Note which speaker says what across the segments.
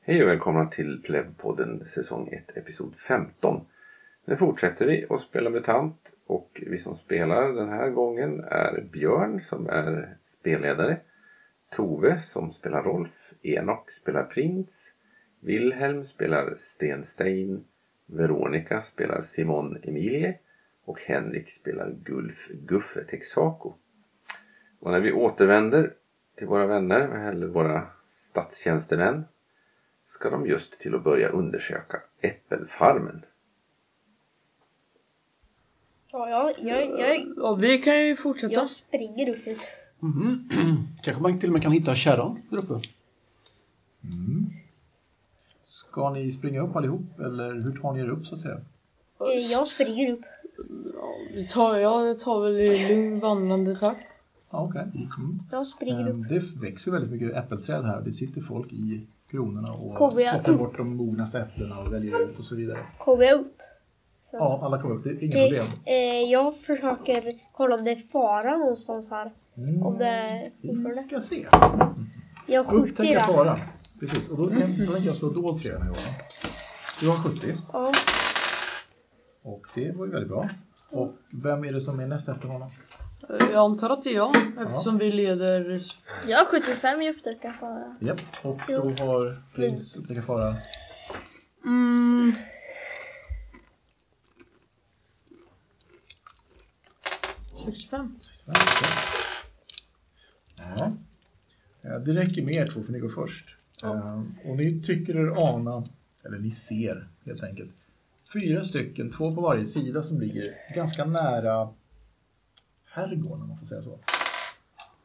Speaker 1: Hej och välkomna till Plevpodden säsong 1 episod 15. Nu fortsätter vi att spela MUTANT och vi som spelar den här gången är Björn som är spelledare, Tove som spelar Rolf, Enoch spelar Prins, Wilhelm spelar Sten Stein, Veronica spelar Simon Emilie och Henrik spelar Gulf Guffe Texaco. Och när vi återvänder till våra vänner, eller våra statstjänstemän, ska de just till att börja undersöka äppelfarmen.
Speaker 2: Ja, jag, jag,
Speaker 3: Eh,
Speaker 2: jag,
Speaker 4: Ja, vi kan ju fortsätta.
Speaker 2: jag springer upp dit.
Speaker 5: Kanske man till och med kan hitta kärran där uppe.
Speaker 6: Ska ni springa upp allihop eller hur tar ni er upp så att säga?
Speaker 2: Eh, Jag springer upp.
Speaker 4: Vi tar, jag tar väl i lugn vandrande takt.
Speaker 6: Ja, okej. Mm.
Speaker 2: Jag springer upp.
Speaker 6: Ehm, Det växer väldigt mycket äppelträd här. Det sitter folk i kronorna och
Speaker 2: Kommer jag
Speaker 6: plockar
Speaker 2: upp?
Speaker 6: bort de mognaste äpplena och väljer ut och så vidare.
Speaker 2: Kommer jag upp?
Speaker 6: Ja, alla kommer upp. Det är Ehm, inga
Speaker 2: Okej,
Speaker 6: problem.
Speaker 2: eh, jag försöker kolla om det är fara någonstans här. Om det är
Speaker 6: Mm, Vi
Speaker 2: fortfarande.
Speaker 6: ska se.
Speaker 2: Jag skjuter i
Speaker 6: Upptäcka
Speaker 2: det.
Speaker 6: fara. Precis, och då kan då tänker jag slå dolt för er den här gången. Du har 70
Speaker 2: Ja,
Speaker 6: och det var ju väldigt bra. Och vem är det som är näst efter honom?
Speaker 4: Jag antar att det är jag eftersom vi leder.
Speaker 3: Jag har 75 i upptäcka fara.
Speaker 6: Japp, och då har prins upptäcka fara.
Speaker 4: Mm.
Speaker 6: Ja. Eh, Det räcker med er två för ni går först. Eh, Och ni tycker er ana, eller ni ser helt enkelt, fyra stycken, två på varje sida som ligger ganska nära herrgården om man får säga så.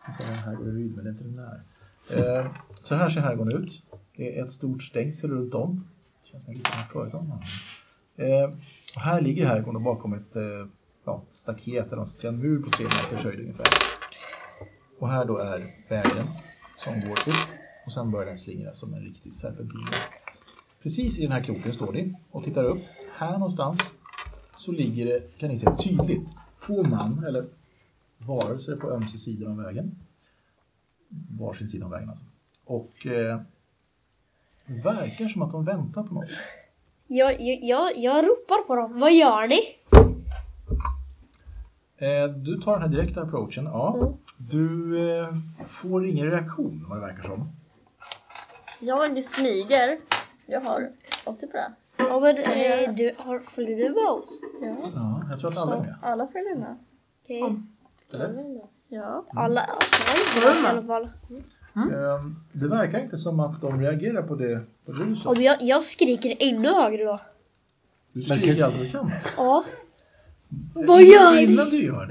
Speaker 6: Jag säger herrgård i Ryd, men det är inte den där. Eh, Så här ser herrgården ut. Det är ett stort stängsel runt om. Det känns som en liten företag. Eh, Och här ligger herrgården och bakom ett eh, ja, staket, eller vad man ska säga, en mur på tre meters höjd ungefär. Och här då är vägen som går upp och sen börjar den slingra som en riktig serpentin. Precis i den här kroken står ni och tittar upp. Här någonstans så ligger det, kan ni se tydligt, två man eller varelser på ömse sidor om vägen. Varsin sida om vägen alltså. Och eh, det verkar som att de väntar på något.
Speaker 2: jag, jag, jag, jag ropar på dem. Vad gör ni?
Speaker 6: Eh, du tar den här direkta approachen, ja.
Speaker 2: Mm.
Speaker 6: Du eh, får ingen reaktion vad det verkar som.
Speaker 3: Jag smyger. Jag har 80 på det.
Speaker 2: Ja, men eh, du, har, följer du med oss?
Speaker 3: Ja.
Speaker 6: Ja, jag tror att alla är med.
Speaker 3: Alla följer med.
Speaker 2: Okej.
Speaker 6: Eller?
Speaker 2: Mm.
Speaker 3: Ja.
Speaker 2: Alla, alltså, jag är med i alla fall. Mm.
Speaker 6: Ehm, Det verkar inte som att de reagerar på det, på det du sa.
Speaker 2: Om jag, jag skriker ännu högre då.
Speaker 6: Du skriker allt du kan.
Speaker 2: Ja. Vad gör ni?
Speaker 6: Innan du gör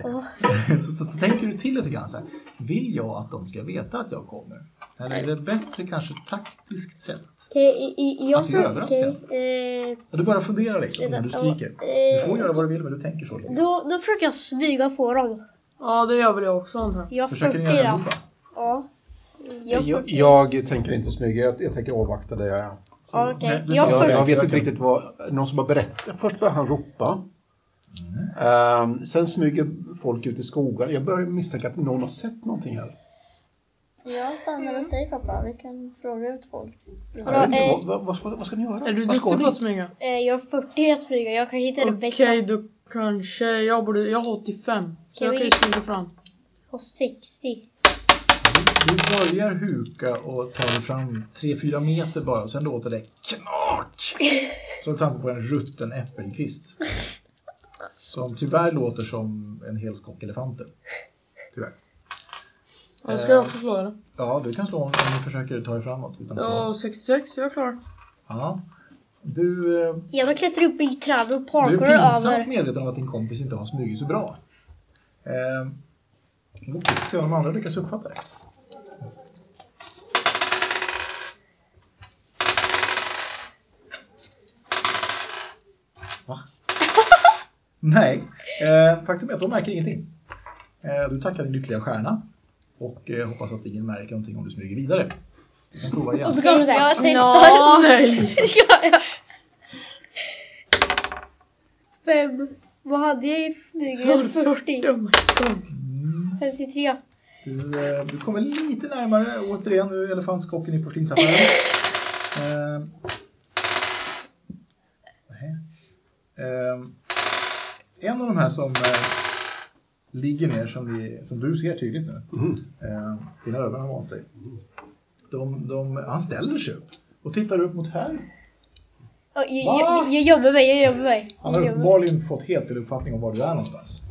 Speaker 6: det så, så, så tänker du till lite grann så här. Vill jag att de ska veta att jag kommer? Eller är det bättre kanske taktiskt sett?
Speaker 2: Okej, i- i- jag...
Speaker 6: Att vi är överraskade.
Speaker 2: okej, eh,
Speaker 6: Ja, Du bara funderar liksom innan du skriker. Du får göra vad du vill men du tänker så. lite.
Speaker 2: då, då försöker jag smyga på dem.
Speaker 4: Ja, det gör väl jag också antar jag.
Speaker 2: Jag
Speaker 6: Försöker ni
Speaker 2: skjuter i
Speaker 6: göra
Speaker 2: dem.
Speaker 6: allihopa?
Speaker 2: Ja. Jag,
Speaker 7: Jag, jag tänker inte smyga, jag, jag tänker avvakta det jag är.
Speaker 2: ja, okej.
Speaker 6: Nej, det-
Speaker 2: jag,
Speaker 7: Jag,
Speaker 2: för,
Speaker 7: jag vet inte riktigt vad... Någon som har berättat. Först började han ropa. Ehm, sen smyger folk ut i skogar. Jag börjar misstänka att någon har sett någonting här.
Speaker 3: Jag stannar hos dig pappa. Vi kan fråga ut folk.
Speaker 7: jag vet inte,
Speaker 2: eh,
Speaker 7: vad, vad, vad, ska, vad ska ni göra?
Speaker 4: Är du
Speaker 7: vad ska
Speaker 4: duktig på
Speaker 7: ni?
Speaker 4: att smyga?
Speaker 2: eh, jag har 40 i att smyga. Jag kan hitta det
Speaker 4: Okej,
Speaker 2: bästa.
Speaker 4: då kanske jag borde... Jag har 85. Så
Speaker 2: Kan
Speaker 4: jag kan ju
Speaker 2: vi-
Speaker 4: smyga fram.
Speaker 2: På 60.
Speaker 6: Du börjar huka och tar dig fram 3-4 meter bara och sen låter det knak! Som tanke på en rutten äppelkvist. Som tyvärr låter som en hel skock elefanter. Tyvärr.
Speaker 4: Ja, ska jag också slå eller?
Speaker 6: Ja, du kan slå om, om du försöker ta dig framåt. Utan
Speaker 4: Ja,
Speaker 6: ja.
Speaker 4: 66. Jag är klar.
Speaker 6: Ja. Du, eh,
Speaker 2: Ja, då klättrar jag upp i träd och
Speaker 6: du är
Speaker 2: parkourar
Speaker 6: pinsamt
Speaker 2: över.
Speaker 6: medveten om att din kompis inte har smugit så bra. Eh, Vi ska se om de andra lyckas uppfatta det. Va? Nej, eh, faktum är att de märker ingenting. Eh, du tackar din lyckliga stjärna och eh, hoppas att ingen märker någonting om du smyger vidare. Du kan prova igen.
Speaker 2: Och så kommer de så här.
Speaker 3: Jag testar.
Speaker 4: Nej!
Speaker 3: Ska jag?
Speaker 2: Fem. Vad hade jag i smyga?
Speaker 4: Jag
Speaker 2: Jag
Speaker 4: har
Speaker 2: hade 40.
Speaker 4: 40.
Speaker 2: 53.
Speaker 6: Du, eh, du kommer lite närmare återigen nu, elefantskocken i porslinsaffären. Ehm. Nej. Ehm. En av de här som eh, ligger ner, som, vi, som du ser tydligt nu, eh, dina ögon har vant sig. De, de, han ställer sig upp och tittar upp mot här.
Speaker 2: Ja, Jag, jag, jag gömmer mig, jag gömmer mig.
Speaker 6: Han har
Speaker 2: Jag gömmer mig.
Speaker 6: uppenbarligen fått helt fel uppfattning om var du är någonstans.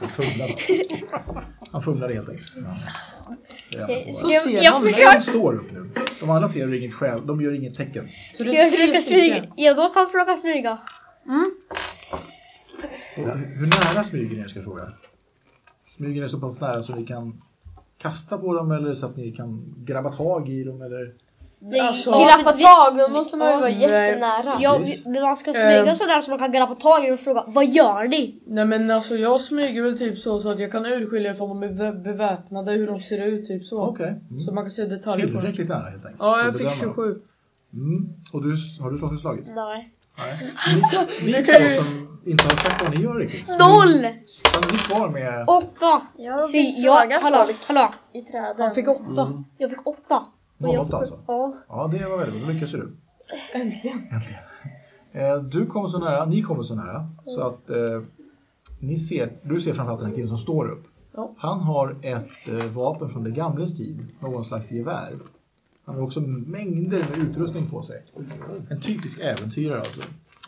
Speaker 6: Han fumlar. Han fumlar helt enkelt. Ja. Det är han på.
Speaker 4: Så
Speaker 2: Jag,
Speaker 4: ser
Speaker 2: jag,
Speaker 4: han mig.
Speaker 2: försöker,
Speaker 6: Alltså, De står upp nu. De andra tre gör inget skäl, de gör inget tecken.
Speaker 4: Så
Speaker 2: ska
Speaker 4: det är
Speaker 2: jag
Speaker 4: tre
Speaker 2: försöka
Speaker 4: stycken.
Speaker 2: smyga? Ja, då kan jag försöka smyga.
Speaker 6: Och hur nära smyger ni er ska jag fråga? Smyger ni så pass nära så vi kan kasta på dem eller så att ni kan grabba tag i dem eller?
Speaker 3: Alltså,
Speaker 2: Ja,
Speaker 8: Grappa
Speaker 2: men vi-
Speaker 8: tag, då måste man ju vara
Speaker 4: Nej.
Speaker 8: jättenära.
Speaker 2: Ja, vi- men man ska smyga
Speaker 4: Ehm.
Speaker 2: sådär så man kan grabba tag i det och fråga Vad gör ni?
Speaker 4: Nej men alltså jag smyger väl typ så, så att jag kan urskilja ifall de är bevä- beväpnade, hur de ser ut typ så.
Speaker 6: Okej. Mm.
Speaker 4: Så man kan se detaljer på dem.
Speaker 6: Tillräckligt nära helt enkelt.
Speaker 4: Ja jag
Speaker 6: För att
Speaker 4: fick
Speaker 6: bedöma dem.
Speaker 4: 27.
Speaker 6: Mm. Och du, har du slagit och slagit?
Speaker 2: Nej.
Speaker 6: Nej.
Speaker 4: Alltså,
Speaker 6: Ni, ni två som inte har sett vad ni gör riktigt.
Speaker 2: Noll!
Speaker 6: Stannar ni kvar med...
Speaker 2: Åtta!
Speaker 3: Jag
Speaker 2: Så
Speaker 3: vill
Speaker 2: jag,
Speaker 3: fråga
Speaker 2: hallå,
Speaker 3: folk
Speaker 2: hallå.
Speaker 3: i träden.
Speaker 4: Han fick 8.
Speaker 2: Jag fick åtta. Och jag
Speaker 6: 08
Speaker 2: fick-
Speaker 6: alltså?
Speaker 2: Ja.
Speaker 6: Ja, det var väldigt bra. Då lyckas ju du. Äntligen. Eh, Du kommer så nära, ni kommer så nära, så
Speaker 2: Mm.
Speaker 6: att eh, ni ser, du ser framförallt den här killen som står upp.
Speaker 4: Ja.
Speaker 6: Han har ett eh, vapen från det gamles tid, någon slags gevär. Han har också mängder med utrustning på sig.
Speaker 2: Mm.
Speaker 6: En typisk äventyrare alltså.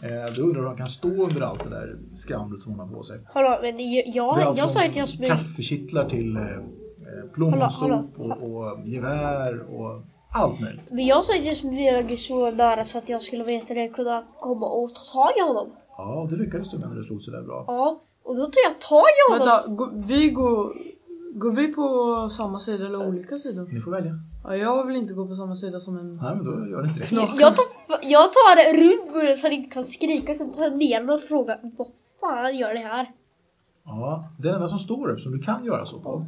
Speaker 6: Eh, du undrar hur han kan stå under allt det där skramlet som han har på sig.
Speaker 2: Hallå, men jag,
Speaker 6: Det är
Speaker 2: jag,
Speaker 6: allt
Speaker 2: jag sa
Speaker 6: från
Speaker 2: inte jag smyger.
Speaker 6: Kaffekittlar till eh, eh,
Speaker 2: Hallå,
Speaker 6: plommonstop och, och gevär och allt möjligt.
Speaker 2: Men jag sa att jag smög så nära så att jag skulle veta det kunna komma och ta tag i honom.
Speaker 6: Ja, det lyckades du med när du slog sådär bra.
Speaker 2: Ja, och då tog jag tag i honom.
Speaker 4: Vänta, går- vi går... Går vi på samma sida eller olika sidor?
Speaker 6: Ni får välja.
Speaker 4: Ja, jag vill inte gå på samma sida som en...
Speaker 6: Nej, men då gör ni inte det.
Speaker 2: Jag- Jag tar, f- jag tar det runt bordet så han inte kan skrika, sen tar jag ner honom och frågar vad fan gör det här?
Speaker 6: Ja, den enda som står upp som du kan göra så på.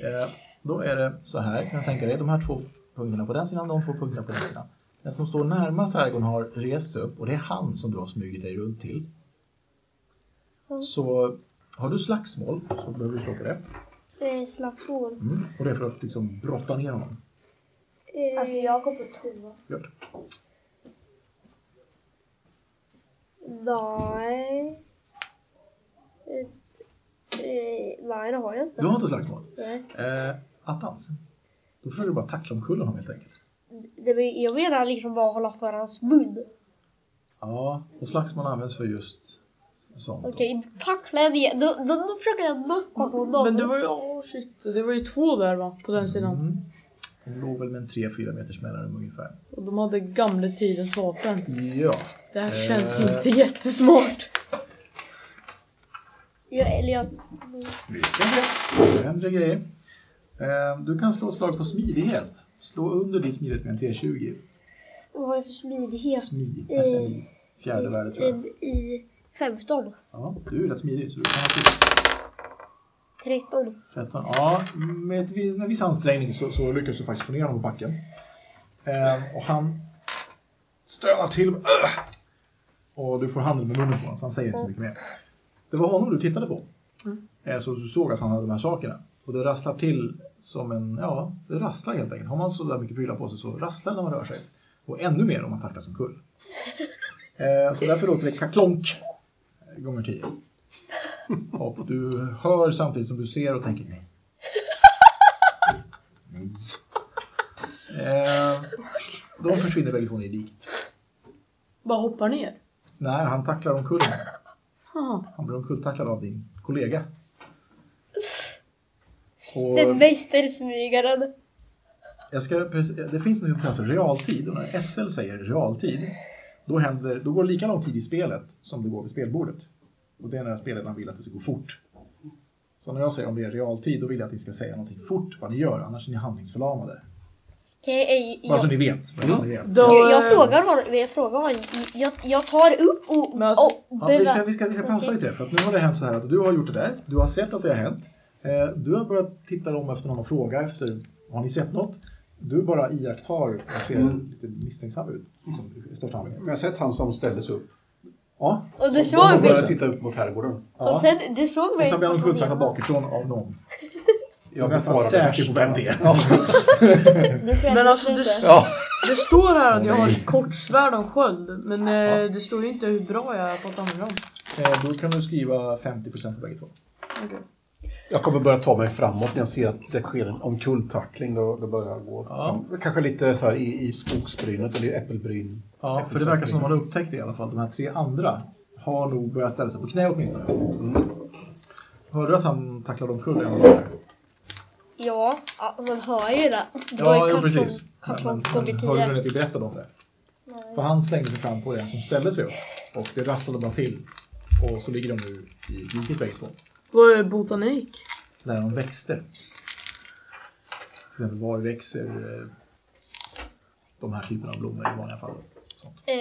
Speaker 6: Eh, då är det så här, kan jag tänka dig. De här två punkterna på den sidan, de två punkterna på den sidan. Den som står närmast Ergon har rest upp och det är han som du har smugit dig runt till. Så har du slagsmål så behöver du slå på det.
Speaker 2: Eh, Slagsmål.
Speaker 6: Mm. Och det är för att liksom brotta ner honom.
Speaker 2: Eh,
Speaker 8: Alltså jag går på toa.
Speaker 6: Gör det.
Speaker 2: nej. Eh, eh, nej, det har jag inte.
Speaker 6: Du har inte slagsmål?
Speaker 2: Nej.
Speaker 6: Eh, attans. Då försöker du bara tackla omkull honom helt enkelt.
Speaker 2: Det, men- jag menar liksom bara hålla för hans mun.
Speaker 6: Ja, och slagsmål används för just sånt. då.
Speaker 2: Okej, tackla jag ner. Då, då, då försöker jag knocka på honom.
Speaker 4: Men det var ju... Åh shit. Det var ju två där va? På den sidan.
Speaker 6: Mm. De låg väl med en 3-4 meters mellanrum ungefär.
Speaker 4: Och de hade gamle tidens vapen.
Speaker 6: Ja.
Speaker 4: Det här känns
Speaker 6: Eh.
Speaker 4: inte jättesmart.
Speaker 2: jag, eller jag,
Speaker 6: Vi ska se. Det händer grejer. Eh, Du kan slå ett slag på smidighet. Slå under din smidighet med en T20.
Speaker 2: vad har jag för smidighet?
Speaker 6: Smid,
Speaker 2: Eh,
Speaker 6: SMI. Fjärde värde tror jag.
Speaker 2: I, i 15.
Speaker 6: Ja, du är rätt smidig så du kan ha till
Speaker 2: 13.
Speaker 6: 13. Ja, med ett vi- med viss ansträngning så, så lyckas du faktiskt få ner honom på backen. Eh, Och han stönar till. med, "Ugh!" Och du får handen med munnen på honom för han säger inte så mycket mer. Det var honom du tittade på. Eh, Så du såg att han hade de här sakerna. Och det rasslar till som en, ja, det rasslar helt enkelt. Har man så där mycket prylar på sig så rasslar det när man rör sig. Och ännu mer om man tacklas omkull. Eh, Så därför låter det kaklonk eh, gånger tio. Och du hör samtidigt som du ser och tänker nej. Nej. Eh, De försvinner bägge två ner i diket.
Speaker 4: Bara hoppar ner.
Speaker 6: Nej, han tacklar omkull honom.
Speaker 4: Aha.
Speaker 6: Han blir omkulltacklad av din kollega. Så
Speaker 2: Den mästersmygaren.
Speaker 6: jag ska, precis- det finns något som kallas för realtid och när SL säger realtid då, händer, då går det lika lång tid i spelet som det går vid spelbordet. Och det är när spelledaren vill att det ska gå fort. Så när jag säger om det är realtid då vill jag att ni ska säga någonting fort vad ni gör annars är ni handlingsförlamade.
Speaker 2: Okej, eh,
Speaker 6: Bara så
Speaker 2: jag,
Speaker 6: ni vet. Bara så ni vet.
Speaker 4: Då,
Speaker 2: jag, jag
Speaker 4: eh,
Speaker 2: frågar honom. Jag, frågar honom. jag, jag tar upp och...
Speaker 4: Men alltså-
Speaker 2: och
Speaker 6: Ja, vi, ska,
Speaker 2: beva-
Speaker 6: vi, ska, vi ska pausa lite för att nu har det hänt så här att du har gjort det där. Du har sett att det har hänt. Eh, Du har börjat titta om efter någon och fråga efter har ni sett något? Du bara iakttar och ser lite misstänksam ut liksom, i största allmänhet.
Speaker 7: Jag har sett han som ställdes upp.
Speaker 6: Ja,
Speaker 2: och du
Speaker 7: Och
Speaker 2: såg liksom-
Speaker 7: då
Speaker 2: mig.
Speaker 7: började jag titta upp mot herrgården.
Speaker 6: ja.
Speaker 2: Och sen, du såg
Speaker 6: och
Speaker 2: mig.
Speaker 6: sen blir han
Speaker 2: inte ta
Speaker 6: omkulltackad
Speaker 2: ner honom.
Speaker 6: bakifrån av någon.
Speaker 7: Jag
Speaker 6: är nästan
Speaker 7: befarade
Speaker 6: säker på vem det är. Ja.
Speaker 2: Du skämdes
Speaker 4: Men alltså du,
Speaker 2: inte.
Speaker 7: Ja.
Speaker 4: Det står här att jag har ett kort svärd och en sköld. Men eh, det står ju inte hur bra jag är på att använda dem.
Speaker 6: Eh, Då kan du skriva 50% på bägge två.
Speaker 7: Jag kommer börja ta mig framåt när jag ser att det sker en omkulltackling. Då, då börjar jag gå
Speaker 6: Ja.
Speaker 7: fram. Kanske lite så här i, i skogsbrynet eller i äppelbryn.
Speaker 6: Ja, för det verkar som att man har upptäckt det i alla fall. De här tre andra har nog börjat ställa sig på knä åtminstone. Mm. Hörde du att han tacklade omkull en av dem?
Speaker 2: Ja, ja, man hör ju det. Då är
Speaker 6: Ja, jo,
Speaker 2: kartong-
Speaker 6: precis. Men, men,
Speaker 2: Kartong kommer
Speaker 6: hörde du
Speaker 2: tio.
Speaker 6: den inte berättade om det? För han slängde sig fram på den som ställde sig upp. Och det rasslade bara till. Och så ligger de nu i diket bägge två.
Speaker 4: Vad är botanik?
Speaker 6: Lära om växter. Till exempel var växer eh, de här typerna av blommor i vanliga fall. Sånt.
Speaker 2: Eh,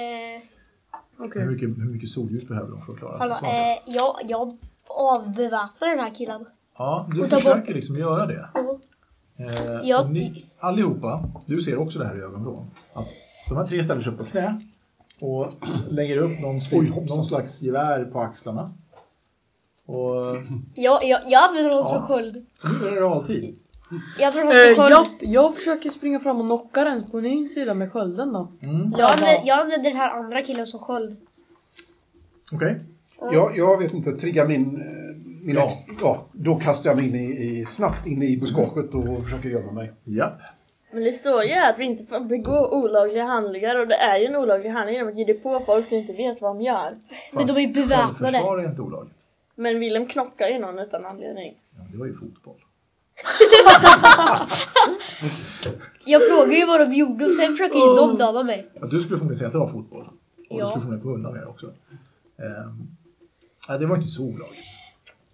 Speaker 4: Okej.
Speaker 3: Eh,
Speaker 6: Hur, mycket, hur mycket solljus behöver de för att klara
Speaker 2: hallå,
Speaker 6: sig?
Speaker 2: eh, jag, jag avbeväpnar den här killen.
Speaker 6: Ja, du
Speaker 2: och ta
Speaker 6: försöker liksom göra det.
Speaker 2: Ja.
Speaker 6: Eh,
Speaker 2: Ja.
Speaker 6: och ni, allihopa, du ser också det här i ögonvrån. Att de här tre ställer sig upp på knä och lägger upp någon,
Speaker 7: Oj, hoppsan.
Speaker 6: någon slags gevär på axlarna. Och
Speaker 2: Jag, jag, jag använder honom
Speaker 6: Ja.
Speaker 2: som sköld.
Speaker 6: nu är det realtid.
Speaker 2: Jag använder honom som
Speaker 4: Eh,
Speaker 2: sköld.
Speaker 4: japp, jag försöker springa fram och knocka den på din sida med skölden då.
Speaker 6: Mm.
Speaker 2: Jag, använder, jag använder den här andra killen som sköld.
Speaker 6: Okej.
Speaker 7: Jag, jag vet inte, trigga min... eh, min
Speaker 6: Ja.
Speaker 7: ja. ja. Då kastar jag mig in i, i, snabbt in i buskaget och försöker gömma mig.
Speaker 6: Japp.
Speaker 3: Men det står ju att vi inte får begå olagliga handlingar och det är ju en olaglig handling genom att ge det på folk som inte vet vad de gör.
Speaker 2: Men de är ju beväpnade.
Speaker 6: Självförsvar är inte olagligt.
Speaker 3: Men Willem knockar ju någon utan anledning.
Speaker 6: Ja, men det var ju fotboll.
Speaker 2: Jag frågar ju vad de gjorde och sen försöker ju de döda mig.
Speaker 6: Ja, du skulle förmodligen säga att det var fotboll. Och du
Speaker 2: Ja.
Speaker 6: skulle förmodligen gå undan med det också. Ehm, nej, det var inte så olagligt.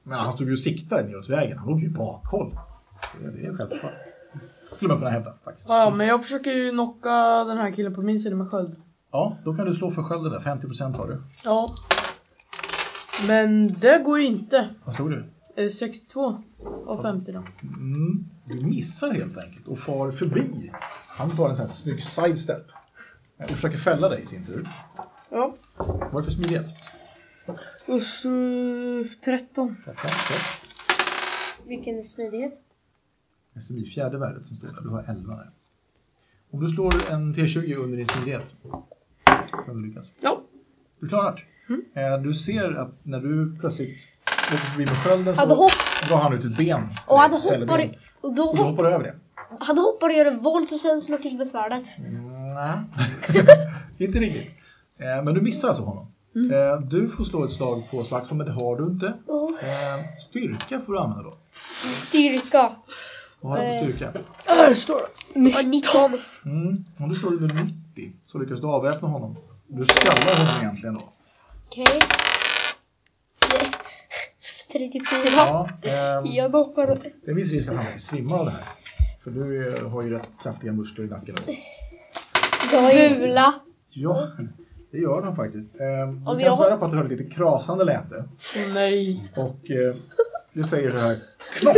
Speaker 6: Men han stod ju och siktade neråt vägen. Han låg ju i bakhåll. Det, det är ju självklart. Skulle man kunna hävda faktiskt.
Speaker 4: Ja, men jag försöker ju knocka den här killen på min sida med sköld.
Speaker 6: Ja, då kan du slå för skölden där. 50% har du.
Speaker 4: Ja. Men det går ju inte.
Speaker 6: Vad slog du?
Speaker 4: Eh, 62 av 50 då.
Speaker 6: Mm, du missar helt enkelt och far förbi. Han tar en sån här snygg sidestep. Och försöker fälla dig i sin tur.
Speaker 4: Ja.
Speaker 6: Vad är det för smidighet?
Speaker 4: Och så eh, 13.
Speaker 6: Detta, okej.
Speaker 8: Vilken är smidighet?
Speaker 6: SMI fjärde värdet som står där. Du har 11 där. Om du slår en T20 under din smidighet så kan du lyckas.
Speaker 4: Ja.
Speaker 6: Du klarar det.
Speaker 2: Mm.
Speaker 6: Eh, Du ser att när du plötsligt åker förbi med skölden så
Speaker 2: Han hopp,
Speaker 6: drar han ut ett ben.
Speaker 2: och han
Speaker 6: Ställer ben.
Speaker 2: hoppar, och då
Speaker 6: Och så
Speaker 2: hopp,
Speaker 6: hoppar du över det.
Speaker 2: han hoppar och gör en volt och sen slår till med svärdet.
Speaker 6: Mm. Nej, inte riktigt. Eh, Men du missar alltså honom.
Speaker 2: Mm.
Speaker 6: Eh, Du får slå ett slag på slagsmål, men det har du inte.
Speaker 2: Åh,
Speaker 6: Eh, Styrka får du använda då.
Speaker 2: Styrka.
Speaker 6: Vad har du
Speaker 2: Eh,
Speaker 6: för styrka?
Speaker 4: Där står
Speaker 2: Och 19.
Speaker 6: Mm. Om du slår under 90 så lyckas du avväpna honom. Du skallar honom egentligen då.
Speaker 2: Okej. Nej. 34.
Speaker 6: Ja, ehm,
Speaker 2: Jag hoppar upp.
Speaker 6: det är viss risk att han svimmar av det här. För du eh, har ju rätt kraftiga muskler i nacken.
Speaker 2: Jag är bula.
Speaker 6: Ja, det gör han faktiskt. Ehm,
Speaker 2: Om
Speaker 6: Du kan
Speaker 2: jag-
Speaker 6: svära på att du hörde lite krasande läte.
Speaker 4: Nej.
Speaker 6: Och eh, det säger så här, knock!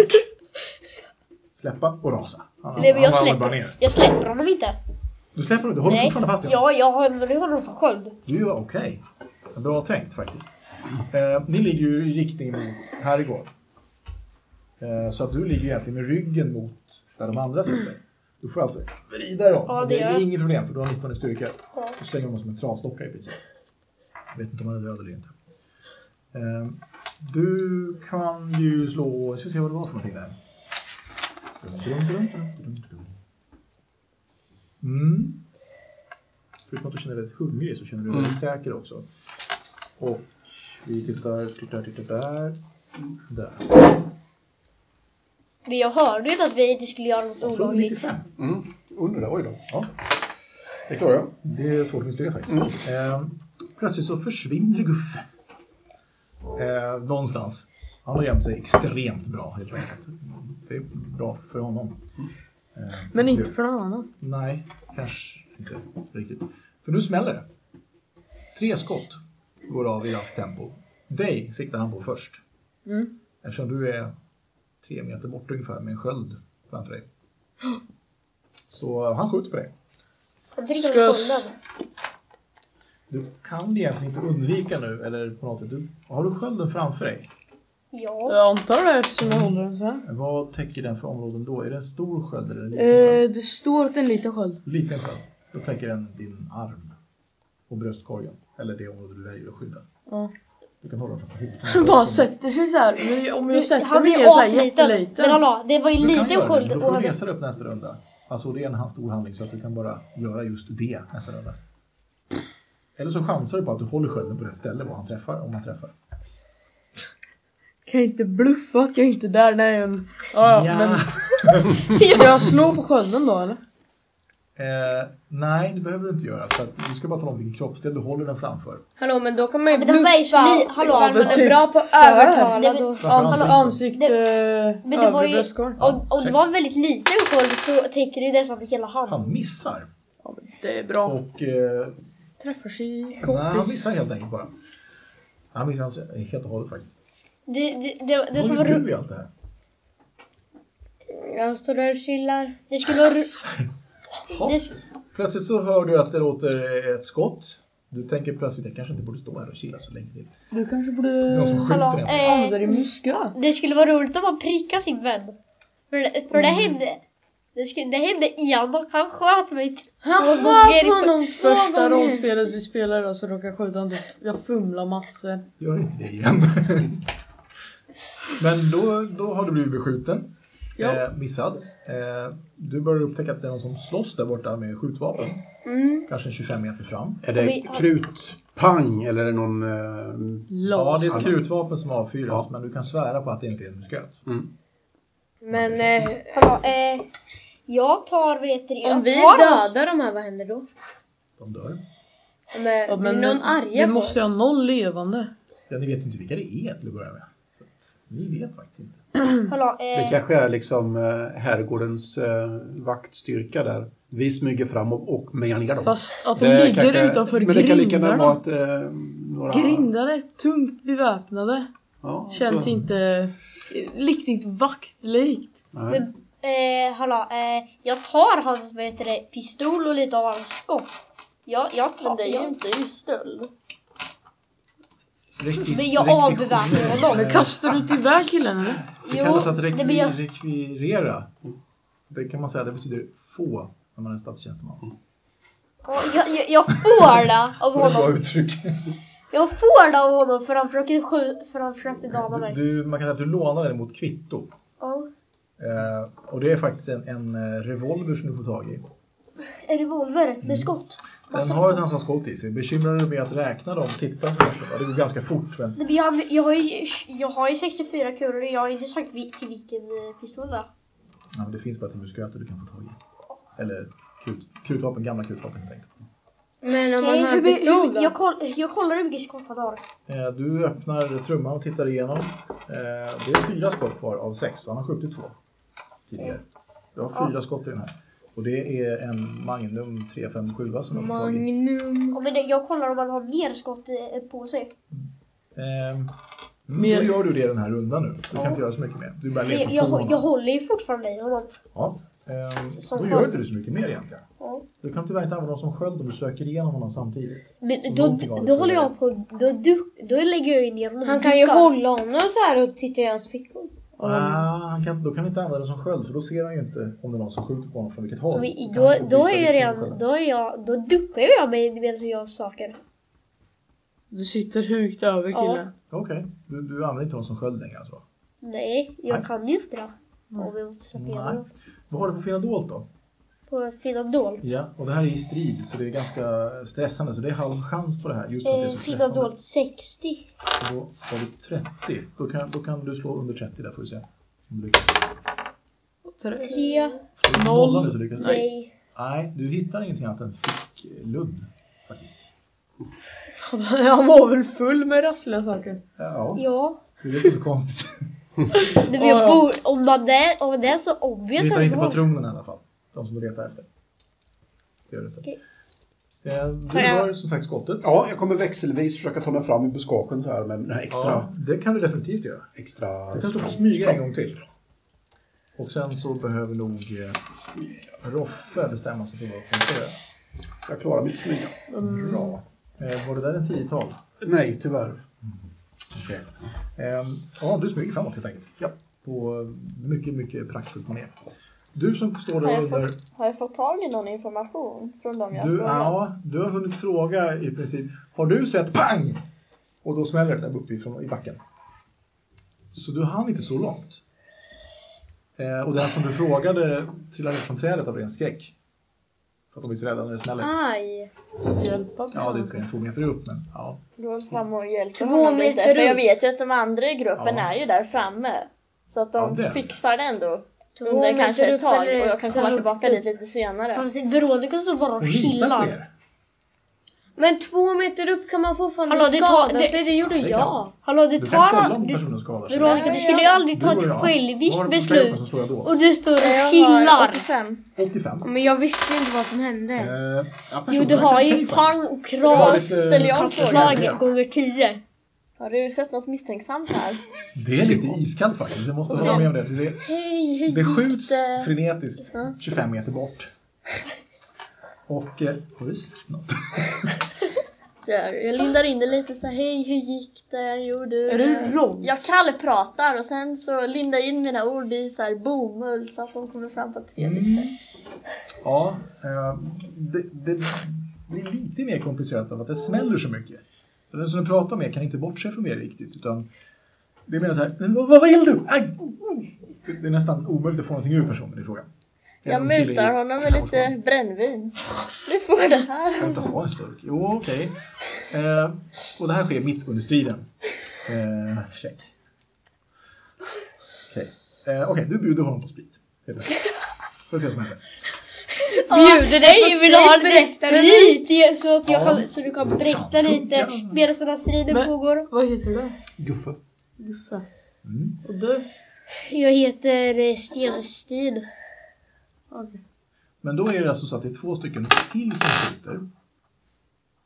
Speaker 6: Släppa och rasa. Han,
Speaker 2: Nej, men jag
Speaker 6: ramlar
Speaker 2: släpper.
Speaker 6: bara ner.
Speaker 2: Jag släpper honom inte.
Speaker 6: Du släpper inte, håller
Speaker 2: Nej.
Speaker 6: fortfarande fast i honom.
Speaker 2: Ja, jag håller honom som sköld.
Speaker 6: Du gör okej. Bra tänkt faktiskt. Eh, ni ligger ju i riktning mot herrgården. Eh, så att du ligger ju egentligen med ryggen mot där de andra sitter. Du får alltså vrida dig om.
Speaker 2: Ja,
Speaker 6: Men
Speaker 2: det
Speaker 6: det
Speaker 2: gör
Speaker 6: är
Speaker 2: jag.
Speaker 6: inget problem för du har 19 i styrka.
Speaker 2: Ja.
Speaker 6: Du slänger honom som en trasdocka i princip. Jag vet inte om han är död eller inte. Eh, du kan ju slå... Jag ska se vad det var för någonting där. Dum, dum, dum, dum, dum, dum. Mm. Förutom att du känner dig rätt hungrig så känner du dig
Speaker 4: Mm.
Speaker 6: väldigt säker också. Och vi tittar, tittar, tittar där. Där.
Speaker 2: Men jag hörde ju att vi inte skulle göra något
Speaker 6: Jag tror det är
Speaker 2: olagligt.
Speaker 6: 95.
Speaker 7: Mm. Under det, oj då.
Speaker 6: Ja.
Speaker 7: Det klarar jag.
Speaker 6: Det är svårt att misslyckas faktiskt.
Speaker 4: Mm.
Speaker 6: Ehm, plötsligt så försvinner Guffe. Ehm, någonstans. Han har gömt sig extremt bra helt enkelt. Det är bra för honom. Ehm,
Speaker 4: Men inte
Speaker 6: det-
Speaker 4: för någon annan.
Speaker 6: Nej, kanske inte riktigt. För nu smäller det. Tre skott går av i raskt tempo. Dig siktar han på först.
Speaker 4: Mm.
Speaker 6: Eftersom du är tre meter bort ungefär med en sköld framför dig. Så han skjuter på dig.
Speaker 2: Han dricker
Speaker 4: Ska jag
Speaker 2: med skölden.
Speaker 6: Du kan egentligen inte undvika nu, eller på något sätt. Du, har du skölden framför dig?
Speaker 2: Ja.
Speaker 4: Jag antar det eftersom jag håller den så här.
Speaker 6: Vad täcker den för områden då? Är det en stor sköld eller en liten sköld?
Speaker 4: Eh, det står att det är en liten sköld.
Speaker 6: Liten sköld. Då täcker den din arm och bröstkorgen. Eller det område du väljer att skydda.
Speaker 4: Ja.
Speaker 6: Du kan hålla den framför huvudet.
Speaker 4: Han bara sätter sig så här. Men Om jag sätter
Speaker 2: Han
Speaker 4: mig
Speaker 2: är
Speaker 4: ner så här
Speaker 2: asliten. Men
Speaker 4: jätteliten.
Speaker 2: hallå, det var ju
Speaker 6: Du kan
Speaker 2: liten
Speaker 6: göra det, men
Speaker 2: sköld
Speaker 6: då får du
Speaker 2: på
Speaker 6: resa dig upp nästa runda. Alltså det är en hand- stor handling så att du kan bara göra just det nästa runda. Eller så chansar du på att du håller skölden på rätt ställe vad han träffar, om han träffar.
Speaker 4: Kan jag inte bluffa att jag inte är där? Nej. Men... Ja, ja,
Speaker 6: Nja.
Speaker 4: men... Ska jag slå på skölden då eller?
Speaker 6: Eh, nej, det behöver du inte göra. För att du ska bara tala om vilken kroppsdel du håller den framför.
Speaker 8: Hallå men då kan man ju
Speaker 2: Men de var ju
Speaker 8: bluffa
Speaker 2: så- hallå,
Speaker 8: hallå, ifall man
Speaker 4: typ
Speaker 8: är bra på att
Speaker 4: så här.
Speaker 8: övertala
Speaker 2: Nej, men-
Speaker 8: då.
Speaker 4: Ans
Speaker 6: ansikte.
Speaker 4: ansikte,
Speaker 2: men det var
Speaker 4: övre
Speaker 2: ju-
Speaker 4: bröstkorg.
Speaker 2: om, om det var en väldigt liten sköld så täcker det ju nästan hela handen.
Speaker 6: Han missar.
Speaker 4: Ja, men Det är bra.
Speaker 6: Och eh,
Speaker 4: Träffar sin
Speaker 6: nej, han
Speaker 4: kompis.
Speaker 6: missar helt enkelt bara. Han missar hans- helt och hållet faktiskt.
Speaker 2: Det, det, det, det,
Speaker 6: Vad
Speaker 2: som var
Speaker 6: gjorde
Speaker 2: ro-
Speaker 6: du i allt det här?
Speaker 8: Jag står där och chillar.
Speaker 2: det skulle vara ro-
Speaker 6: Ja.
Speaker 2: det,
Speaker 6: Plötsligt så hör du att det låter ett skott. Du tänker plötsligt, jag kanske inte borde stå här och chilla så länge till.
Speaker 4: Du kanske
Speaker 6: Det är
Speaker 4: borde
Speaker 6: Någon som skjuter
Speaker 2: hallå,
Speaker 6: en.
Speaker 2: eh,
Speaker 4: använda din muskla.
Speaker 2: det skulle vara roligt om man prickade sin vän. För det, för det
Speaker 4: Mm.
Speaker 2: hände. Det, skulle, det hände igen och han sköt mig.
Speaker 8: Han
Speaker 2: Och
Speaker 8: sköt
Speaker 2: gånger-
Speaker 8: honom två
Speaker 4: Första
Speaker 8: gånger.
Speaker 4: rollspelet vi spelar idag så råkar jag skjuta en doft. Jag fumlar massor.
Speaker 6: Gör inte det igen. Men då, då har du blivit beskjuten.
Speaker 4: Ja.
Speaker 6: Eh, missad. Eh, du börjar upptäcka att det är någon som slåss där borta med skjutvapen.
Speaker 8: Mm.
Speaker 6: Kanske 25 meter fram.
Speaker 7: Är det
Speaker 2: Vi-
Speaker 7: krutpang eller är det någon... eh,
Speaker 6: Ja, det är
Speaker 4: Las.
Speaker 6: ett krutvapen som avfyras, men du kan svära på att det inte är en musköt.
Speaker 8: Men
Speaker 6: Alltså,
Speaker 8: eh,
Speaker 2: Hallå, eh, jag tar, vet du, jag
Speaker 8: om vi
Speaker 2: tar hans-
Speaker 8: dödar de här, vad händer då?
Speaker 6: De dör.
Speaker 8: Om eh,
Speaker 4: Ja,
Speaker 8: blir någon arga
Speaker 4: Vi
Speaker 8: på
Speaker 4: måste
Speaker 8: måste...
Speaker 4: ha någon levande.
Speaker 6: Ja, ni vet ju inte vilka det är till att börja med. Så att, ni vet faktiskt inte.
Speaker 2: Hallå,
Speaker 7: Det
Speaker 2: eh,
Speaker 7: kanske är liksom eh, herrgårdens eh, vaktstyrka där. Vi smyger fram och, och mejar dem.
Speaker 4: Fast att de
Speaker 7: Det
Speaker 4: ligger
Speaker 7: kanske-
Speaker 4: utanför
Speaker 7: Men det kan lika gärna vara
Speaker 4: grindarna.
Speaker 7: att eh, några...
Speaker 4: Grindare, tungt beväpnade.
Speaker 7: Ja,
Speaker 4: Känns
Speaker 7: så-
Speaker 4: inte riktigt vaktlikt.
Speaker 7: Nej.
Speaker 2: eh, hallå, eh, jag tar hans, vet du, pistol och lite av hans skott. Jag, jag tar,
Speaker 3: Men det är ju
Speaker 2: jag,
Speaker 3: inte i stöld.
Speaker 6: Rekvis-
Speaker 2: men jag
Speaker 6: rekvi-
Speaker 2: avbeväpnar honom.
Speaker 7: Eh.
Speaker 4: Eller kastar du inte iväg killen eller?
Speaker 6: Det
Speaker 2: Jo,
Speaker 6: kallas att
Speaker 2: det blir
Speaker 6: rekvi-
Speaker 2: jag-
Speaker 6: rekvirera. Det kan man säga, det betyder få när man är statstjänsteman.
Speaker 2: jag, jag, jag får det av
Speaker 6: Det är ett bra
Speaker 2: honom.
Speaker 6: uttryck.
Speaker 2: Jag får det av honom för han försökte, skju- för han försökte döda mig.
Speaker 6: Du, du, man kan säga att du lånar den mot kvitto.
Speaker 2: Ja.
Speaker 6: Eh, och det är faktiskt en, en eh, revolver som du får tag i.
Speaker 2: En revolver med skott.
Speaker 6: Mm. Den
Speaker 2: Massa
Speaker 6: har ett
Speaker 2: skott.
Speaker 6: antal skott i sig. Bekymrar du med att räkna dem? Titta så kanske. Ja, Det går ganska fort. Men
Speaker 2: Nej, men Jag, jag, har ju, jag har ju 64 kulor och jag har inte sagt vi, till vilken eh, pistol det är.
Speaker 6: Ja, men det finns bara till musköter du kan få tag i. Eller krut, krutvapen, gamla krutvapen helt enkelt.
Speaker 8: Men om
Speaker 2: Okej,
Speaker 8: man har
Speaker 2: hur-
Speaker 8: en
Speaker 2: hur-
Speaker 8: pistol då?
Speaker 2: jag, koll, jag kollar hur mycket skott han har.
Speaker 6: Eh, Du öppnar trumman och tittar igenom. Eh, Det är fyra skott kvar av sex, så han har skjutit två tidigare. Du har fyra skott i den här. Och det är en Magnum 357 som du har fått tag i.
Speaker 8: Magnum.
Speaker 2: Ja, men det, jag kollar om han har mer skott eh, på sig.
Speaker 6: Ehm,
Speaker 4: Mer.
Speaker 6: Då gör du det den här rundan nu. Du kan inte göra så mycket mer. Du börjar
Speaker 2: Men
Speaker 6: leta
Speaker 2: jag, jag,
Speaker 6: på honom.
Speaker 2: jag håller ju fortfarande i honom.
Speaker 6: Ja. Ehm,
Speaker 2: Som
Speaker 6: Då
Speaker 2: sköld.
Speaker 6: gör inte du så mycket mer egentligen.
Speaker 2: Ja.
Speaker 6: Du kan tyvärr inte använda dem som sköld om du söker igenom honom samtidigt. Så
Speaker 2: Men då,
Speaker 6: någonting har
Speaker 2: då,
Speaker 6: vi
Speaker 2: håller jag
Speaker 6: förlorat.
Speaker 2: på... Då, duck- då lägger jag ju ner honom. och
Speaker 8: Han kan ju
Speaker 2: duckar.
Speaker 8: hålla honom så här och titta i hans fickor.
Speaker 6: Ah, han kan, då kan vi inte använda det som sköld för då ser han ju inte om det är någon som skjuter på honom från vilket håll.
Speaker 2: Men
Speaker 6: Då kan
Speaker 2: Då,
Speaker 6: han inte
Speaker 2: då
Speaker 6: veta
Speaker 2: är jag
Speaker 6: vilken
Speaker 2: redan...
Speaker 6: skölden är.
Speaker 2: Då, är jag, då duckar ju jag mig medan jag söker.
Speaker 4: Du sitter högt över
Speaker 2: Ja.
Speaker 4: killen.
Speaker 6: Okej, du, du använder inte dem som sköld längre alltså?
Speaker 2: Nej, jag
Speaker 6: Nej.
Speaker 2: kan ju inte det. Om jag måste söka
Speaker 6: Nej.
Speaker 2: igenom.
Speaker 6: Vad har du på Finadolt då?
Speaker 2: På Finadolt.
Speaker 6: Ja, och det här är i strid så det är ganska stressande så det är halv chans på det här just för att det är
Speaker 2: Eh,
Speaker 6: så stressande.
Speaker 2: Finadolt 60.
Speaker 6: Så då har du 30. Då kan, då kan du slå under 30 där får vi se. Om du lyckas.
Speaker 4: Tre.
Speaker 2: 3.
Speaker 6: Slår du
Speaker 4: Noll.
Speaker 6: nollan nu så lyckas du. Nej.
Speaker 2: Nej.
Speaker 6: du hittar ingenting annat än fickludd faktiskt.
Speaker 4: Han var väl full med rassliga saker.
Speaker 6: Ja,
Speaker 2: Ja.
Speaker 6: det är det som är så konstigt.
Speaker 2: Nej, men
Speaker 4: Ja,
Speaker 2: jag
Speaker 4: ja.
Speaker 2: bor, om, man är, om det är så
Speaker 6: Du
Speaker 2: obvious.
Speaker 6: hittar
Speaker 2: att
Speaker 6: inte
Speaker 2: man-
Speaker 6: patronerna i alla fall. De som du letar efter. Det gör du inte.
Speaker 2: Okej.
Speaker 6: Eh, Du
Speaker 8: Har jag-
Speaker 6: har som sagt skottet.
Speaker 7: Ja, jag kommer växelvis försöka ta mig fram i buskagen så här med den här extra...
Speaker 6: Ja, det kan du definitivt göra.
Speaker 7: Extra...
Speaker 6: Du kan stå på smyga en gång till. Och sen så behöver nog eh, Roffe bestämma sig för vad hon ska göra.
Speaker 7: Jag klarar mitt smyga.
Speaker 6: Bra. Eh, var det där en tiotal?
Speaker 7: Nej, tyvärr.
Speaker 6: Eh, ja, du smyger framåt helt enkelt.
Speaker 7: Ja.
Speaker 6: På eh, mycket, mycket praktfullt manér. Du som står
Speaker 3: Har
Speaker 6: där
Speaker 3: jag
Speaker 6: och undrar.
Speaker 3: Har jag fått tag i någon information från dem jag
Speaker 6: Du,
Speaker 3: frågat?
Speaker 6: ja, du har hunnit fråga i princip. Har du sett pang? Och då smäller det där uppifrån i backen. Så du hann inte så långt. Eh, och den som du frågade trillade från trädet av ren skräck. För att de är så rädda när det smäller.
Speaker 2: Ah.
Speaker 3: Aj!
Speaker 4: Hjälpa mig.
Speaker 6: Ja, det är kanske två meter upp men ja.
Speaker 3: Gå fram och hjälp
Speaker 8: Två
Speaker 3: honom lite.
Speaker 8: meter
Speaker 3: För jag
Speaker 8: upp.
Speaker 3: vet ju att de andra i gruppen
Speaker 6: Ja.
Speaker 3: är ju där framme. Så att de
Speaker 6: Ja, det.
Speaker 3: fixar det ändå.
Speaker 8: Två
Speaker 3: Under
Speaker 8: meter
Speaker 3: kanske
Speaker 8: upp
Speaker 3: ett tag och
Speaker 8: eller
Speaker 3: jag kan
Speaker 8: så
Speaker 3: komma
Speaker 8: högt
Speaker 3: tillbaka
Speaker 8: upp.
Speaker 3: dit lite senare.
Speaker 2: Fast Veronica står bara och
Speaker 6: Hon litar på
Speaker 2: chillar.
Speaker 6: er.
Speaker 8: Men två meter upp kan man fortfarande
Speaker 2: Hallå, det tar-
Speaker 8: skada
Speaker 2: det-
Speaker 8: sig, det gjorde
Speaker 6: kan
Speaker 8: jag.
Speaker 2: Hallå, du
Speaker 6: Du kan
Speaker 2: tar...
Speaker 6: kolla om
Speaker 2: Du,
Speaker 6: personen skadar sig.
Speaker 2: Veronica, du skulle ju aldrig ta
Speaker 6: Du och
Speaker 2: ett
Speaker 6: jag. Var
Speaker 2: självvisst
Speaker 6: det
Speaker 2: beslut.
Speaker 6: Så slår jag då.
Speaker 2: Och du står och
Speaker 3: Jag har
Speaker 2: chillar.
Speaker 3: 85.
Speaker 6: 85.
Speaker 8: Ja, Men jag visste inte vad som hände.
Speaker 6: Eh, ja,
Speaker 2: Jo, du
Speaker 6: personen
Speaker 2: har
Speaker 6: verkar
Speaker 2: ju
Speaker 6: okej
Speaker 2: pang
Speaker 6: faktiskt.
Speaker 2: och
Speaker 6: Ja,
Speaker 3: Bra,
Speaker 2: kras.
Speaker 6: lite-
Speaker 3: ställer jag en fråga.
Speaker 6: Förslag.
Speaker 2: Slag gånger tio.
Speaker 3: Har du sett något misstänksamt här?
Speaker 6: Det är lite iskallt faktiskt. Jag måste hålla med om det. Det,
Speaker 3: Hej, hej.
Speaker 6: det skjuts
Speaker 3: det?
Speaker 6: frenetiskt
Speaker 3: Ja.
Speaker 6: 25 meter bort. Och... Eh, har du sett något?
Speaker 3: Jag lindar in det lite så här, hej hur gick det? Jo du. eh,
Speaker 4: Är du Ron?
Speaker 3: Jag kallpratar och sen så lindar jag in mina ord i så här bomull så att de kommer fram på ett trevligt
Speaker 6: Mm.
Speaker 3: sätt.
Speaker 6: Ja, eh, det, det blir lite mer komplicerat av att det smäller så mycket. Så Den som du pratar med kan inte bortse från det riktigt. Utan det är mer så här, "Men vad, vad vill du? Aj! Det- Det är nästan omöjligt att få någonting ur personen i fråga.
Speaker 3: Jag mutar honom med lite brännvin. Du får det här.
Speaker 6: Kan inte ha en sturk? Jo, okej. Eh, och det här sker mitt under striden. Eh, check. Okej, eh, okej, du bjuder honom på sprit. Helt enkelt. Får se vad som händer.
Speaker 2: Bjuder dig, vill du ha
Speaker 8: sprit,
Speaker 2: lite
Speaker 8: berättar du
Speaker 2: sprit? Ge- Så, att jag
Speaker 6: Ja.
Speaker 2: kan, så du kan berätta lite medan sådana strider
Speaker 4: Men-
Speaker 2: pågår.
Speaker 4: Vad heter du?
Speaker 7: Guffe.
Speaker 4: Guffe.
Speaker 6: Mm.
Speaker 4: Och du?
Speaker 2: Jag heter eh, Stenstin.
Speaker 6: Men då är det alltså så att det är två stycken till som skjuter.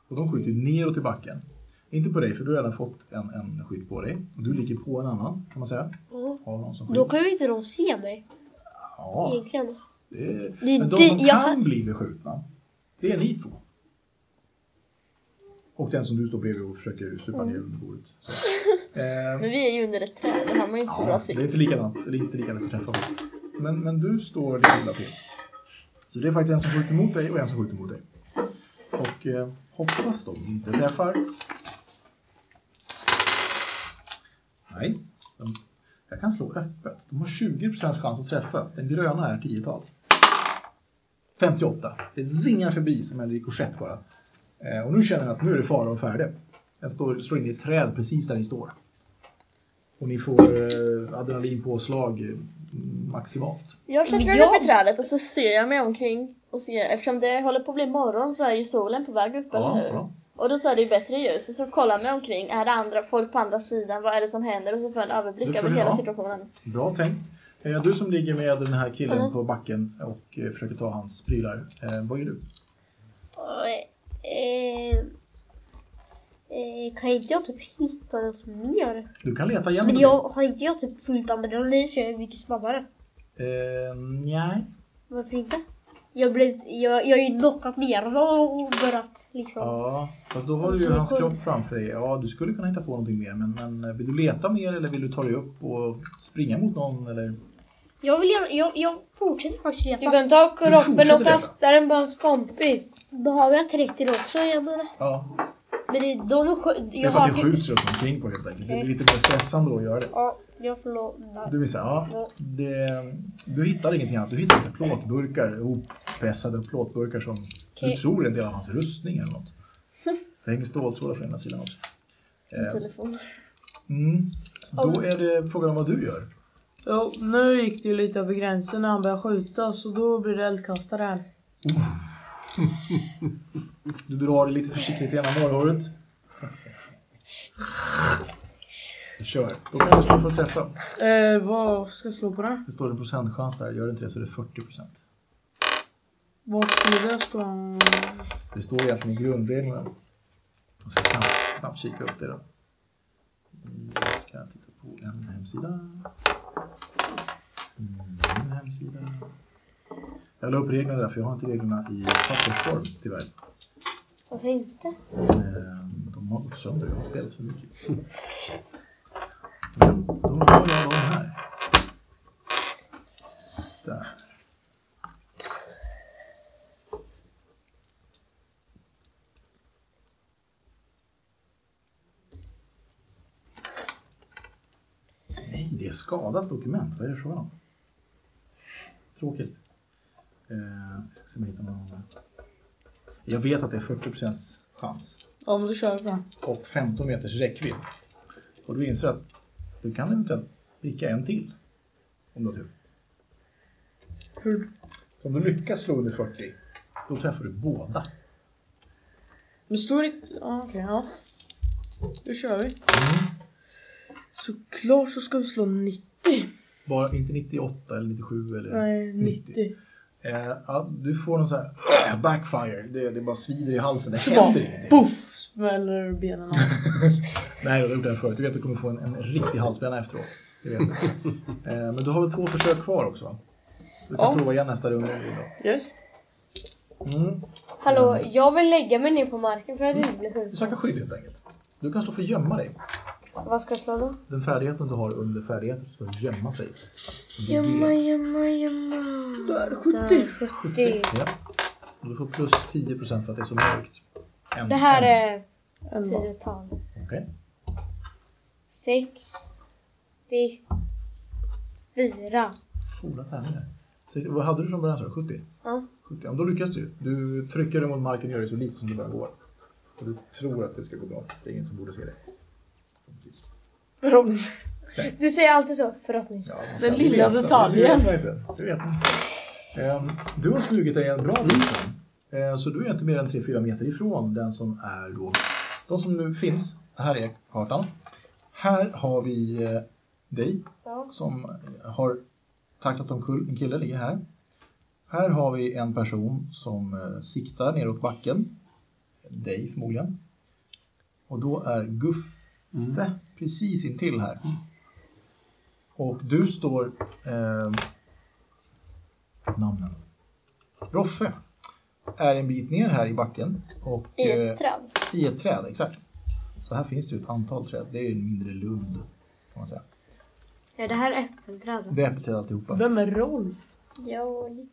Speaker 6: Och de skjuter neråt i backen. Inte på dig, för du har redan fått en, en skytt på dig. Och du ligger på en annan, kan man säga.
Speaker 2: Ja.
Speaker 6: Har någon som
Speaker 2: Mm. Då
Speaker 6: skjuter.
Speaker 2: kan ju inte de se mig
Speaker 6: Ja,
Speaker 2: egentligen.
Speaker 6: det är...
Speaker 2: Det är
Speaker 6: Men de
Speaker 2: di-
Speaker 6: som
Speaker 2: jag
Speaker 6: kan bli beskjutna, det är ni två. Och den som du står bredvid och försöker supa
Speaker 2: Mm.
Speaker 6: ner under bordet. Så. Eh,
Speaker 3: Men vi är ju under ett träd, det har man ju inte så bra
Speaker 6: Ja, det är
Speaker 3: sikt.
Speaker 6: inte likadant. Det är inte lika lätt att träffa faktiskt. Men, men du står lite illa till. Så det är faktiskt en som skjuter mot dig och en som skjuter mot dig. Och eh, hoppas de inte träffar. Nej. De, jag kan slå öppet. De har 20% chans att träffa. Den gröna är 10-tal. 58. Det zingar förbi som en rikoschett bara. Eh, och nu känner jag att nu är det fara och färde. Den står, slår in i ett träd precis där ni står. Och ni får eh, adrenalinpåslag eh, maximalt.
Speaker 3: Jag klättrar
Speaker 2: Men jag-
Speaker 3: upp i trädet och så ser jag mig omkring. Och ser, eftersom det håller på att bli morgon så är ju solen på väg upp, eller hur?
Speaker 6: ja.
Speaker 3: Och då så är det ju bättre ljus. Och så kollar jag mig omkring, är det andra folk på andra sidan? Vad är det som händer? Och så får jag en överblick
Speaker 6: Det får
Speaker 3: över
Speaker 6: du
Speaker 3: hela
Speaker 6: ha.
Speaker 3: situationen.
Speaker 6: Bra tänkt. Eh, du som ligger med den här killen
Speaker 2: Mm.
Speaker 6: på backen och eh, försöker ta hans prylar. Eh, vad gör du?
Speaker 2: Och, eh, eh, Kan inte jag typ hitta något mer?
Speaker 6: Du kan leta igen.
Speaker 2: Men jag, har inte jag typ fullt adrenalin så jag är mycket snabbare.
Speaker 6: Eh, nej.
Speaker 2: Varför inte? Jag, blev, jag, jag har ju knockat ner honom och börjat liksom.
Speaker 6: Ja, fast då har du ju hans kropp framför dig. Ja, du skulle kunna hitta på någonting mer. Men, men eh, vill du leta mer eller vill du ta dig upp och springa mot någon? Eller?
Speaker 2: Jag, vill, gärna- jag, jag fortsätter faktiskt
Speaker 8: Du
Speaker 2: leta.
Speaker 8: kan ta kroppen
Speaker 6: fortsätter
Speaker 8: och kasta den på hans kompis.
Speaker 2: Då har jag 30 också jag menar.
Speaker 6: Ja,
Speaker 2: Men det, de, de,
Speaker 6: det är
Speaker 2: jag
Speaker 6: för att det
Speaker 2: har... typ-
Speaker 6: skjuts runt omkring på helt enkelt. Det blir lite mer stressande att göra det.
Speaker 2: Ja, jag förlorar.
Speaker 6: Du vill säga, ja, det, du hittar ingenting annat. Du hittar lite plåtburkar, hoppressade plåtburkar som
Speaker 2: Okej.
Speaker 6: du tror är en del av hans rustning eller något. Det hänger ståltrådar från ena sidan också.
Speaker 3: Min
Speaker 6: Eh,
Speaker 3: telefon.
Speaker 6: mm. Då är det frågan om vad du gör.
Speaker 4: Ja, nu gick det ju lite över gränsen när han började skjuta så då blir det eldkastare här.
Speaker 6: Du drar det lite försiktigt i ena morrhåret. Kör. Då kan du slå för att träffa.
Speaker 4: Eh, vad ska jag slå på den?
Speaker 6: Det står en procentchans där. Gör det inte det så är det 40 procent.
Speaker 4: Vad skulle det stå?
Speaker 6: Det står egentligen i grundreglerna. Jag ska snabbt, snabbt kika upp det då. Vi ska titta på en hemsida. Mm, En hemsida. Jag la upp reglerna där för jag har inte reglerna i pappersform tyvärr.
Speaker 8: Varför inte?
Speaker 6: Eh, De har gått sönder, jag har spelat för mycket. Men då har jag dem här. Där. är skadat dokument. Vad är det frågan om? Tråkigt. Eh, jag ska se om jag hittar någon annan. Jag vet att det är 40 chans
Speaker 4: Ja men då kör vi på den.
Speaker 6: och 15 meters räckvidd. Och du inser att du kan eventuellt pricka en till. Om du har tur.
Speaker 4: Hur?
Speaker 6: Så om du lyckas slå under 40, då träffar du båda.
Speaker 4: Men står det... Ja okej, ja. Då kör vi. Såklart så ska vi slå 90.
Speaker 6: Bara, inte 98 eller 97 eller...
Speaker 4: Nej, 90.
Speaker 6: 90. Eh, ja, du får någon sån här backfire. Det, det bara svider i halsen. Det
Speaker 4: Så
Speaker 6: händer
Speaker 4: bara
Speaker 6: ingenting.
Speaker 4: poff smäller benen av.
Speaker 6: Nej, jag har gjort det här förut. Du vet att du kommer få en, en riktig halsbränna efteråt. Det vet du. eh, men du har väl två försök kvar också? Va? Du kan
Speaker 4: Ja.
Speaker 6: prova igen nästa runda. om du vill då.
Speaker 4: Yes.
Speaker 6: Mm.
Speaker 8: Hallå, jag vill lägga mig ner på marken för att inte bli
Speaker 6: Du
Speaker 8: skjuten.
Speaker 6: söker skydd helt enkelt. Du kan slå för gömma dig.
Speaker 8: Vad ska jag slå då?
Speaker 6: Den färdigheten du har under färdigheten så ska du gömma sig.
Speaker 8: Gömma, gömma, gömma.
Speaker 4: Där, 70.
Speaker 8: Där, 70.
Speaker 6: Ja. Och du får plus 10 för att det är så mörkt. En-
Speaker 8: Det här
Speaker 6: en.
Speaker 8: är
Speaker 4: En var.
Speaker 8: 10-tal.
Speaker 6: Mm. Okej.
Speaker 8: 64.
Speaker 6: Coola tärningar. Så Vad hade du från början? sa du? 70?
Speaker 8: Ja.
Speaker 6: 70. Ja, men då lyckas du. Du trycker dig mot marken och gör dig så liten som det bara går. Och du tror att det ska gå bra. Det är ingen som borde se dig. Precis.
Speaker 4: Från
Speaker 8: Du säger alltid så, förhoppningsvis.
Speaker 4: den lilla detaljen.
Speaker 6: Du vet, du vet, du vet. Ehm, Du har smugit dig en bra
Speaker 4: Mm.
Speaker 6: bit fram. Ehm, Så du är inte mer än 3-4 meter ifrån den som är då... De som nu finns. Här är kartan. Här har vi eh, dig
Speaker 8: Ja.
Speaker 6: som har tacklat omkull. En kille ligger här. Här har vi en person som eh, siktar neråt backen. Dig förmodligen. Och då är Guffe precis intill här. Och du står... Eh, namnen. Roffe är en bit ner här i backen. Och,
Speaker 2: I
Speaker 6: eh,
Speaker 2: ett träd.
Speaker 6: i ett träd, exakt. Så här finns det ju ett antal träd. Det är ju en mindre lund kan man säga.
Speaker 8: Är det här äppelträd?
Speaker 6: Det är äppelträd alltihopa.
Speaker 4: Vem är Rolf?
Speaker 2: Jag...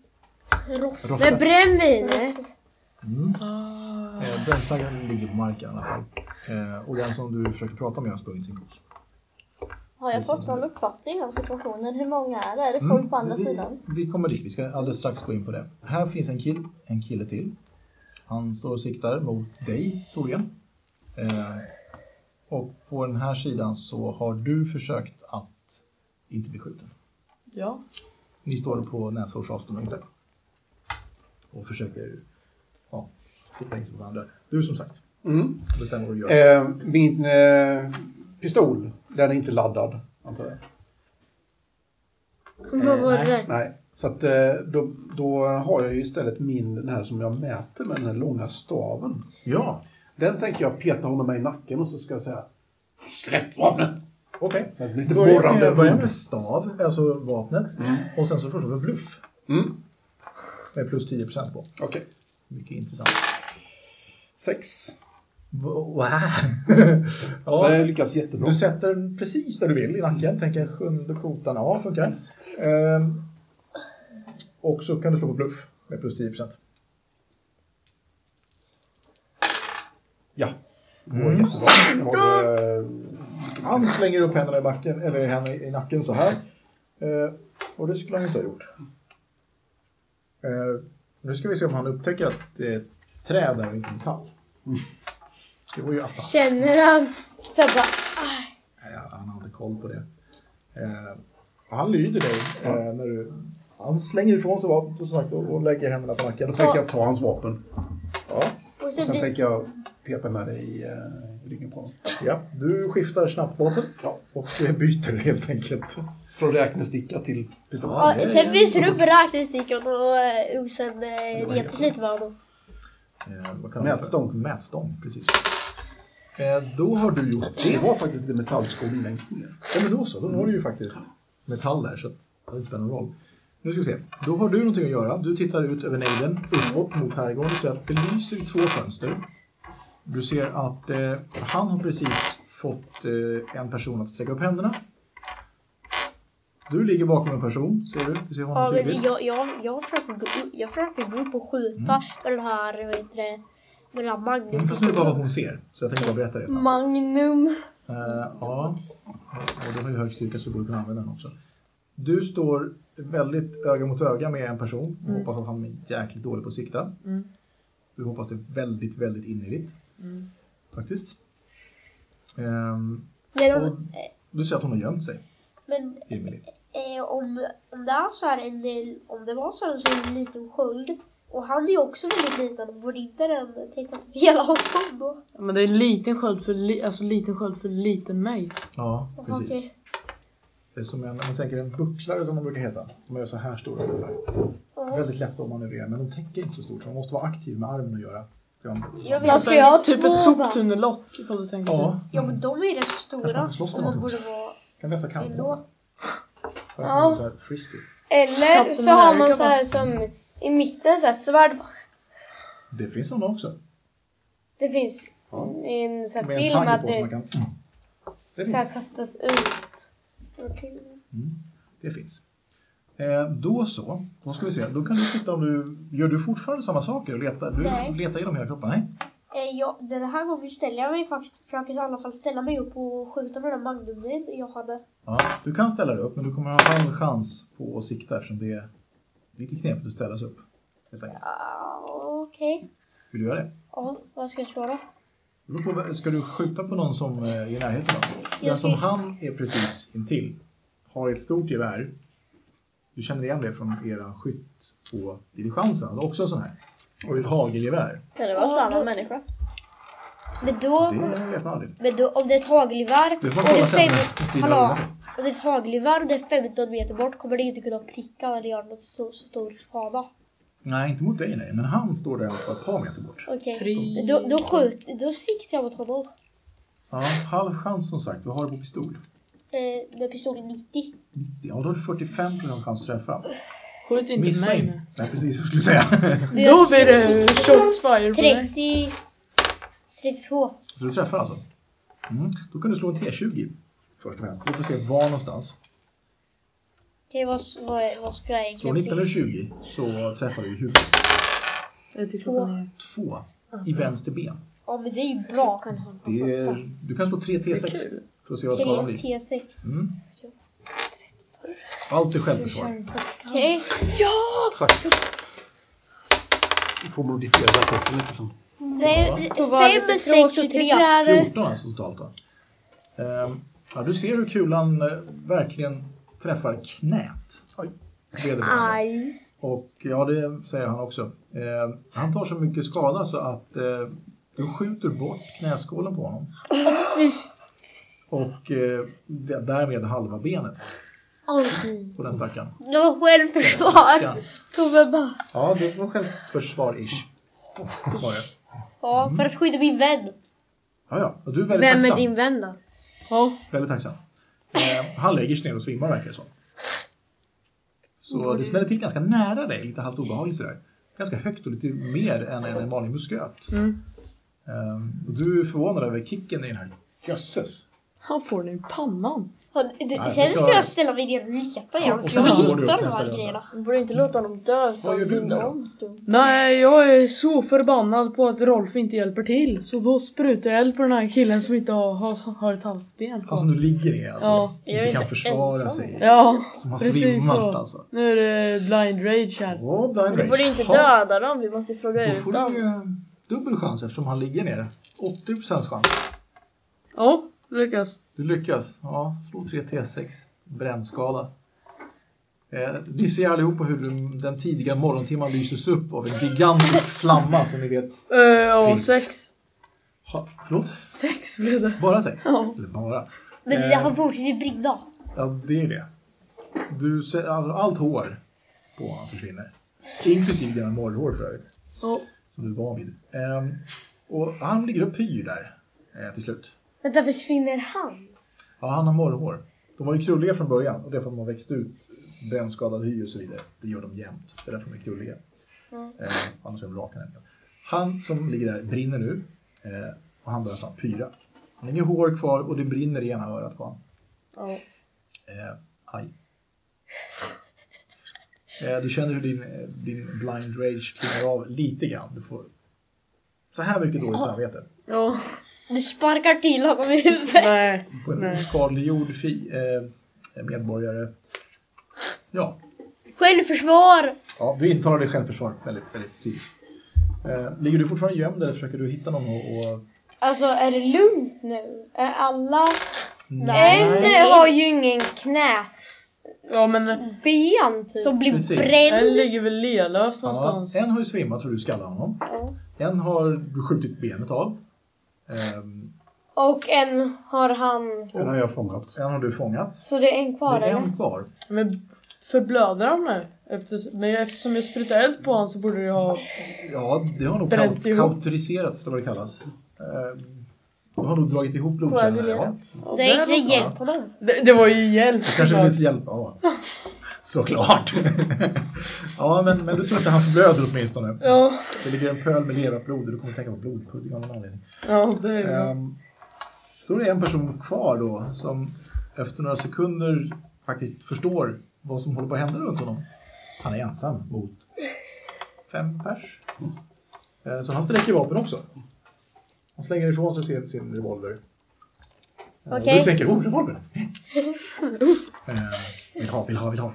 Speaker 8: Det är
Speaker 6: Roffe.
Speaker 8: brännvinet.
Speaker 6: Mm. Eh, Brännstaggaren ligger på marken i alla fall. Eh, och den som du försöker prata med har sprungit sin kurs.
Speaker 2: Har jag fått någon uppfattning av situationen? Hur många är det? Är det
Speaker 6: Mm.
Speaker 2: folk på andra
Speaker 6: vi,
Speaker 2: sidan?
Speaker 6: Vi kommer dit. Vi ska alldeles strax gå in på det. Här finns en, kill, en kille till. Han står och siktar mot dig, troligen. Eh, och på den här sidan så har du försökt att inte bli skjuten.
Speaker 4: Ja.
Speaker 6: Ni står på näshårs avstånd ungefär. Och försöker ja, sikta in sig på varandra. Du som sagt
Speaker 7: Mm.
Speaker 6: bestämmer vad du gör.
Speaker 7: Eh, min eh, pistol, den är inte laddad, antar jag.
Speaker 6: Eh,
Speaker 8: Vad var det där?
Speaker 7: Nej. Så att, eh, då, då har jag ju istället min, den här som jag mäter med, den här långa staven.
Speaker 6: Ja,
Speaker 7: Den tänker jag peta honom med i nacken och så ska jag säga Släpp vapnet!
Speaker 6: okej.
Speaker 7: Så att lite
Speaker 6: Börja
Speaker 7: borrande
Speaker 6: med, börja
Speaker 7: hund.
Speaker 6: med stav, alltså vapnet. Och sen så förstår du bluff.
Speaker 7: Mm.
Speaker 6: Med plus 10 på.
Speaker 7: Okej.
Speaker 6: Mycket intressant.
Speaker 7: Sex.
Speaker 6: Wow.
Speaker 7: Ja. Det
Speaker 6: ja,
Speaker 7: lyckas jättebra.
Speaker 6: du sätter den precis där du vill i nacken. Tänker sjunde kotan. Ja, funkar. Ehm, och så kan du slå på bluff med plus 10
Speaker 7: Ja. Det går
Speaker 6: Mm.
Speaker 7: jättebra. Jag har, eh,
Speaker 6: Han slänger upp händerna i, backen, eller henne i nacken så här. Eh, och det skulle han inte ha gjort. Eh, nu ska vi se om han upptäcker att det är ett träd där och inte metall. Det vore ju attans.
Speaker 8: Känner han så här bara,
Speaker 6: Nej, han hade koll på det. Eh, och han lyder dig. Eh, när du, han slänger ifrån sig vapnet som sagt, och, och lägger händerna på nacken.
Speaker 7: Då tänker jag ta hans vapen.
Speaker 6: Ja,
Speaker 2: Och
Speaker 7: Och
Speaker 2: så
Speaker 7: sen
Speaker 2: vi...
Speaker 7: tänker jag peta med det i eh, ryggen på honom.
Speaker 6: ja, du skiftar snabbt båten och eh, byter helt enkelt.
Speaker 7: Från räknesticka till pistol.
Speaker 2: Ja,
Speaker 6: det-
Speaker 2: sen visar du upp räknestickan och eh, oxen eh,
Speaker 6: var
Speaker 2: retas lite med honom.
Speaker 6: Eh, vad kallar man det för?
Speaker 7: Mätstång.
Speaker 6: Mätstång, precis. Eh, då har du gjort det.
Speaker 7: Det var faktiskt det metallskon längst ner.
Speaker 6: Ja, men då så. Då var det ju faktiskt metall där, så det hade inte spelat någon roll. Nu ska vi se. Då har du någonting att göra. Du tittar ut över nejden, uppåt mot herrgården. Du ser att det lyser i två fönster. Du ser att eh, han har precis fått eh, en person att sträcka upp händerna. Du ligger bakom en person, ser du? Du ser honom
Speaker 2: Ja, men
Speaker 6: tydligt.
Speaker 2: jag, jag, jag, försöker gå upp, jag försöker gå upp och skjuta med den här, vad heter det, med den här
Speaker 6: Mm,
Speaker 2: magnum.
Speaker 6: Fast nu är det bara vad hon ser, så jag tänker bara berätta det snabbt.
Speaker 8: Magnum.
Speaker 6: Eh, ja, och du har ju hög styrka så du borde kunna använda den också. Du står väldigt öga mot öga med en person
Speaker 2: Mm.
Speaker 6: och hoppas att han är jäkligt dålig på att sikta.
Speaker 4: Mm.
Speaker 6: Du hoppas det väldigt, väldigt innerligt.
Speaker 4: Mm.
Speaker 6: Faktiskt. Ehm, och
Speaker 2: Men,
Speaker 6: du ser att hon har gömt sig,
Speaker 2: men
Speaker 6: Emily.
Speaker 2: eh, om, om det är så här en, del- om det var så här en sån liten sköld och han är ju också väldigt liten, borde inte den täcka typ hela honom då?
Speaker 4: Men det är en liten sköld för, li, alltså liten sköld för liten mig.
Speaker 6: Ja,
Speaker 2: Jaha,
Speaker 6: precis.
Speaker 2: okej.
Speaker 6: Det är som en, om man tänker en bucklare som de brukar heta. De är så här stora ungefär.
Speaker 2: Ja.
Speaker 6: Väldigt lätta att manövrera, men de täcker inte så stort. Så man måste vara aktiv med armen och göra. Ja,
Speaker 2: Jag vet,
Speaker 3: Vad ska jag ha
Speaker 4: typ ett
Speaker 3: två va?
Speaker 4: soptunnelock ifall du tänker
Speaker 6: ja
Speaker 2: ja men de är ju rätt så stora.
Speaker 6: man inte slåss med
Speaker 2: Och de
Speaker 6: någonting.
Speaker 2: borde vara
Speaker 6: kan vässa kanten.
Speaker 2: ändå.
Speaker 6: Fast det är så här frisbee.
Speaker 8: Eller
Speaker 4: Captain
Speaker 8: så har man
Speaker 4: America
Speaker 8: så här som i mitten så här svärd.
Speaker 6: Det finns sådana också.
Speaker 8: Det finns i en sån här
Speaker 6: Med en
Speaker 8: film
Speaker 6: tagg
Speaker 8: att
Speaker 6: på som man
Speaker 8: det
Speaker 6: kan... Mm. Det
Speaker 8: så
Speaker 6: finns.
Speaker 8: här kastas ut.
Speaker 6: Det finns. Eh, då så. Då ska vi se. Då kan du titta om du... Gör du fortfarande samma saker? och Letar, du
Speaker 2: Nej.
Speaker 6: letar genom hela kroppen? Nej.
Speaker 2: Eh, ja, den här gången ställer jag mig faktiskt, försöker i alla fall ställa mig upp och skjuta med den magnumen jag hade.
Speaker 6: Ja, du kan ställa dig upp, men du kommer ha en chans på att sikta eftersom det är lite knepigt att ställa sig upp. Helt enkelt.
Speaker 2: Ah, Okej.
Speaker 6: Vill du göra det?
Speaker 2: Ja, vad ska jag slå då?
Speaker 6: Det beror på, ska du skjuta på någon som eh, är i närheten? Då? Den
Speaker 2: Jag
Speaker 6: som
Speaker 2: ser-
Speaker 6: han är precis intill har ett stort gevär. Du känner igen det från era skytt på diligensen. Han hade också en sån här. Och ett hagelgevär.
Speaker 3: Kan det vara
Speaker 2: Ja,
Speaker 3: samma
Speaker 2: då-
Speaker 3: människa?
Speaker 2: Men då,
Speaker 6: Det vet man aldrig.
Speaker 2: men då om det är ett hagelgevär
Speaker 6: Du
Speaker 2: och
Speaker 6: får
Speaker 2: det
Speaker 6: kolla sen
Speaker 2: är
Speaker 6: när
Speaker 2: fem-
Speaker 6: Kristina
Speaker 2: hallå,
Speaker 6: rullar sig.
Speaker 2: om det är ett hagelgevär och det är 15 meter bort kommer det inte kunna pricka eller göra något så, så stor skada.
Speaker 6: Nej, inte mot dig nej. Men han står där bara ett par meter bort.
Speaker 2: Okej.
Speaker 4: Tre.
Speaker 2: Då, då skjut, då siktar jag mot honom.
Speaker 6: Ja, halv chans som sagt. Vad har du på pistol?
Speaker 2: Eh, med pistolen 90.
Speaker 6: 90. Ja, då har du 45 chans att träffa.
Speaker 4: Skjut inte
Speaker 6: Missa
Speaker 4: mig
Speaker 6: in. Nej, precis. Jag skulle säga.
Speaker 4: nu. Då blir det shots fire på dig.
Speaker 2: 30. 32.
Speaker 6: Så du träffar alltså? Mm. Då kan du slå en T20 först och främst. Du får se var någonstans.
Speaker 2: Okej, vad, s- vad, vad ska jag egentligen
Speaker 6: Slår 19 eller 20 så träffar du i huvudet.
Speaker 4: Jag tittar på den här.
Speaker 6: två i vänster ben.
Speaker 2: Ja, men det är ju bra. Kan han.
Speaker 6: Det är, du kan slå tre T6 för att se vad skadan blir.
Speaker 2: 3T6.
Speaker 6: Mm. Allt är självförsvar.
Speaker 2: Okej.
Speaker 7: Du får modifiera rapporten lite sen.
Speaker 8: Så var det
Speaker 2: 5,
Speaker 8: lite
Speaker 2: 6 och
Speaker 8: tråkigt i
Speaker 2: 3.
Speaker 8: trädet.
Speaker 6: 14 alltså totalt då. Ehm, ja, du ser hur kulan eh, verkligen träffar knät. Vederbörande.
Speaker 8: Aj.
Speaker 6: Och ja, det säger han också. Ehm, han tar så mycket skada så att eh, du skjuter bort knäskålen på honom. Och eh, d- därmed halva benet på den stackaren.
Speaker 2: Det var självförsvar.
Speaker 6: Stackaren.
Speaker 8: Tove bara.
Speaker 6: Ja, det var självförsvar-ish. Var det.
Speaker 2: Ja, för att skydda min vän.
Speaker 6: Ja, ja. Och du är väldigt
Speaker 8: Vem är
Speaker 6: tacksam.
Speaker 8: din vän då?
Speaker 4: Ja,
Speaker 6: Väldigt tacksam. Eh, han lägger sig ner och svimmar verkar det som. Så det smäller till ganska nära dig, lite halvt obehagligt sådär. Ganska högt och lite mer än en vanlig musköt.
Speaker 4: Mm.
Speaker 6: Eh, och du är förvånad över kicken i den här. Jösses!
Speaker 4: han får den i pannan.
Speaker 2: Ja, det-
Speaker 6: Nej,
Speaker 2: Sen
Speaker 6: det
Speaker 2: ska
Speaker 6: klarar jag.
Speaker 2: jag ställa mig ner och leta
Speaker 6: Ja,
Speaker 2: igen.
Speaker 6: och
Speaker 2: för
Speaker 6: sen
Speaker 2: jag
Speaker 6: går du upp
Speaker 2: hittar de
Speaker 6: nästa
Speaker 2: här
Speaker 6: runda.
Speaker 2: grejerna.
Speaker 3: Man borde inte låta honom dö
Speaker 6: Vad gör
Speaker 3: utan
Speaker 6: du nu
Speaker 3: binda
Speaker 6: då?
Speaker 3: om stumt.
Speaker 4: Nej, jag är så förbannad på att Rolf inte hjälper till. Så då sprutar jag eld på den här killen som inte har, har, har ett halvt ben
Speaker 6: Alltså
Speaker 4: kvar.
Speaker 6: nu ligger det alltså.
Speaker 4: Ja,
Speaker 3: jag är
Speaker 6: inte kan
Speaker 3: inte
Speaker 6: försvara
Speaker 3: ensam.
Speaker 6: sig.
Speaker 4: Ja,
Speaker 6: Som har
Speaker 4: Precis
Speaker 6: svimmat
Speaker 4: så.
Speaker 6: alltså.
Speaker 4: nu är det blind rage här.
Speaker 6: Åh, blind
Speaker 3: Vi
Speaker 6: rage.
Speaker 3: borde inte
Speaker 6: Ja,
Speaker 3: döda dem, vi måste ju fråga
Speaker 6: Då
Speaker 3: ut
Speaker 6: får
Speaker 3: dem.
Speaker 6: du eh, dubbel chans eftersom han ligger ner. 80% chans.
Speaker 4: Ja, lyckas.
Speaker 6: Du lyckas. Ja, slå 3 T6. Brännskada. Eh, ni ser allihopa hur den- den tidiga morgontimman lyses upp av en gigantisk flamma som ni vet.
Speaker 4: Eh, Ja,
Speaker 6: Prins.
Speaker 4: sex.
Speaker 6: Ha, förlåt?
Speaker 4: Sex blev det.
Speaker 6: Bara sex?
Speaker 4: Ja.
Speaker 6: Eller bara?
Speaker 2: Men
Speaker 6: Eh.
Speaker 2: det har fortsatt brinna.
Speaker 6: Ja, det är det. Du ser, alltså, allt hår på honom försvinner. Inklusive dina morrhår för övrigt.
Speaker 4: Ja.
Speaker 6: Som du är van vid. Ehm, och han ligger och pyr där eh, till slut.
Speaker 8: Vänta, försvinner han?
Speaker 6: Ja, han har morrhår. De var ju krulliga från början och det är för att de har växt ut brännskadad hy och så vidare. Det gör de jämt. Det är därför de är krulliga. Eh, annars är de raka nämligen. Han som ligger där brinner nu eh, och han börjar snart pyra. Han har inget hår kvar och det brinner i ena örat på honom.
Speaker 4: Ja.
Speaker 6: Eh, aj. Eh, du känner hur din, eh, din blind rage klingar av lite grann. Du får så här mycket dåligt samvete.
Speaker 4: Ja.
Speaker 8: Du sparkar till honom i huvudet.
Speaker 4: Nej.
Speaker 6: på en
Speaker 4: Nej.
Speaker 6: oskadliggjord fi, eh, medborgare. Ja,
Speaker 8: Självförsvar!
Speaker 6: ja, du intalar dig självförsvar väldigt, väldigt tydligt. Eh, ligger du fortfarande gömd eller försöker du hitta någon och... och...
Speaker 8: Alltså är det lugnt nu? Är alla... En
Speaker 4: Nej.
Speaker 8: har ju ingen knäsben
Speaker 4: Ja men
Speaker 8: typ.
Speaker 2: Som blir
Speaker 6: Precis.
Speaker 2: bränd.
Speaker 4: den ligger väl lelös
Speaker 6: Ja,
Speaker 4: någonstans.
Speaker 6: en har ju svimmat och du skallar honom. En har du skjutit benet av. Ehm,
Speaker 8: Och en har han...
Speaker 7: Den har jag fångat.
Speaker 6: en har du fångat.
Speaker 8: Så det är en kvar
Speaker 6: det är
Speaker 8: eller?
Speaker 6: en kvar.
Speaker 4: Men förblöder han nu? Eftersom- Men eftersom jag sprutar eld på honom så borde det ha...
Speaker 6: Ja, det har nog
Speaker 4: Bränt
Speaker 6: kau-
Speaker 4: ihop.
Speaker 6: kauteriserats, eller vad det kallas. Ehm, du har nog dragit ihop blodkärlen. Ja.
Speaker 4: Ja,
Speaker 2: Det är inte
Speaker 4: där någonstans.
Speaker 2: hjälp honom.
Speaker 4: Det, det var ju hjälp.
Speaker 6: Kanske
Speaker 4: såklart.
Speaker 6: vill hjälp. Ja, såklart. ja, men, men du tror inte han förblöder åtminstone.
Speaker 4: Ja.
Speaker 6: Det ligger en pöl med leverblod och du kommer tänka på blodpudding av någon anledning.
Speaker 4: Ja, det är bra.
Speaker 6: Ehm, då är det en person kvar då som efter några sekunder faktiskt förstår vad som håller på att hända runt honom. Han är ensam mot fem pers. Eh, Så han sträcker vapen också. Han slänger ifrån sig sin, sin revolver. Eh,
Speaker 8: Okej.
Speaker 6: Du tänker, oh, revolver! Eh, vill ha, vill ha, vill ha.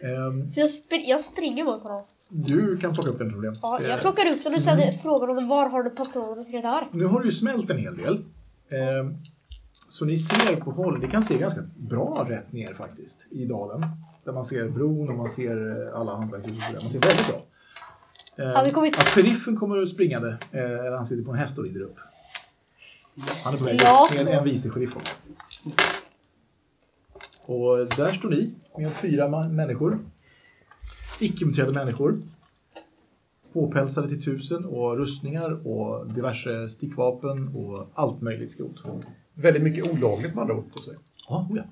Speaker 6: Ehm,
Speaker 2: Så jag, spr- jag springer mot honom.
Speaker 6: Du kan plocka upp den problem.
Speaker 2: Ja,
Speaker 6: Eh,
Speaker 2: jag plockar upp den och sen frågar honom var har du patroner till det här?
Speaker 6: Nu har det ju smält en hel del. Ehm, Så ni ser på håll, ni kan se ganska bra rätt ner faktiskt i dalen. Där man ser bron och man ser eh, alla hantverkshus och sådär. Man ser väldigt bra. Ehm,
Speaker 2: Har vi kommit-
Speaker 6: Att sheriffen kommer springande. eh, Han sitter på en häst och rider upp. Han är på väg
Speaker 2: Ja.
Speaker 6: upp med en vice sheriff också. Och där står ni med fyra ma- människor. Icke-muterade människor. Påpälsade till tusen och rustningar och diverse stickvapen och allt möjligt skrot.
Speaker 7: Väldigt mycket olagligt man har på sig.
Speaker 6: Ja, oh ja.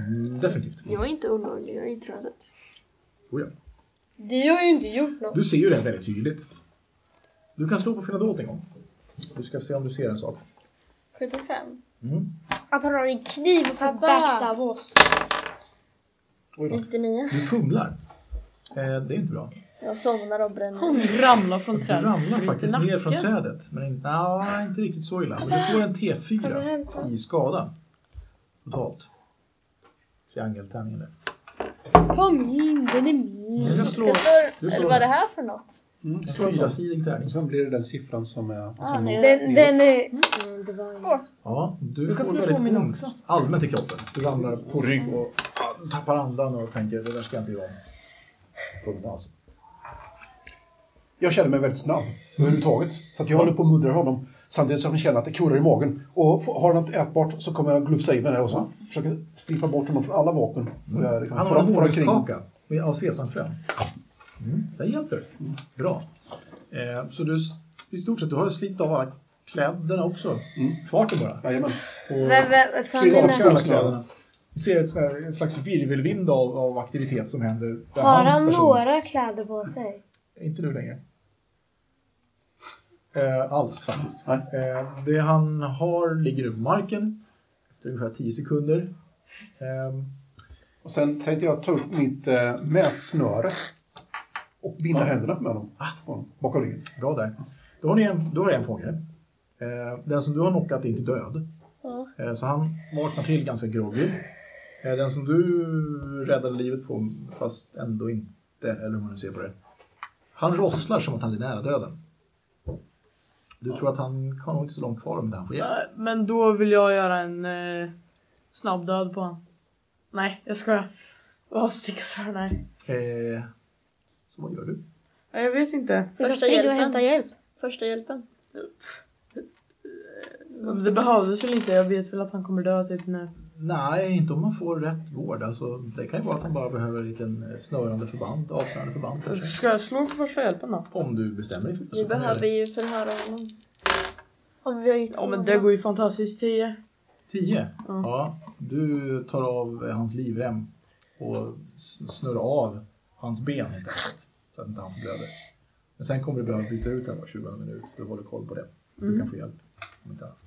Speaker 6: Mm, Definitivt.
Speaker 3: Jag är inte olaglig, jag är i trädet.
Speaker 6: Oh ja.
Speaker 8: Vi har ju inte gjort något.
Speaker 6: Du ser ju det väldigt tydligt. Du kan slå på Finadot en gång. Du ska se om du ser en sak.
Speaker 3: 75.
Speaker 2: Att han har en kniv och får
Speaker 8: Pappa.
Speaker 2: backstabba oss.
Speaker 3: 99.
Speaker 6: Du fumlar. Eh, det är inte bra.
Speaker 3: Jag somnar och bränner.
Speaker 4: Han ramlar från
Speaker 6: Du
Speaker 4: trädet.
Speaker 6: ramlar
Speaker 4: Bryter
Speaker 6: faktiskt ner från
Speaker 4: nacken.
Speaker 6: trädet. Men inte, nja, inte riktigt så illa. Men du får en
Speaker 8: Kan du
Speaker 6: T4
Speaker 8: hämta?
Speaker 6: i skada. Totalt. Triangeltärningen där.
Speaker 8: Kom in, den är min.
Speaker 7: Jag slår.
Speaker 6: Du
Speaker 3: Eller,
Speaker 6: slår
Speaker 3: eller vad är det
Speaker 6: den.
Speaker 3: här för något?
Speaker 7: Mm,
Speaker 6: En
Speaker 7: slår så.
Speaker 6: fyrasidig tärning.
Speaker 7: Och sen blir det den siffran som är...
Speaker 3: Ah,
Speaker 7: som
Speaker 3: nej.
Speaker 8: Den, den är... Mm, det var ju...
Speaker 6: Ja, du,
Speaker 4: Du kan
Speaker 6: får
Speaker 4: få
Speaker 6: väldigt
Speaker 4: påminna
Speaker 6: ont
Speaker 4: också.
Speaker 6: allmänt i kroppen. Du ramlar på rygg och ah, tappar andan och tänker det där ska jag inte göra om. Fumla alltså.
Speaker 7: Jag känner mig väldigt snabb överhuvudtaget. Så att jag håller på och muddrar honom samtidigt som jag känner att det kurrar i magen. Och får- har han något ätbart så kommer jag glufsa i mig det och så försöker strippa bort honom från alla vapen. Och jag liksom
Speaker 6: Han
Speaker 7: får
Speaker 6: har en
Speaker 7: får omkring.
Speaker 6: bomullskaka med- av sesamfrön. Mm, det hjälper. Bra. Eh, så du, s- i stort sett, du har slitit av alla kläderna också. Farten bara.
Speaker 7: Jajamän.
Speaker 6: Och
Speaker 8: Vem, vem, så
Speaker 6: slitit
Speaker 8: han
Speaker 6: av
Speaker 7: Kristallen.
Speaker 8: är
Speaker 6: alla kläderna. Vi ser ett, sån här- en slags virvelvind av, av aktivitet som händer. där
Speaker 8: har
Speaker 6: hans
Speaker 8: han
Speaker 6: person-
Speaker 8: några kläder på sig?
Speaker 6: Inte nu längre. Eh, alls faktiskt.
Speaker 7: Nej.
Speaker 6: Eh, det han har ligger på marken. Efter ungefär 10 sekunder. Eh,
Speaker 7: Och sen tänkte jag ta upp mitt eh, mätsnöre och binda
Speaker 6: Ja.
Speaker 7: händerna med honom. honom bakom ryggen.
Speaker 6: Bra där. Då har ni en, då har ni en fånge. Eh, den som du har knockat är inte död. Eh, så han vaknar till ganska groggy. Eh, den som du räddade livet på, fast ändå inte, eller hur man nu ser på det. Han rosslar som att han är nära döden. Du tror att han har nog inte så långt kvar om det han får hjälp.
Speaker 4: Nej, Men då vill jag göra en eh, snabb död på honom. Nej, jag skojar. Åh, sticka svärd, nej.
Speaker 6: Eh, så vad gör du?
Speaker 4: Nej, Jag vet inte.
Speaker 3: Första
Speaker 2: Vill du
Speaker 3: hjälpen.
Speaker 2: hämta hjälp?
Speaker 3: Första hjälpen.
Speaker 4: Det behövdes väl inte. Jag vet väl att han kommer dö typ nu.
Speaker 6: Nej, inte om man får rätt vård. Alltså, det kan ju vara att han bara behöver en liten eh, snörande förband, avsnörande förband kanske.
Speaker 4: Ska jag slå på första hjälpen då?
Speaker 6: Om du bestämmer dig. för det,
Speaker 3: Vi
Speaker 6: så kan du
Speaker 3: behöver
Speaker 6: göra
Speaker 3: ju förhöra honom.
Speaker 2: Ja, men vi har ju
Speaker 4: Ja men det går ju fantastiskt. 10.
Speaker 6: det. Tio?
Speaker 4: Ja.
Speaker 6: Ja. Du tar av eh, hans livrem och s- snurrar av hans ben helt enkelt. Så att inte han blöder. Men sen kommer du behöva byta ut den var 20 minut. Så du håller koll på det. Du
Speaker 3: Mm.
Speaker 6: kan få hjälp. Om inte annat.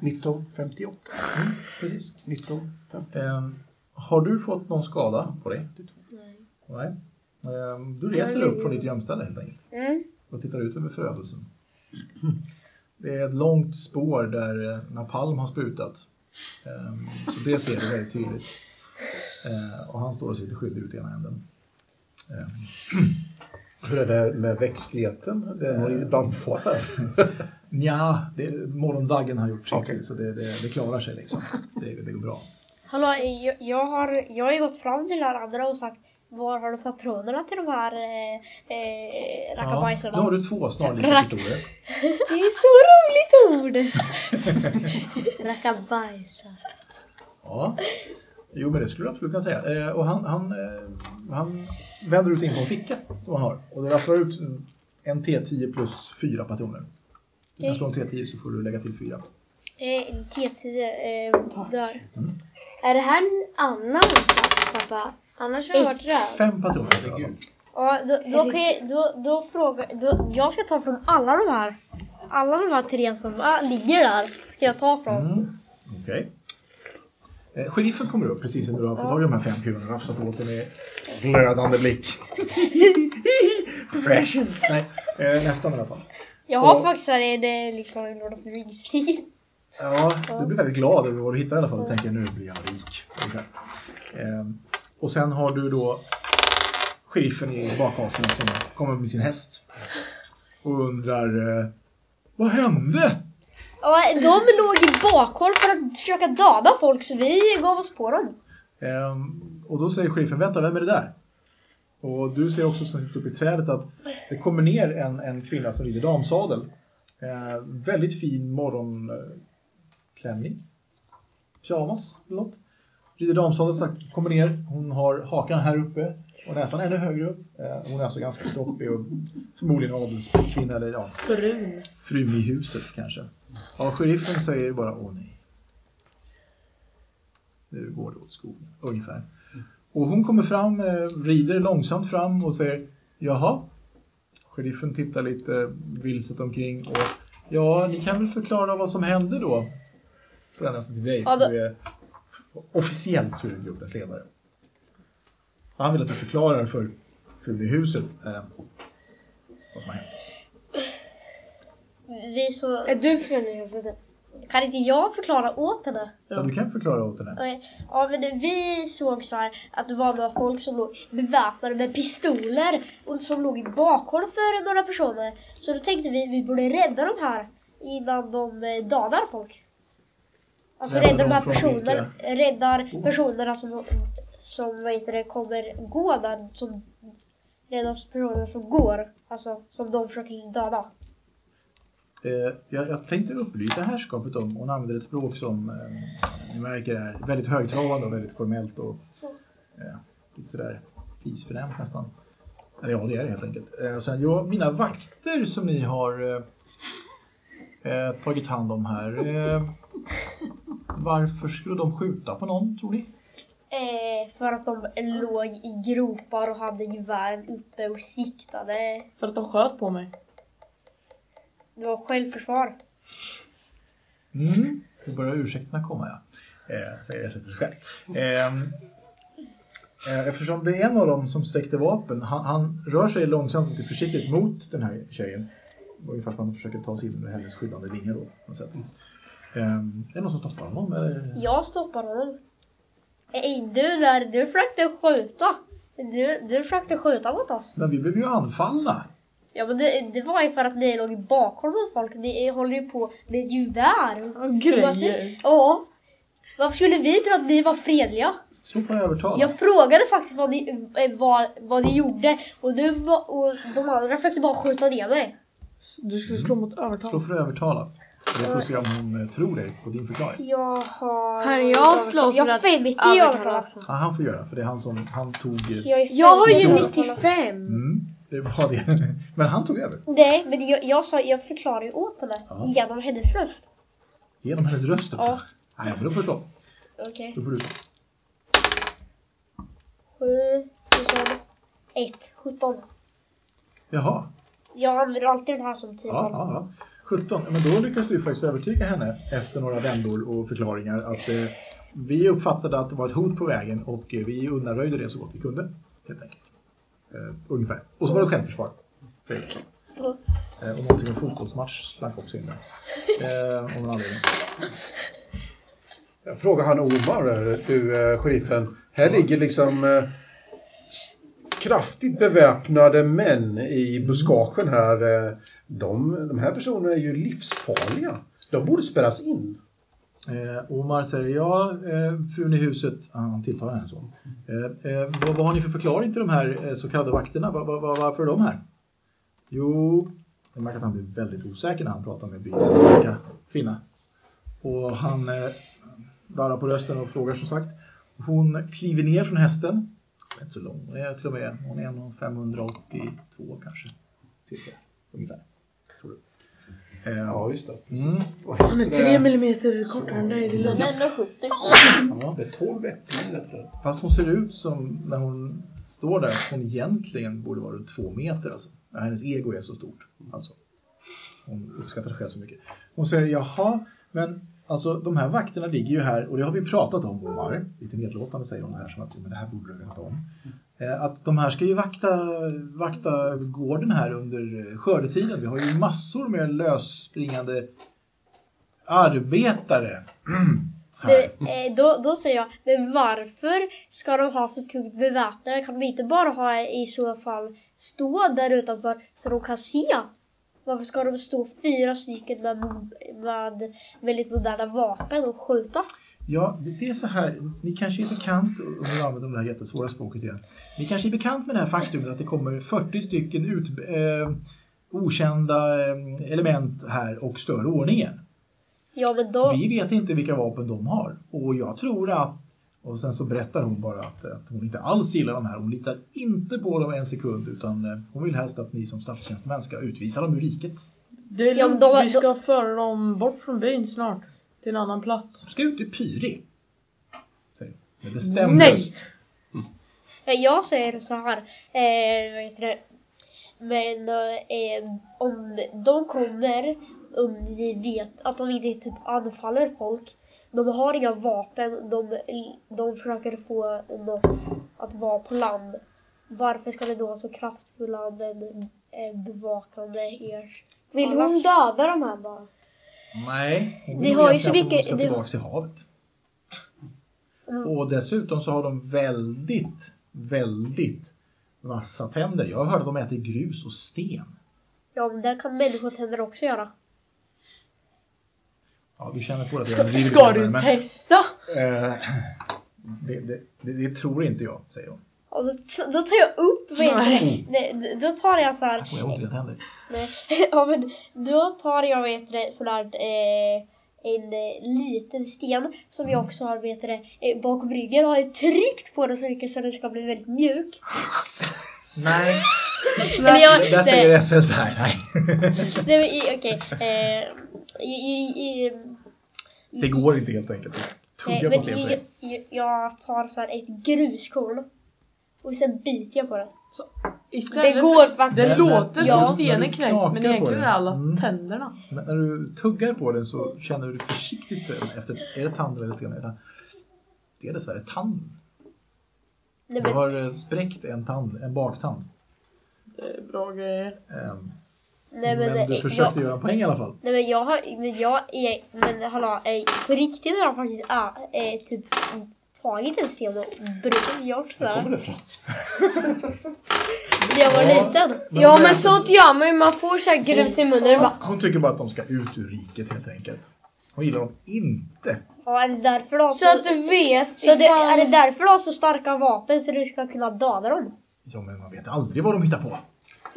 Speaker 7: 1958.
Speaker 6: Mm, Precis.
Speaker 7: 1950.
Speaker 6: Ehm, har du fått någon skada på dig? Nej. Nej. Ehm, du reser dig upp från ditt gömställe helt enkelt.
Speaker 8: Mm.
Speaker 6: Och tittar ut över förödelsen. Det är ett långt spår där eh, napalm har sprutat. Ehm, Så det ser du väldigt tydligt. Eh, Och han står och sitter skyldig ut i ena änden. Ehm,
Speaker 7: Hur är det med växtligheten? Den var ibland farlig.
Speaker 6: Nja, det är morgondagen har gjort sitt
Speaker 7: Okej.
Speaker 6: så det, det, det klarar sig liksom. Det, det går bra.
Speaker 2: Hallå, jag, jag, har, jag har ju gått fram till de här andra och sagt var har du patronerna till de här eh, eh,
Speaker 6: då har
Speaker 2: rackabajsarna?
Speaker 6: du två snarlika pistoler.
Speaker 8: Det är så roligt ord!
Speaker 2: Rackabajsar.
Speaker 6: Ja. Jo, men det skulle du absolut kunna säga. Eh, och han, han, eh, han vänder ut in på en ficka som han har. Och det rasslar ut en T10 plus fyra patroner. När jag slår en T10 så får du lägga till fyra.
Speaker 2: Eh, en T10 eh, dör.
Speaker 8: Är det här en annan sats pappa? Annars har jag varit röd.
Speaker 6: Fem patroner.
Speaker 2: Ja, då, då kan jag, då, då frågar, då, jag ska ta från alla de här. Alla de här tre som ah, ligger där ska jag ta från.
Speaker 6: Mm. Okej. Eh, sheriffen kommer upp precis när du har fått tag i de här fem kulorna och rafsat åt dig med glödande blick. Precious! Nej, eh, nästan i alla fall.
Speaker 2: Jag har
Speaker 6: Och-
Speaker 2: faktiskt här är det liksom en Lord of the rings
Speaker 6: Ja, du blir väldigt glad över vad du hittar i alla fall. Du tänker nu blir jag rik. Ungefär. Ehm, och sen har du då sheriffen i bakhasorna som kommer med sin häst. Och undrar, eh, vad hände?
Speaker 2: Ja, de låg i bakhåll för att försöka döda folk så vi gav oss på dem.
Speaker 6: Ehm, och då säger sheriffen, vänta, vem är det där? Och du ser också som sitter uppe i trädet att det kommer ner en, en kvinna som rider damsadel. Eh, väldigt fin morgonklänning. Pyjamas eller något. Rider damsadel, så kommer ner. Hon har hakan här uppe och näsan ännu högre upp. Eh, hon är alltså ganska stroppig och förmodligen adelskvinna eller ja,
Speaker 4: Frun.
Speaker 6: frun i huset kanske. Ja, sheriffen säger bara åh nej. Nu går det åt skogen, ungefär. Och hon kommer fram, eh, rider långsamt fram och säger jaha. Sheriffen tittar lite vilset omkring och ja, ni kan väl förklara vad som hände då? Så han alltså till dig,
Speaker 2: Ja,
Speaker 6: för
Speaker 2: då-
Speaker 6: du är officiellt turgruppens ledare. Han vill att du förklarar för frun i huset eh, vad som har hänt.
Speaker 2: Vi så...
Speaker 8: Är du från huset?
Speaker 2: Kan inte jag förklara åt henne?
Speaker 6: Ja, du kan förklara åt henne.
Speaker 2: Nej, Ja, men vi såg så här att det var några folk som låg beväpnade med pistoler och som låg i bakhåll för några personer. Så då tänkte vi vi borde rädda de här innan de eh, dödar folk. Alltså
Speaker 6: Rädda
Speaker 2: rädda de
Speaker 6: dem
Speaker 2: här
Speaker 6: från
Speaker 2: personerna, räddar personerna som, som vad heter det, kommer gå där. Som, rädda personer som går, alltså som de försöker döda.
Speaker 6: Eh, jag, jag tänkte upplysa herrskapet om, hon använder ett språk som eh, ni märker är väldigt högtravande och väldigt formellt och eh, lite sådär fisförnämt nästan. Eller ja, det är det helt enkelt. Eh, sen, jo, mina vakter som ni har eh, eh, tagit hand om här. Eh, varför skulle de skjuta på någon, tror ni?
Speaker 2: Eh, för att de låg i gropar och hade gevären uppe och siktade.
Speaker 4: För att de sköt på mig.
Speaker 2: Det var självförsvar.
Speaker 6: Mm. Då börjar ursäkterna komma, ja. Eh, säger jag sig för själv. Ehm, eh, eftersom det är en av dem som sträckte vapen, han, han rör sig långsamt och lite försiktigt mot den här tjejen. Ungefär som att han försöker ta sig in under hennes skyddande vingar då. på något sätt. Ehm, är det någon som stoppar honom? eh, eller?
Speaker 2: Jag stoppar honom. Ey, du där, du försökte skjuta. Du, du försökte skjuta mot oss.
Speaker 6: Men vi blev ju anfallna.
Speaker 2: Ja, men det, det var ju för att ni låg bakom mot folk. Ni håller ju på med ett gevär.
Speaker 4: Och
Speaker 2: Varför-
Speaker 4: grejer.
Speaker 2: Ja. Varför skulle vi tro att ni var fredliga?
Speaker 6: Slå på övertala.
Speaker 2: Jag frågade faktiskt vad ni, eh, vad, vad ni gjorde och, du, va- och de andra försökte bara skjuta ner mig.
Speaker 4: Du skulle slå mot
Speaker 6: Slå
Speaker 4: övertal.
Speaker 6: för övertala. Jag får se om hon eh, tror dig på din förklaring.
Speaker 2: Jag har...
Speaker 8: Kan jag slå för
Speaker 2: jag
Speaker 8: att
Speaker 2: fem, inte jag
Speaker 8: övertala
Speaker 2: övertala.
Speaker 8: också?
Speaker 6: Ja, han får göra, för det är han som han tog... eh,
Speaker 2: Jag, är
Speaker 8: Jag har ju
Speaker 2: fem-
Speaker 8: 95.
Speaker 6: Mm, det var det. Men han tog över.
Speaker 2: Nej, men jag, jag, sa, jag förklarar ju åt henne
Speaker 6: Ja.
Speaker 2: genom hennes röst.
Speaker 6: Genom hennes röst också.
Speaker 2: Ja.
Speaker 6: Nej, men då får du slå.
Speaker 2: Okej.
Speaker 6: Då får du slå.
Speaker 2: Sju, och sen ett, sjutton.
Speaker 6: Jaha.
Speaker 2: Jag använder alltid den här som
Speaker 6: Ja,
Speaker 2: tilltal.
Speaker 6: ja, ja. 17. Ja, Men då lyckas du faktiskt övertyga henne efter några vändor och förklaringar att eh, vi uppfattade att det var ett hot på vägen och eh, vi undanröjde det så gott vi kunde. Helt enkelt. Eh, ungefär. Och så var det självförsvar. säger du. Eh, och någonting om fotbollsmatch slank också in där. Eh, av någon anledning.
Speaker 7: Jag frågar han Omar, där, fru eh, sheriffen. Här ligger liksom eh, s- kraftigt beväpnade män i buskagen här. Eh, de, de här personerna är ju livsfarliga. De borde spärras in.
Speaker 6: Eh, Omar säger, ja, eh, frun i huset, ah, han tilltalar henne så. Eh, eh, vad, vad har ni för förklaring till de här eh, så kallade vakterna? Va, va, va, varför är de här? Jo, jag märker att han blir väldigt osäker när han pratar med byns starka kvinna. Och han eh, darrar på rösten och frågar som sagt. Hon kliver ner från hästen. Hon är Inte så lång, hon är till och med hon är 1,582 kanske. Cirka, ungefär. Tror du. Eh,
Speaker 7: Ja, just det. Precis.
Speaker 6: Mm.
Speaker 7: Och
Speaker 4: Han är
Speaker 7: hästen
Speaker 4: tre
Speaker 7: är...
Speaker 4: millimeter kortare än dig, det är lugnt.
Speaker 3: Men ändå 70.
Speaker 6: ja.
Speaker 7: Det är tolv äpplen i detta.
Speaker 6: Fast hon ser ut som, när hon står där, att hon egentligen borde vara runt två meter. Alltså. Hennes ego är så stort. Alltså. Hon uppskattar sig själv så mycket. Hon säger, jaha, men alltså de här vakterna ligger ju här och det har vi pratat om, Omar. Lite nedlåtande säger hon det här som att, "Jo, men det här borde du veta om. Eh, Att de här ska ju vakta, vakta gården här under eh, skördetiden. Vi har ju massor med lösspringande arbetare. här.
Speaker 2: Det, eh, då, då säger jag, men varför ska de ha så tungt beväpnade? Kan de inte bara ha i så fall stå där utanför så de kan se? Varför ska de stå fyra stycken med, med väldigt moderna vapen och skjuta?
Speaker 6: Ja, det, det är så här. Ni kanske är bekant, och nu använder de det här jättesvåra språket igen. Ni kanske är bekant med det här faktumet att det kommer 40 stycken ut, eh, okända eh, element här och stör ordningen.
Speaker 2: Ja men då,
Speaker 6: Vi vet inte vilka vapen de har. Och jag tror att... Och sen så berättar hon bara att, att hon inte alls gillar de här. Hon litar inte på dem en sekund utan eh, hon vill helst att ni som statstjänstemän ska utvisa dem ur riket.
Speaker 4: Det är
Speaker 2: Ja,
Speaker 4: lugnt,
Speaker 2: men då-
Speaker 4: vi ska föra dem bort från byn snart. Till en annan plats.
Speaker 6: De ska ut i Pyri. Säger hon. Med bestämd
Speaker 4: Nej.
Speaker 6: röst.
Speaker 2: Ja, Jag säger så här. Eh, vad heter det? Men eh, om de kommer, om ni vet att de inte typ anfaller folk. De har inga vapen, de, de försöker få något att vara på land. Varför ska ni då ha så kraftfulla men eh, bevakande er?
Speaker 8: Vill hon döda de här bara?
Speaker 6: Nej, hon
Speaker 2: Ni
Speaker 6: vill
Speaker 2: har ju
Speaker 6: egentligen
Speaker 2: så
Speaker 6: att de
Speaker 2: mycket-
Speaker 6: ska
Speaker 2: ni-
Speaker 6: tillbaka till havet. Och dessutom så har de väldigt, väldigt vassa tänder. Jag hörde att de äter grus och sten.
Speaker 2: Ja, men det kan människotänder också göra.
Speaker 6: Ja, du känner på det. att jag
Speaker 4: Ska,
Speaker 6: driver
Speaker 4: ska
Speaker 6: med det,
Speaker 4: du
Speaker 6: men,
Speaker 4: testa?
Speaker 6: eh, det, det, det, det tror inte jag, säger hon.
Speaker 2: Och då, då tar jag upp, vad heter det? Nej, Då tar jag så här.
Speaker 6: Och jag har ont i dina tänder.
Speaker 2: Nej. ja, men då tar jag vet du, det, sån här, eh, en eh, liten sten som
Speaker 6: Mm.
Speaker 2: jag också har vet du, det, eh, bakom ryggen och har ju tryckt på den så mycket så den ska bli väldigt mjuk.
Speaker 6: Nej,
Speaker 2: Eller jag,
Speaker 6: där säger SL så här. Nej.
Speaker 2: nej, nej, men i- okej. Eh, i- i- i- i-
Speaker 6: Det går inte helt enkelt.
Speaker 2: Nej,
Speaker 6: Tugga på
Speaker 2: men
Speaker 6: sten för
Speaker 2: jag,
Speaker 6: dig.
Speaker 2: jag, jag tar så här ett gruskorn och sen biter jag på den.
Speaker 4: Istället
Speaker 8: Det går
Speaker 4: för- Det
Speaker 6: Men-
Speaker 4: låter
Speaker 6: Ja.
Speaker 4: som
Speaker 6: Men
Speaker 4: stenen
Speaker 6: du
Speaker 4: knäcks
Speaker 6: knakar
Speaker 4: men
Speaker 6: på
Speaker 4: egentligen
Speaker 6: den.
Speaker 4: är alla
Speaker 6: Mm.
Speaker 4: tänderna.
Speaker 6: Men när du tuggar på den så känner du försiktigt sen efter, är det tanden eller stenen? Det är dessvärre tanden.
Speaker 2: Nej,
Speaker 6: Du
Speaker 2: men,
Speaker 6: har eh, spräckt en tand, en baktand.
Speaker 4: Det är bra grejer.
Speaker 6: Ehm,
Speaker 2: nej, men,
Speaker 6: men du
Speaker 2: eh,
Speaker 6: försökte göra en poäng i alla fall.
Speaker 2: Nej men jag har, men jag är, men hallå, eh, på riktigt har jag faktiskt äh, eh, typ tagit en sten och brutit och gjort sådär.
Speaker 7: det ifrån?
Speaker 2: När jag var liten.
Speaker 8: Ja men sånt gör man ju, man får såhär grus i munnen och
Speaker 2: Mm.
Speaker 8: bara
Speaker 6: Hon tycker bara att de ska ut ur riket helt enkelt. Hon gillar dem inte.
Speaker 2: Ja, är det därför du har
Speaker 8: Så att
Speaker 2: så,
Speaker 8: du vet
Speaker 2: så det,
Speaker 8: ifall-
Speaker 2: är det därför du har så starka vapen så du ska kunna döda dem?
Speaker 6: Ja, men man vet aldrig vad de hittar på.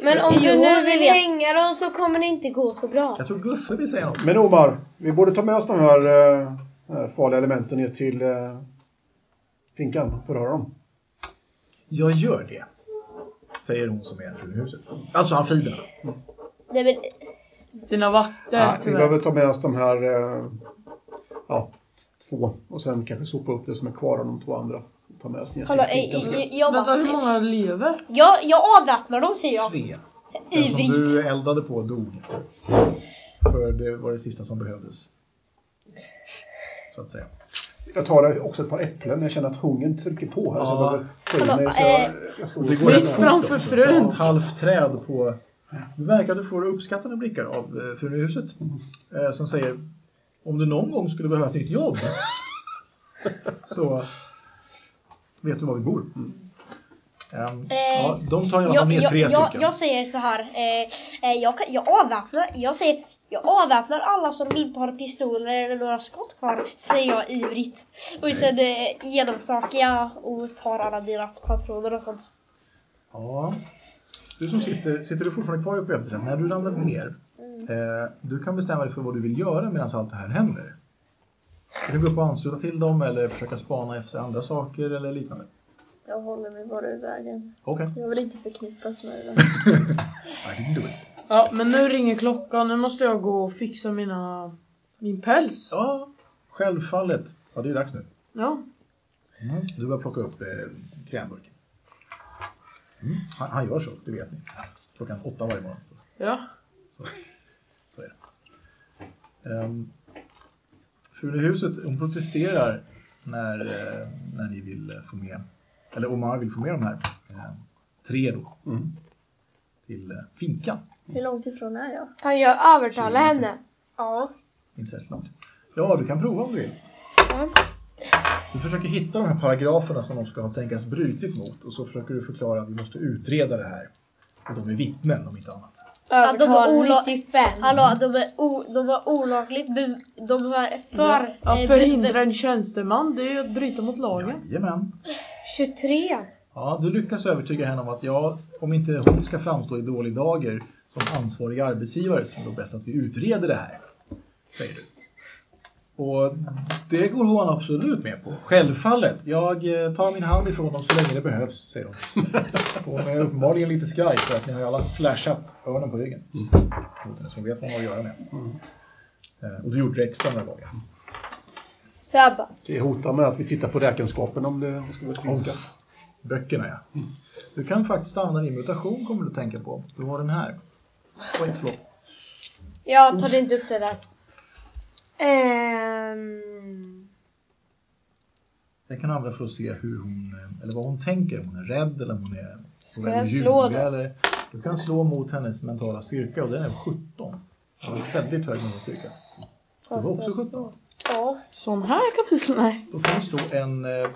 Speaker 8: Men om
Speaker 2: Jo,
Speaker 8: du nu
Speaker 2: vi
Speaker 8: vill
Speaker 2: vet.
Speaker 8: hänga dem så kommer det inte gå så bra.
Speaker 6: Jag tror Guffe vill säga något.
Speaker 7: Men Omar, vi borde ta med oss de här, eh, de här farliga elementen ner till eh, finkan för att höra dem.
Speaker 6: Jag gör det. Säger hon som är fru i huset. Alltså amfibierna.
Speaker 2: Nej men,
Speaker 4: Dina vakter
Speaker 7: Nej, vi
Speaker 4: tyvärr.
Speaker 7: behöver ta med oss de här eh, ja, två och sen kanske sopa upp det som är kvar av de två andra. Ta med oss ner
Speaker 2: hallå,
Speaker 7: till
Speaker 2: eh,
Speaker 7: finkan. ska-
Speaker 2: eh, jag
Speaker 4: Vänta
Speaker 2: bara,
Speaker 4: hur många lever?
Speaker 2: jag, jag avväpnar dem säger jag.
Speaker 6: Tre. Den som
Speaker 2: Ivrigt.
Speaker 6: du eldade på dog. För det var det sista som behövdes. Så att säga.
Speaker 7: Jag tar också ett par äpplen. Jag känner att hungern trycker på här. Så
Speaker 6: Ja.
Speaker 4: eh,
Speaker 7: jag behöver få i mig. Så jag, jag står
Speaker 6: Det går rätt
Speaker 4: Mitt
Speaker 6: fort
Speaker 4: framför
Speaker 6: också, så
Speaker 4: frun.
Speaker 6: ett Halvt träd på Det verkar att du får uppskattande blickar av eh, frun i huset. Eh, som säger, om du någon gång skulle behöva ett nytt jobb så vet du var vi bor. Mm. Ehm, ja, de tar i
Speaker 2: Eh,
Speaker 6: alla fall
Speaker 2: Jag,
Speaker 6: med
Speaker 2: jag,
Speaker 6: tre
Speaker 2: jag,
Speaker 6: stycken.
Speaker 2: jag säger så här. Eh, eh, jag, kan- jag avväpnar. Jag säger. Jag avväpnar alla som inte har pistoler eller några skott kvar, säger jag ivrigt. Och sen eh, genomsöker jag och tar alla deras patroner och sånt.
Speaker 6: Ja. Du som sitter, sitter du fortfarande kvar uppe i öppningen? När du ramlade ner, eh, du kan bestämma dig för vad du vill göra medan allt det här händer. Kan du gå upp och ansluta till dem eller försöka spana efter andra saker eller liknande?
Speaker 3: Jag håller mig bara i vägen.
Speaker 6: Okej,
Speaker 3: Jag vill inte förknippas med det.
Speaker 6: I can do it.
Speaker 4: Ja, men nu ringer klockan. Nu måste jag gå och fixa mina... Min päls.
Speaker 6: Ja, självfallet. Ja, det är dags nu.
Speaker 4: Ja.
Speaker 6: Du börjar plocka upp eh, krämburken. Mm. Han, han gör så, det vet ni. Klockan åtta varje morgon.
Speaker 4: Ja.
Speaker 6: Så är det. Um, frun i huset, hon protesterar när, eh, när ni vill eh, få med, eller Omar vill få med de här eh, tre då. Till eh, finkan.
Speaker 3: Hur långt ifrån är jag?
Speaker 8: Kan jag övertala henne?
Speaker 2: Ja.
Speaker 6: Inte särskilt långt. Ja, du kan prova om du vill. Du försöker hitta de här paragraferna som de ska ha tänkas brutit mot och så försöker du förklara att vi måste utreda det här. Och de är vittnen om inte annat.
Speaker 2: de var
Speaker 8: Övertala
Speaker 2: olag-
Speaker 8: 95.
Speaker 2: Hallå, de är, o, de var olagligt be, De var för...
Speaker 4: Att
Speaker 2: eh,
Speaker 4: förhindra en tjänsteman, det är att bryta mot lagen.
Speaker 6: Jajamän.
Speaker 8: 23.
Speaker 6: Ja, du lyckas övertyga henne om att ja, om inte hon ska framstå i dålig dager som ansvarig arbetsgivare så är det bäst att vi utreder det här. Säger du. Och det går hon absolut med på. Självfallet. Jag eh, tar min hand ifrån dem så länge det behövs, säger hon. Hon är uppenbarligen lite skraj för att ni har ju alla flashat öronen på ryggen. Mot henne, Så hon vet vad hon har att göra med. Eh, Och du gjorde det extra några gånger.
Speaker 8: Sabba.
Speaker 7: Det hotar med att vi tittar på räkenskapen om det skulle trilskas.
Speaker 6: Böckerna ja. Du kan faktiskt använda din mutation kommer du att tänka på. Du har den här. Oj, förlåt.
Speaker 8: Jag tar inte upp det där. Ehm,
Speaker 6: Den kan använda för att se hur hon, eh, eller vad hon tänker. Om hon är rädd eller om hon är Ska
Speaker 8: jag slå då?
Speaker 6: eller, Du kan slå mot hennes mentala styrka och den är 17. Den är väldigt hög mental styrka. Du var också 17.
Speaker 2: Ja.
Speaker 4: Sån här kapitel, nej.
Speaker 6: Då kan du slå en eh,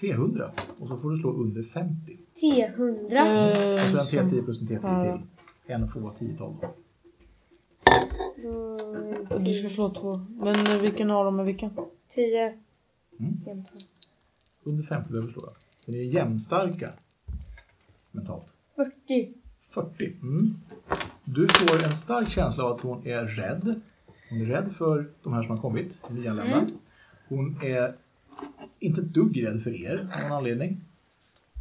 Speaker 6: T100 och så får du slå under 50.
Speaker 8: T100.
Speaker 4: Eh,
Speaker 6: Alltså en
Speaker 4: som-
Speaker 6: T10 plus en T10 till. En får vara 10-12. Mm.
Speaker 2: Mm,
Speaker 4: Du ska slå två. Men eh, vilken av dem är vilken?
Speaker 8: 10.
Speaker 6: Under 50 behöver du slå. Så ni är jämnstarka mentalt.
Speaker 8: 40.
Speaker 6: 40. Mm. Du får en stark känsla av att hon är rädd. Hon är rädd för de här som har kommit, de nyanlända.
Speaker 2: Mm.
Speaker 6: Hon är inte ett dugg rädd för er av någon anledning.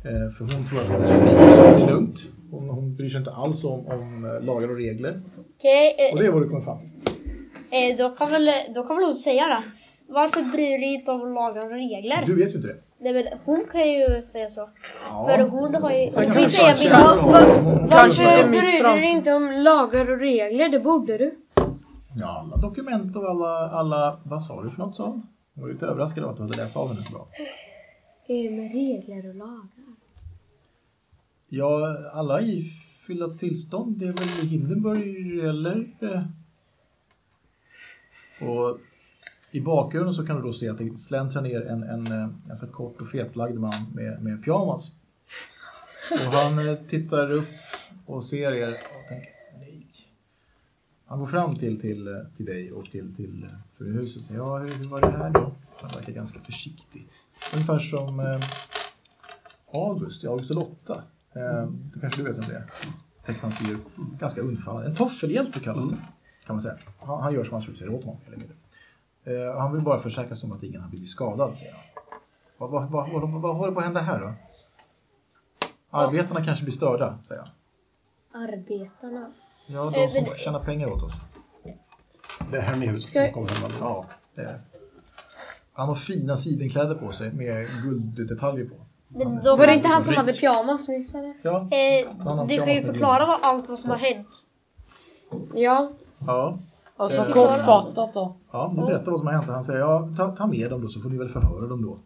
Speaker 6: Eh, för hon tror att hon är så rik så det är lugnt. Hon, hon bryr sig inte alls om, om eh, lagar och regler.
Speaker 2: Okej, eh,
Speaker 6: Och det är vad du kommer fram till.
Speaker 2: eh, då, kan väl, då kan väl hon säga det. Varför bryr du dig inte om lagar och regler?
Speaker 6: Du vet ju inte det.
Speaker 2: Nej men hon kan ju säga så.
Speaker 6: Ja.
Speaker 2: För hon har ju...
Speaker 6: Jag
Speaker 2: Hon
Speaker 6: kan
Speaker 2: vill säga
Speaker 6: säga stark
Speaker 2: min...
Speaker 6: känsla av att hon-
Speaker 8: Varför
Speaker 4: Kanske mitt
Speaker 8: bryr du
Speaker 4: framför.
Speaker 8: dig inte om lagar och regler? Det borde du.
Speaker 6: Ja, alla dokument och alla, alla... Vad sa du för något sa hon? Hon var lite överraskad av att du hade läst av henne så bra.
Speaker 8: Det är med regler och lagar.
Speaker 6: Ja, alla ifyllda tillstånd, det är väl Hindenburg eller? eh. Och i bakgrunden så kan du då se att det släntrar ner en, en eh, ganska kort och fetlagd man med, med pyjamas. Och han eh, tittar upp och ser er och tänker nej. Han går fram till, till, eh, till dig och till, till eh, fruhuset och säger ja, hur, hur var det här då? Han verkar ganska försiktig. Ungefär som eh, August i August och Lotta. Eh, det kanske du vet om det är? Tecknadsfigur. Ganska undfallande. En toffelhjälte kallas det. Kan man säga. Han, han gör som hans fru säger åt honom. Eller mindre. eh, han vill bara försäkra sig om att ingen har blivit skadad, säger han. Vad, vad, vad, vad, vad, vad håller på att hända här då? Arbetarna kanske blir störda, säger han.
Speaker 8: Arbetarna.
Speaker 6: Ja, de som tjänar pengar åt oss.
Speaker 7: Det är Hernelius som kommer hända.
Speaker 6: Ja, det är det. Han har fina sidenkläder på sig med gulddetaljer på.
Speaker 2: Men
Speaker 6: Så
Speaker 2: då kan
Speaker 8: Var det
Speaker 6: han
Speaker 8: inte
Speaker 6: ser
Speaker 8: han som
Speaker 6: rik.
Speaker 8: hade pyjamas nyss eller?
Speaker 6: Ja,
Speaker 2: Eh, du kan ju förklara vad, allt vad som har hänt.
Speaker 8: Ja.
Speaker 6: ja.
Speaker 4: Alltså
Speaker 6: Eh,
Speaker 4: kortfattat då.
Speaker 6: Ja, du berättar vad som har hänt. Han säger ja, ta, ta med dem då så får ni väl förhöra dem då. helt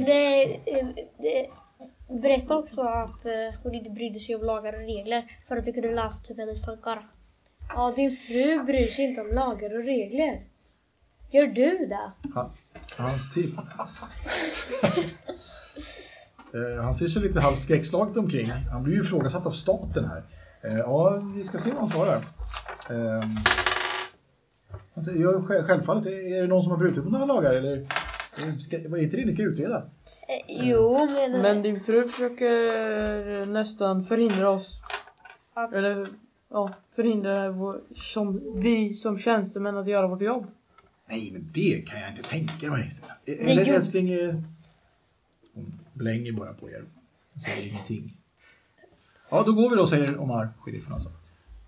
Speaker 2: Men
Speaker 6: enkelt.
Speaker 2: eh, eh, eh, Berätta också att eh, hon inte brydde sig om lagar och regler för att vi kunde läsa typ hennes tankar.
Speaker 8: Ja, din fru bryr sig inte om lagar och regler. Gör du det?
Speaker 6: Alltid. Eh, han ser sig lite halvt skräckslaget omkring. Han blir ju ifrågasatt av staten här. Eh, Ja, vi ska se vad han svarar. Eh, Han säger, ja, själv- självfallet, är är det någon som har brutit mot några lagar eller? eh, Ska, vad är inte det ni ska utreda?
Speaker 2: Eh, jo, men,
Speaker 4: Men din fru försöker eh, nästan förhindra oss.
Speaker 2: Att-
Speaker 4: Eller ja, förhindra vår, som, vi som tjänstemän att göra vårt jobb.
Speaker 6: Nej, men det kan jag inte tänka mig.
Speaker 2: Det
Speaker 6: Eller
Speaker 2: gjorde-
Speaker 6: älskling... eh, Hon blänger bara på er. Hon säger ingenting. Ja, då går vi då, säger Omar, sheriffen alltså.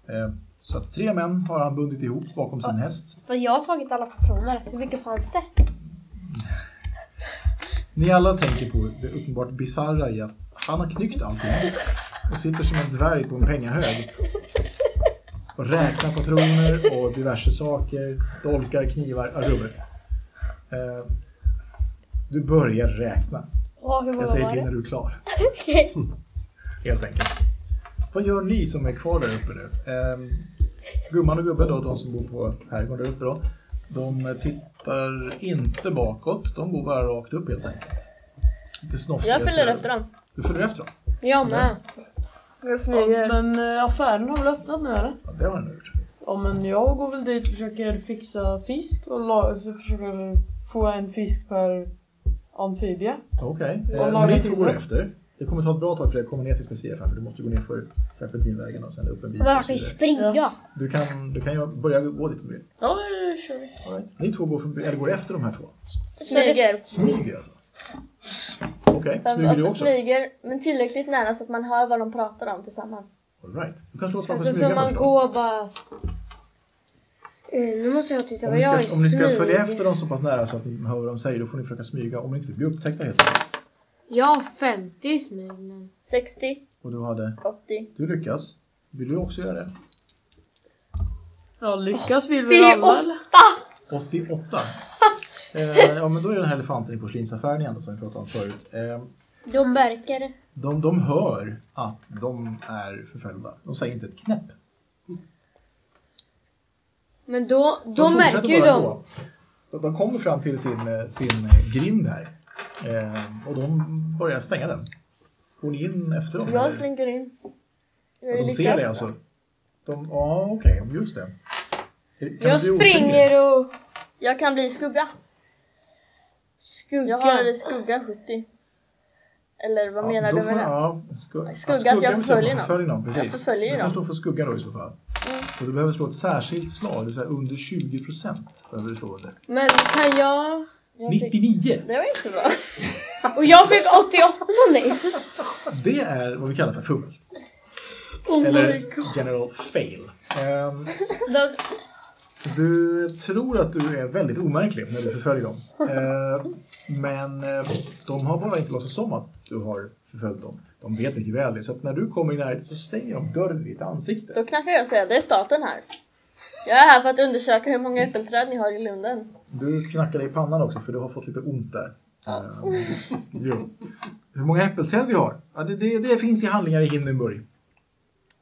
Speaker 6: Eh, Så att tre män har han bundit ihop bakom sin häst.
Speaker 2: för jag har tagit alla patroner. Hur mycket fanns det?
Speaker 6: Ni alla tänker på det uppenbart bisarra i att han har knyckt allting och sitter som en dvärg på en pengahög. Och räknar patroner och diverse saker, dolkar, knivar, ja, rubbet. Eh, Du börjar räkna.
Speaker 2: Ja, hur många
Speaker 6: Jag säger
Speaker 2: var
Speaker 6: till
Speaker 2: det?
Speaker 6: när du är klar. Mm.
Speaker 2: Okej.
Speaker 6: Helt enkelt. Vad gör ni som är kvar där uppe nu? Ehm, gumman och gubben då, de som bor på herrgården där uppe då. De tittar inte bakåt, de går bara rakt upp helt enkelt. Lite snofsiga.
Speaker 3: Jag följer
Speaker 6: ser
Speaker 3: efter dem.
Speaker 6: Du följer efter dem?
Speaker 8: Jag med.
Speaker 3: Jag
Speaker 4: Ja,
Speaker 3: smyger.
Speaker 4: men eh, affären har väl öppnat nu eller?
Speaker 6: Ja, det har den gjort.
Speaker 4: Ja men jag går väl dit och försöker fixa fisk och la, försöker få en fisk per amfibie.
Speaker 6: Okej.
Speaker 4: Vad
Speaker 6: Eh,
Speaker 4: lagar
Speaker 6: och ni
Speaker 4: till
Speaker 6: tror
Speaker 4: det?
Speaker 6: efter. Det kommer ta ett bra tag för er att komma ner till specifan för du måste gå ner för serpentinvägen och sen upp en bit.
Speaker 2: Men han
Speaker 6: och så
Speaker 2: kan ju
Speaker 6: vidare.
Speaker 2: springa.
Speaker 6: Du kan, du kan ju börja gå dit om du vill.
Speaker 4: Ja, det kör vi.
Speaker 6: All right. Ni två går, förbi, eller går efter de här två.
Speaker 2: Så det-
Speaker 3: Smyger.
Speaker 6: Smyger alltså? Okej, smyger du också?
Speaker 3: Smyger, men tillräckligt nära så att man hör vad de pratar om tillsammans.
Speaker 6: All right. Du kan slå ett slag för
Speaker 8: Alltså så
Speaker 6: smyga
Speaker 8: man
Speaker 6: först då.
Speaker 8: går bara... Eh, nu måste jag titta
Speaker 6: Om
Speaker 8: vad
Speaker 6: ni,
Speaker 8: jag
Speaker 6: ska, om ni ska
Speaker 8: smyger.
Speaker 6: följa efter dem så pass nära så att ni hör vad de säger, då får ni försöka smyga om ni inte vill bli upptäckta helt enkelt.
Speaker 8: Jag har 50 i smyg men...
Speaker 3: 60,
Speaker 6: Och du hade,
Speaker 3: 80.
Speaker 6: du lyckas. Vill du också göra det?
Speaker 4: Ja, lyckas vill
Speaker 8: det
Speaker 4: vi
Speaker 8: är
Speaker 4: alla eller?
Speaker 6: 88. eh, ja, men då är den här elefanten i porslinsaffären igen då, som vi pratade om förut. Eh,
Speaker 2: De märker.
Speaker 6: de, de hör att de är förföljda. De säger inte ett knäpp.
Speaker 8: Men då, då
Speaker 6: De fortsätter
Speaker 8: märker ju
Speaker 6: bara
Speaker 8: de.
Speaker 6: gå. De, de kommer fram till sin, eh, sin grind här. Eh, och de börjar stänga den. Går ni in efter dem? eller?
Speaker 3: Jag slinker in. Jag
Speaker 6: Ja, de ser det alltså? De, ja, okej, just det. Är- kan
Speaker 8: Jag
Speaker 6: man bli osynlig?
Speaker 8: springer och
Speaker 3: Jag kan bli skugga. Jag har
Speaker 8: skuggar.
Speaker 3: i skugga 70. Eller vad
Speaker 6: Ja,
Speaker 3: menar
Speaker 6: då
Speaker 3: du
Speaker 6: får-
Speaker 3: med det?
Speaker 6: Ja, sku,
Speaker 3: Skugga,
Speaker 6: skugga
Speaker 3: att jag
Speaker 6: betyder
Speaker 3: förföljer
Speaker 6: att man
Speaker 3: någon.
Speaker 6: förföljer någon. Precis.
Speaker 3: Jag Mm.
Speaker 6: du
Speaker 3: förföljer
Speaker 6: kan
Speaker 3: någon.
Speaker 6: slå för skugga då i så fall. Och du behöver slå ett särskilt slag, det vill säga under 20 procent. Behöver du slå det.
Speaker 8: Men kan jag...
Speaker 3: Jag fick-
Speaker 6: 99!
Speaker 3: Det var inte så bra.
Speaker 8: Och jag fick 88 nyss.
Speaker 6: Det är vad vi kallar för fuml.
Speaker 4: Oh
Speaker 6: Eller
Speaker 4: my god.
Speaker 6: general fail. Ehm,
Speaker 8: Då-
Speaker 6: Du tror att du är väldigt omärklig när du förföljer dem. Eh, Men eh, de har bara inte låtsats om att du har förföljt dem. De vet mycket väl det. Så att när du kommer i närheten så stänger de dörren i ditt ansikte.
Speaker 3: Då knackar jag och säger det är staten här. Jag är här för att undersöka hur många äppelträd ni har i lunden.
Speaker 6: Du knackar dig i pannan också för du har fått lite ont där. Eh, Jo. Hur många äppelträd vi har? Ja, det, det, det finns i handlingar i Hindenburg.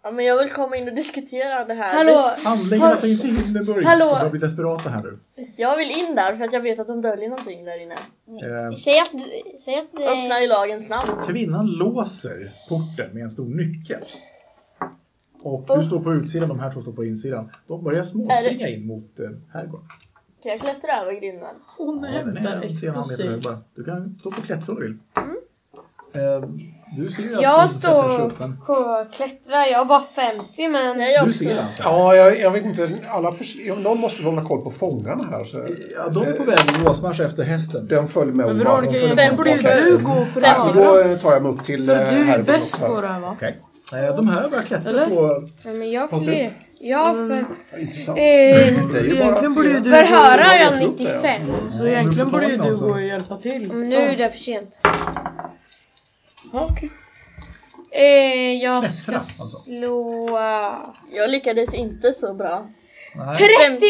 Speaker 3: Ja, men jag vill komma in och diskutera det här.
Speaker 8: Hallå!
Speaker 6: Handlingarna
Speaker 8: Har-
Speaker 6: finns i Hindenburg.
Speaker 8: Hallå?
Speaker 6: De börjar bli desperata här nu.
Speaker 3: Jag vill in där för att jag vet att de döljer någonting där inne.
Speaker 6: Eh,
Speaker 2: Säg att du... Säg att eh, du...
Speaker 3: Öppna i lagens namn.
Speaker 6: Kvinnan låser porten med en stor nyckel. Och du står på utsidan, de här två står på insidan. De börjar småspringa in mot eh, herrgården.
Speaker 3: Kan jag klättra över grinden?
Speaker 4: Hon
Speaker 6: Ja, den
Speaker 4: hämtar
Speaker 6: är en tre och en halv meter hög
Speaker 4: explosiv.
Speaker 6: bara. Du kan stå på och klättra om du vill. Eh, Du ser ju att
Speaker 8: Jag
Speaker 6: de klättrar sig
Speaker 8: står
Speaker 6: upp, men
Speaker 8: på klättra. Jag har bara 50 men...
Speaker 3: Nej, jag
Speaker 6: Du
Speaker 3: också.
Speaker 6: ser allt det här.
Speaker 7: Ja, jag, jag vet inte. Alla förs- någon måste väl hålla koll på fångarna här. Så
Speaker 6: Ja, de är på väg råsmarsch efter hästen.
Speaker 7: den följer med
Speaker 4: Men
Speaker 7: Omar, den
Speaker 4: Veronica,
Speaker 7: följer
Speaker 4: egentligen
Speaker 7: med
Speaker 4: borde ju
Speaker 7: tillbaka.
Speaker 4: du gå för det
Speaker 7: Nej, men Då
Speaker 4: här.
Speaker 7: eh, tar jag mig upp till eh,
Speaker 4: Du är ju
Speaker 7: herrgården
Speaker 4: bäst
Speaker 7: också här.
Speaker 4: på det här va?
Speaker 6: Okej. Eh, De här börjar klättra
Speaker 4: Eller?
Speaker 6: på...
Speaker 8: Nej men jag Mm.
Speaker 7: Fast
Speaker 8: fler. Jag för...
Speaker 7: Intressant.
Speaker 8: Eh,
Speaker 7: Det är ju bara
Speaker 4: Egentligen
Speaker 7: att
Speaker 4: borde ju
Speaker 7: se.
Speaker 4: du
Speaker 8: förhöra har jag
Speaker 7: Jag vet inte.
Speaker 8: 95.
Speaker 4: Så egentligen borde ju du
Speaker 6: Alltså.
Speaker 4: gå och hjälpa till.
Speaker 8: Men nu är det för sent.
Speaker 4: Ja, okej.
Speaker 8: Eh, jag
Speaker 6: Klättra,
Speaker 8: ska
Speaker 6: alltså.
Speaker 8: slå... eh,
Speaker 3: Jag lyckades inte så bra.
Speaker 8: 38!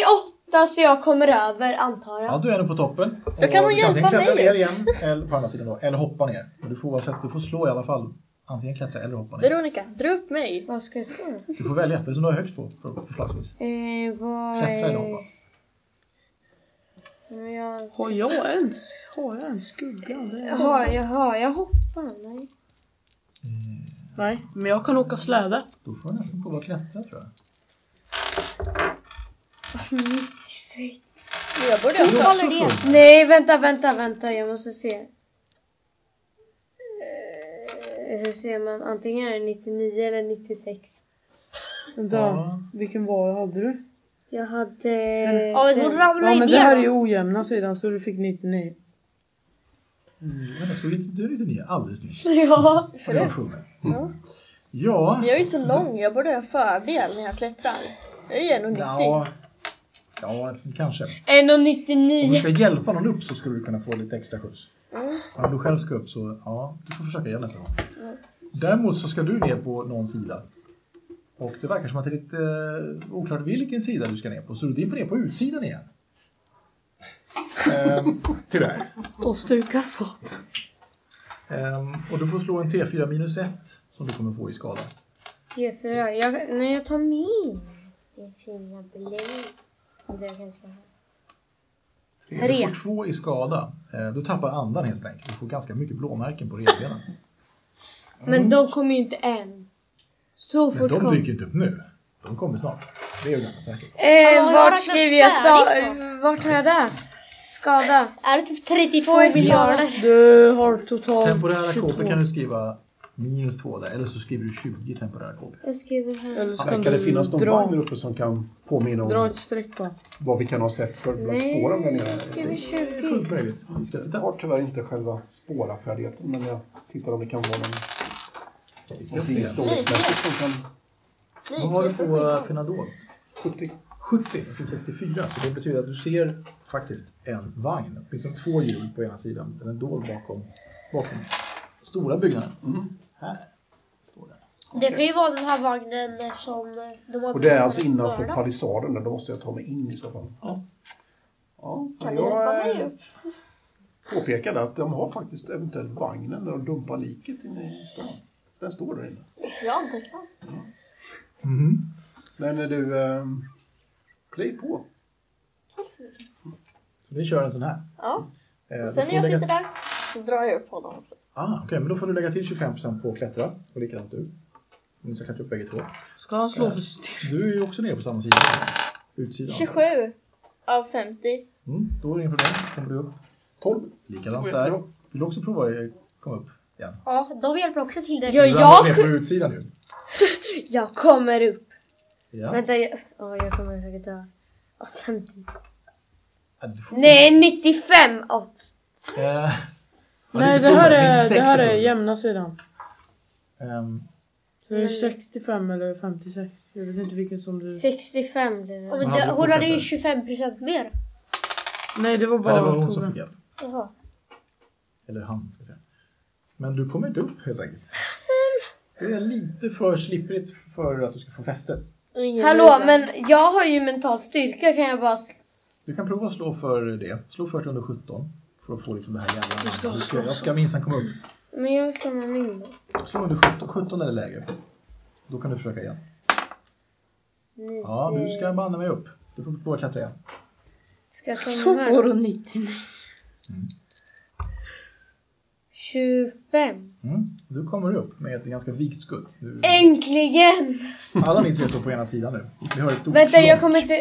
Speaker 2: åtta så jag kommer över antar jag.
Speaker 6: Ja, du är nu på toppen.
Speaker 3: Då kan hon
Speaker 6: du
Speaker 3: hjälpa
Speaker 6: antingen klättra
Speaker 3: mig.
Speaker 6: ner igen, eller på andra sidan då, eller hoppa ner. Men Du får, oavsett, du får slå i alla fall. Antingen klättra eller hoppa ner.
Speaker 3: Veronica, dra upp mig.
Speaker 8: Vad ska jag slå då?
Speaker 6: Du får välja, det är som du har högst på för- förslagsvis.
Speaker 8: Eh, vad
Speaker 6: Klättra eller hoppa.
Speaker 8: är... Men jag...
Speaker 4: Har jag ens, har jag ens skugga? Det är...
Speaker 8: Jaha, jaha, jag hoppar. Nej.
Speaker 4: Nej, men jag kan åka släde.
Speaker 6: Då får jag nästan prova att klättra tror jag.
Speaker 8: 96.
Speaker 3: Jag borde också.
Speaker 6: Också full.
Speaker 8: Nej, vänta, vänta, vänta. Jag måste se. Eh, hur ser man? Antingen är det 99 eller 96.
Speaker 4: Vänta,
Speaker 6: Ja.
Speaker 4: vilken var hade du?
Speaker 8: Jag hade... Mm.
Speaker 2: Ja, men hon
Speaker 8: den-
Speaker 2: ramlade
Speaker 4: Ja men det här är
Speaker 2: igenom.
Speaker 4: ju ojämna sidan så du fick 99.
Speaker 6: Mm, men jag slog lite- Du är lite ny, alldeles nyss.
Speaker 2: Ja.
Speaker 6: Och jag sjunger. Ja.
Speaker 3: Jag är ju så lång, jag borde ha fördel när jag klättrar. Jag är ju 1,90.
Speaker 6: Ja. Ja, kanske. Om
Speaker 8: 1,99.
Speaker 6: du ska hjälpa någon upp så skulle du kunna få lite extra skjuts. Om du själv ska upp så, ja, du får försöka igen nästa gång. Däremot så ska du ner på någon sida. Och det verkar som att det är lite eh, oklart vilken sida du ska ner på. Så du dimper ner på utsidan igen. Ehm, tyvärr.
Speaker 4: Och slukar fat.
Speaker 6: Ehm, och du får slå en T4 minus 1 som du kommer få i skada.
Speaker 8: T4. Jag, nej, jag tar min. Din fina blöja. Vänta, jag kanske ska ha-
Speaker 6: Du
Speaker 8: Tre.
Speaker 6: får två i skada. Ehm, du tappar andan helt enkelt. Du får ganska mycket blåmärken på revbenen.
Speaker 8: Men de kommer ju inte än. Så
Speaker 6: Men
Speaker 8: fort
Speaker 6: de
Speaker 8: kom.
Speaker 6: dyker inte upp nu. De kommer snart. Det är jag ganska säker på.
Speaker 2: Hallå,
Speaker 8: Eh,
Speaker 2: har jag
Speaker 8: vart
Speaker 2: räknat
Speaker 8: skriver jag sa...
Speaker 2: färdigt
Speaker 8: Vart har jag där? Skada.
Speaker 2: Är det typ 32
Speaker 8: Två i
Speaker 2: miljarder?
Speaker 8: skada.
Speaker 4: Du har totalt
Speaker 6: Temporära KP
Speaker 4: 22.
Speaker 6: kan du skriva minus två där, eller så skriver du 20 temporära KP.
Speaker 8: Jag skriver här.
Speaker 4: Eller så kan
Speaker 7: Verkar det
Speaker 4: du
Speaker 7: finnas någon
Speaker 4: dra,
Speaker 7: vagn där uppe som kan påminna
Speaker 4: dra
Speaker 7: om
Speaker 4: ett streck bara.
Speaker 7: vad vi kan ha sett för bland
Speaker 8: Nej,
Speaker 7: spåren där
Speaker 8: jag
Speaker 7: nere?
Speaker 8: skriver
Speaker 6: Det
Speaker 8: 20.
Speaker 6: är fullt möjligt. Vi ska
Speaker 7: Jag
Speaker 6: titta.
Speaker 7: har tyvärr inte själva spårafärdigheten men jag tittar om det kan vara någon
Speaker 6: Vi ska
Speaker 7: någonting
Speaker 6: se.
Speaker 7: storleksmässigt som kan...
Speaker 6: Vad har du på eh, Fenadol?
Speaker 7: 70.
Speaker 6: 70, jag slog 64. Så det betyder att du ser faktiskt en vagn. Åtminstone två hjul på ena sidan. Den är dold bakom, bakom stora byggnaden. Här står den.
Speaker 2: Det kan ju vara den här vagnen som de har
Speaker 7: Och det är
Speaker 2: byggt
Speaker 7: alltså
Speaker 2: för att
Speaker 7: innanför
Speaker 2: börda.
Speaker 7: palissaden där, då måste jag ta mig in i så fall.
Speaker 6: Ja.
Speaker 7: Ja,
Speaker 2: Kan du hjälpa
Speaker 7: jag
Speaker 2: mig
Speaker 7: eh,
Speaker 2: upp?
Speaker 7: påpekade att de har faktiskt eventuellt vagnen där de dumpar liket inne i stan. Den står där inne.
Speaker 3: Jag antecknar.
Speaker 6: Mm-hmm.
Speaker 7: Men är du... Eh, play på.
Speaker 6: Så vi kör en sån här.
Speaker 3: Ja.
Speaker 6: Eh, då
Speaker 3: Sen
Speaker 6: får
Speaker 3: när jag
Speaker 6: du lägga-
Speaker 3: sitter där så drar jag upp honom också.
Speaker 6: Ah, okej, men då får du lägga till 25 på att klättra och likadant du. Ni ska klättra upp bägge två.
Speaker 4: Ska han slå för styrka?
Speaker 6: Du är ju också nere på samma sida. Utsidan.
Speaker 3: 27 av 50.
Speaker 6: Mm, då är det inga problem. Kommer du upp.
Speaker 7: 12.
Speaker 6: Likadant
Speaker 7: Det går
Speaker 6: där.
Speaker 7: jättebra.
Speaker 6: Vill du också prova att komma upp igen?
Speaker 2: Ja, de hjälper också till det.
Speaker 8: Jag,
Speaker 6: Du ramlar ner
Speaker 8: jag,
Speaker 6: på utsidan nu.
Speaker 8: jag kommer upp.
Speaker 6: Ja.
Speaker 8: Vänta, jag, åh, jag kommer säkert dö. Åh, 50.
Speaker 6: Ja, du får-
Speaker 8: Nej, 95! Åh,
Speaker 6: Eh, ja, det är
Speaker 4: Nej
Speaker 6: inte
Speaker 4: det här
Speaker 6: full,
Speaker 4: är,
Speaker 6: 96
Speaker 4: det här är
Speaker 6: full.
Speaker 4: jämna sidan.
Speaker 6: Ehm,
Speaker 4: Så det är 65 eller 56. Jag vet inte vilken som du...
Speaker 8: 65 blir
Speaker 2: Ja,
Speaker 8: det.
Speaker 2: men
Speaker 6: Han
Speaker 2: det-
Speaker 6: hade
Speaker 2: Hon hade ju
Speaker 6: fortsatt
Speaker 2: 25% mer.
Speaker 4: Nej det var
Speaker 6: nej,
Speaker 4: bara
Speaker 6: det var hon som
Speaker 4: Tove.
Speaker 6: fick hjälp.
Speaker 2: Jaha.
Speaker 6: Eller han, ska jag säga. Men du kommer inte upp helt enkelt. Det är lite för slipprigt för att du ska få fäste.
Speaker 3: Och ingen
Speaker 8: Hallå,
Speaker 3: lider.
Speaker 8: men jag har ju mental styrka kan jag bara... s-
Speaker 6: Du kan prova att slå för det. Slå först under 17. För att få liksom det här jävla... Du ska, jag ska minsann komma upp.
Speaker 8: Men jag slår med min då.
Speaker 6: Slå under 17, 17 eller lägre. Då kan du försöka igen. Ja, du ska banne mig upp. Du får prova att klättra igen.
Speaker 8: Ska jag slå
Speaker 4: Så
Speaker 8: med den här?
Speaker 4: får
Speaker 8: då?
Speaker 4: hon 99.
Speaker 8: 25.
Speaker 6: Mm. Du kommer upp med ett ganska vikt skutt. Du,
Speaker 8: Äntligen!
Speaker 6: alla ni tre står på ena sidan nu. Vi har ett stort
Speaker 8: Vänta,
Speaker 6: slag.
Speaker 8: jag kommer inte...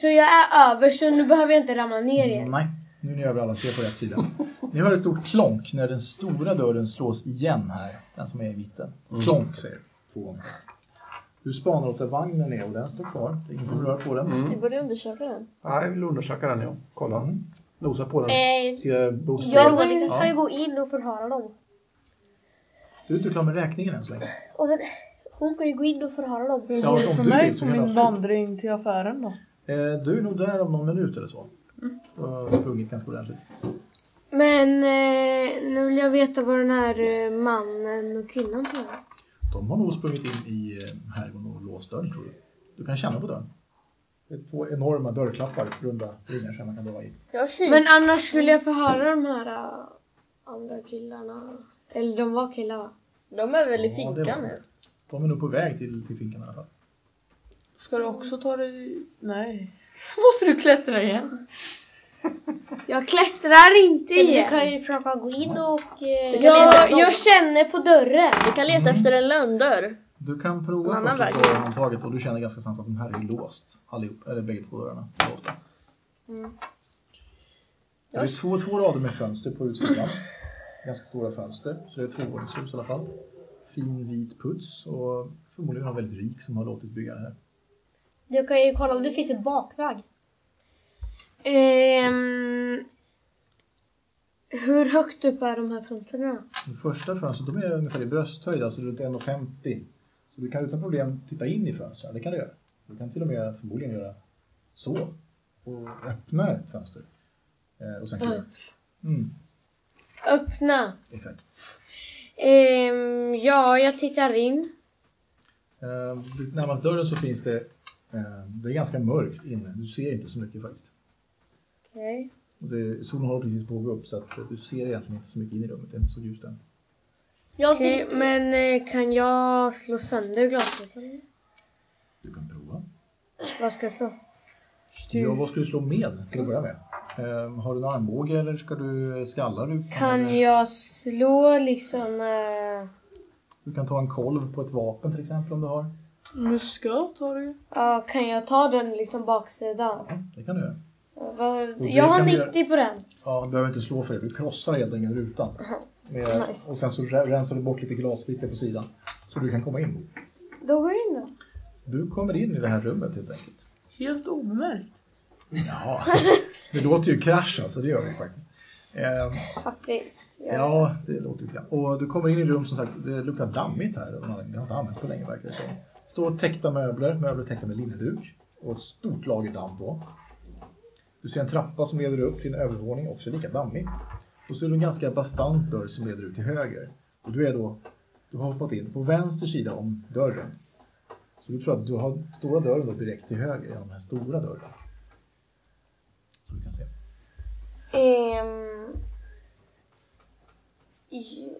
Speaker 8: Så jag är över, så nu behöver jag inte ramla ner
Speaker 6: Mm,
Speaker 8: igen.
Speaker 6: Nej, nu är ni över alla tre på rätt sida. Ni hör ett stort klonk när den stora dörren slås igen här. Den som är i mitten. Klonk säger du. Två gånger. Du spanar åt där vagnen är och den står kvar. Det är ingen som rör på den.
Speaker 3: Vi borde undersöka den.
Speaker 7: Ja, jag vill undersöka den ja. Kolla.
Speaker 6: Mm.
Speaker 7: Nosa på den.
Speaker 2: Eh,
Speaker 7: Se blodspår.
Speaker 2: jag och Monica
Speaker 6: Ja.
Speaker 2: kan ju gå in och förhöra dem.
Speaker 6: Du är inte klar med räkningen än så länge.
Speaker 2: Och sen, hon kan ju gå in och förhöra dem.
Speaker 4: Hur
Speaker 6: Ja,
Speaker 4: går det
Speaker 6: om
Speaker 4: för
Speaker 6: du
Speaker 4: mig
Speaker 6: vill så
Speaker 4: på
Speaker 6: kan jag
Speaker 4: min
Speaker 6: absolut.
Speaker 4: vandring till affären då?
Speaker 6: Eh, Du är nog där om någon minut eller så.
Speaker 4: Mm.
Speaker 6: Du har sprungit ganska ordentligt.
Speaker 8: Men eh, nu vill jag veta vad den här eh, mannen och kvinnan tror.
Speaker 6: De har nog sprungit in i eh, herrgården och låst dörren tror du. Du kan känna på dörren. Det är två enorma dörrklappar, runda ringar som man kan dra i.
Speaker 3: Jag kikar.
Speaker 2: alltså,
Speaker 8: Men annars skulle jag förhöra de här äh, andra killarna. Eller de var killar va?
Speaker 3: De är väl i
Speaker 6: Ja, det
Speaker 3: finkan
Speaker 6: var-
Speaker 3: nu?
Speaker 6: De är nog på väg till, till finkan i alla fall.
Speaker 4: Ska du också ta dig... Nej. Måste du klättra igen?
Speaker 8: Jag klättrar inte
Speaker 2: Vi kan
Speaker 8: igen.
Speaker 2: ju försöka gå in och...
Speaker 3: Vi
Speaker 2: Eh,
Speaker 3: kan
Speaker 8: Jag,
Speaker 3: leta dem.
Speaker 8: jag känner på dörren.
Speaker 3: Vi kan leta efter en lönndörr.
Speaker 6: Du kan
Speaker 3: En
Speaker 6: prova
Speaker 3: annan
Speaker 6: först att
Speaker 3: väg.
Speaker 6: dra handtaget och du känner ganska snabbt att den här är låst. Allihop, eller bägge två dörrarna är låsta.
Speaker 3: Mm.
Speaker 6: Det är två, två rader med fönster på utsidan. Ganska stora fönster, så det är tvåvåningshus i alla fall. Fin vit puts och förmodligen någon väldigt rik som har låtit bygga det här.
Speaker 2: du kan ju kolla om det finns en bakväg.
Speaker 8: Ehm, hur högt upp är de här fönstren?
Speaker 6: De första fönstren de är ungefär i brösthöjd, alltså runt 1,50. Så du kan utan problem titta in i fönstren, det kan du göra. Du kan till och med förmodligen göra så och öppna ett fönster. Eh, och sen kliva ut. Mm,
Speaker 8: Öppna.
Speaker 6: exakt.
Speaker 8: Ehm, ja, jag tittar in.
Speaker 6: Eh, närmast dörren så finns det, eh, det är ganska mörkt inne, du ser inte så mycket faktiskt.
Speaker 8: Okej.
Speaker 6: Och det, solen håller precis på att gå upp så att eh, du ser egentligen inte så mycket in i rummet, det är inte så ljust än.
Speaker 2: Jag,
Speaker 8: Okej, men eh, kan jag slå sönder glasrutan?
Speaker 6: Du kan prova.
Speaker 8: Vad ska jag slå?
Speaker 6: Ja, vad ska du slå med till att börja med? Eh, har du en armbåge eller ska du skallar du?
Speaker 8: Kan jag slå liksom... eh,
Speaker 6: Du kan ta en kolv på ett vapen till exempel om du har.
Speaker 4: Muskat har du ju.
Speaker 8: Ja, kan jag ta den liksom baksidan?
Speaker 6: Ja, det kan du göra.
Speaker 8: Vad-
Speaker 6: det
Speaker 8: Jag har
Speaker 6: kan vi
Speaker 8: 90 på den.
Speaker 6: Ja, du behöver inte slå för det. Du krossar helt enkelt rutan. Med,
Speaker 8: Nice.
Speaker 6: och sen så re- rensar du bort lite glassplitter på sidan. Så du kan komma in.
Speaker 8: Då går jag in då.
Speaker 6: Du kommer in i det här rummet helt enkelt.
Speaker 4: Helt obemärkt.
Speaker 6: Ja, det låter ju krasch alltså. Det gör det ju faktiskt. Eh,
Speaker 8: Faktiskt. Ja.
Speaker 6: ja, det låter ju krasch. Och du kommer in i ett rum som sagt. Det luktar dammigt här. av någon anledning. Det har inte använts på länge verkar det som. Står täckta möbler. Möbler täckta med linneduk. Och ett stort lager damm på. Du ser en trappa som leder upp till en övervåning, också lika dammig. Och så är det en ganska bastant dörr som leder ut till höger. Och du är då, du har hoppat in på vänster sida om dörren. Så du tror att du har stora dörren då direkt till höger, genom den här stora dörren. Som du kan se.
Speaker 8: Ehm, i-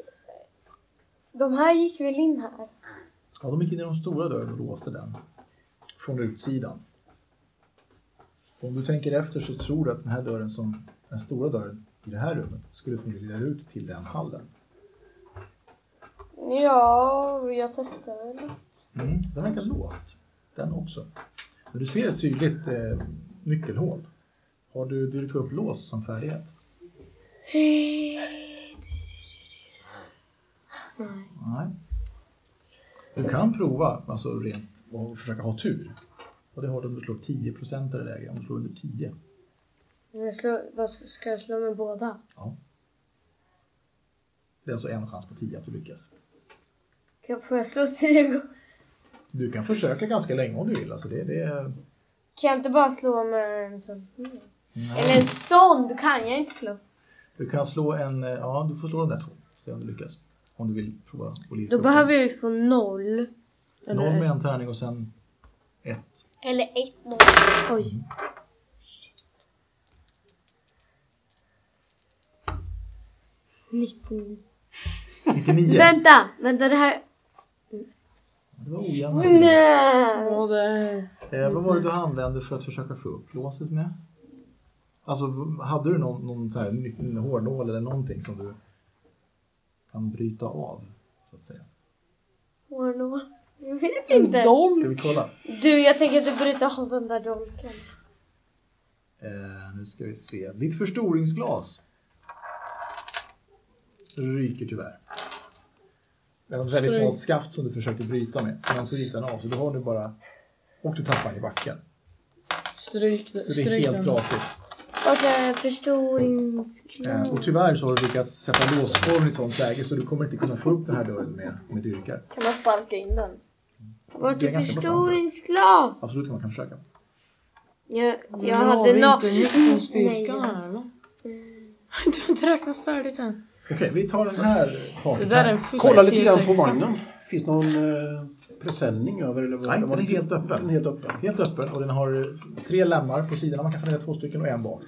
Speaker 8: de här gick väl in här?
Speaker 6: Ja, de gick in i den stora dörren och låste den. Från utsidan. Om du tänker efter så tror du att den här dörren som, den stora dörren i det här rummet, skulle förmodligen leda ut till den hallen.
Speaker 8: Ja, jag testar väl.
Speaker 6: Mm, den verkar låst, den också. Men du ser ett tydligt eh, nyckelhål. Har du dyrkat upp lås som färdighet? Nej. Du kan prova, alltså rent, och försöka ha tur. Och det har du om du slår 10 eller lägre, om du slår under 10.
Speaker 8: Men slå, vad ska, ska jag slå med båda?
Speaker 6: Det är alltså en chans på 10 att du lyckas.
Speaker 8: Kan, får jag slå tio gånger?
Speaker 6: Du kan försöka ganska länge om du vill. Alltså det, det är...
Speaker 8: Kan jag inte bara slå med en sån? Eller en sån, då kan jag inte slå.
Speaker 6: Du kan slå en, eh, ja du får slå de där två. Se om du lyckas. Om du vill prova att lirka
Speaker 8: Då
Speaker 6: upp
Speaker 8: behöver jag ju få noll.
Speaker 6: den. Någon med en tärning och sen ett.
Speaker 2: eller ett noll.
Speaker 8: Oj. Nitton.
Speaker 6: 99.
Speaker 8: Vänta, vänta det här...
Speaker 6: Det var ojämna sidor.
Speaker 8: Nej.
Speaker 4: Ja, det är...
Speaker 6: eh, Vad var det du använde för att försöka få upp låset med? Alltså v- hade du någon, någon så här ny- en hårnål eller någonting som du kan bryta av? Så att säga.
Speaker 8: Hallå? Jag vet
Speaker 4: En
Speaker 8: inte.
Speaker 6: Ska
Speaker 4: dolk.
Speaker 6: vi kolla?
Speaker 8: Du, jag tänker inte bryta av den där dolken.
Speaker 6: Eh, nu ska vi se. Ditt förstoringsglas ryker tyvärr. Det var ett väldigt
Speaker 4: Oj.
Speaker 6: smalt skaft som du försökte bryta med. Men så gick den av, så du har nu bara... Och du tappar den i backen.
Speaker 4: Stryk,
Speaker 6: Så det är
Speaker 4: stryk
Speaker 6: helt
Speaker 4: den.
Speaker 6: trasigt.
Speaker 8: Och eh, förstoringsglas.
Speaker 6: Eh, och tyvärr så har du lyckats sätta låsformen i ett sånt läge så du kommer inte kunna få upp den här dörren med, med dyrkar.
Speaker 3: Kan man sparka in den?
Speaker 8: Vart
Speaker 6: det är
Speaker 8: är
Speaker 6: ganska
Speaker 8: förstoringsglas?
Speaker 6: Absolut, man kan försöka.
Speaker 8: Jag,
Speaker 4: Nu
Speaker 8: jag
Speaker 4: har
Speaker 8: hade
Speaker 4: vi
Speaker 8: något...
Speaker 4: inte nyckelstyrkan
Speaker 8: Nej,
Speaker 4: här eller? Du har inte räknat färdigt än.
Speaker 6: Okej, vi tar den här
Speaker 4: Det
Speaker 6: kartan.
Speaker 4: där är en
Speaker 6: här.
Speaker 4: fusk.
Speaker 7: Kolla lite grann på vagnen. Finns någon eh, presenning över? Eller vad?
Speaker 6: Nej,
Speaker 7: den var
Speaker 6: den är helt öppen.
Speaker 7: Den är helt öppen.
Speaker 6: Helt öppen och den har eh, tre lämmar på sidorna. Man kan följa två stycken och en bak.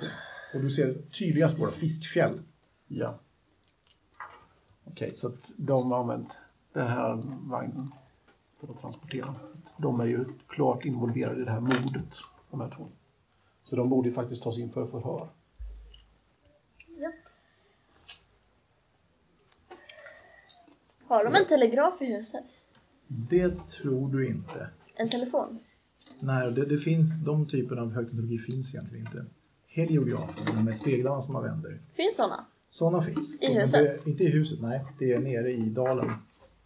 Speaker 6: Och du ser tydliga spår av fiskfjäll.
Speaker 7: Ja. Okej, så att de har använt den här vagnen för att transportera. De är ju klart involverade i det här mordet, de här två.
Speaker 9: Så de borde ju faktiskt tas in för förhör.
Speaker 3: Har
Speaker 6: Mm.
Speaker 3: de en telegraf i huset?
Speaker 6: Det tror du inte.
Speaker 3: En telefon?
Speaker 6: Nej, det, det finns, de typerna av högteknologi finns egentligen inte. Heliografer, de med speglarna som man vänder.
Speaker 3: Finns sådana?
Speaker 6: Sådana finns.
Speaker 3: I
Speaker 6: Men
Speaker 3: huset?
Speaker 6: Det, inte i huset, nej. Det är nere i dalen.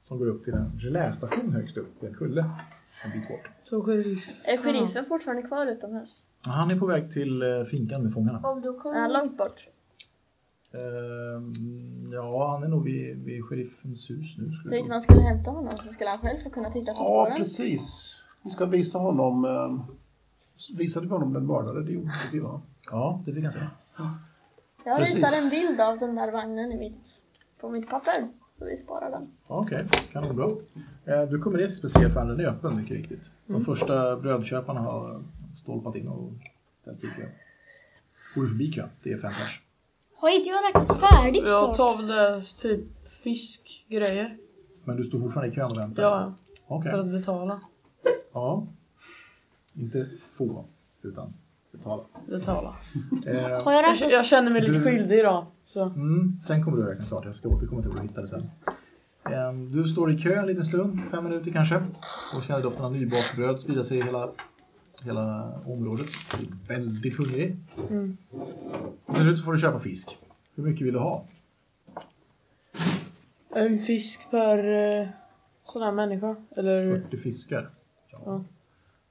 Speaker 6: Som går upp till en relästation högst upp i en kulle. En bit bort.
Speaker 4: Så sheriff.
Speaker 3: Är sheriffen fortfarande kvar utomhus?
Speaker 6: Han är på väg till eh, finkan med fångarna.
Speaker 2: Om du
Speaker 3: Är han
Speaker 2: kommer...
Speaker 3: långt bort?
Speaker 6: Ehm, ja, han är nog vid, vid sheriffens hus nu.
Speaker 3: Jag
Speaker 6: Skulle jag
Speaker 3: tänkte
Speaker 6: tro.
Speaker 3: man skulle hämta honom så skulle han själv få kunna titta på
Speaker 7: Ja,
Speaker 3: spåren.
Speaker 7: precis. Vi ska visa honom... Eh, visade vi honom den mördare? Det gjorde vi, va?
Speaker 6: Ja, det fick han säga.
Speaker 3: Jag
Speaker 7: precis.
Speaker 3: ritar en bild av den där vagnen i mitt, på mitt papper. Så vi sparar den.
Speaker 6: Ja, Okej, kanonbra. Eh, Du kommer ner till specialfallen, den är öppen mycket riktigt. De första brödköparna har eh, stolpat in och ställt sig i kö. Går du förbi kön? Det är fem pers.
Speaker 2: Har inte jag räknat färdigt
Speaker 4: Jag
Speaker 2: snart?
Speaker 4: tar väl det typ fiskgrejer.
Speaker 6: Men du står fortfarande i kön och väntar?
Speaker 4: Ja,
Speaker 6: Okej.
Speaker 4: för att betala.
Speaker 6: Ja. Inte få, utan betala.
Speaker 4: Betala.
Speaker 6: Eh,
Speaker 2: Har jag
Speaker 4: Jag,
Speaker 2: räknat?
Speaker 4: jag känner mig lite
Speaker 6: Du-
Speaker 4: skyldig idag. Så.
Speaker 6: Mm, sen kommer du att räkna klart. Jag ska återkomma till vad du hittade sen. Eh, Du står i kö en liten stund, fem minuter kanske. Och känner doften av nybakt bröd sprida sig i hela, hela området. Du är väldigt hungrig.
Speaker 4: Mm.
Speaker 6: Och till slut får du köpa fisk. Hur mycket vill du ha?
Speaker 4: En fisk per eh, sån här människa. Eller
Speaker 6: 40 fiskar.
Speaker 4: Ja.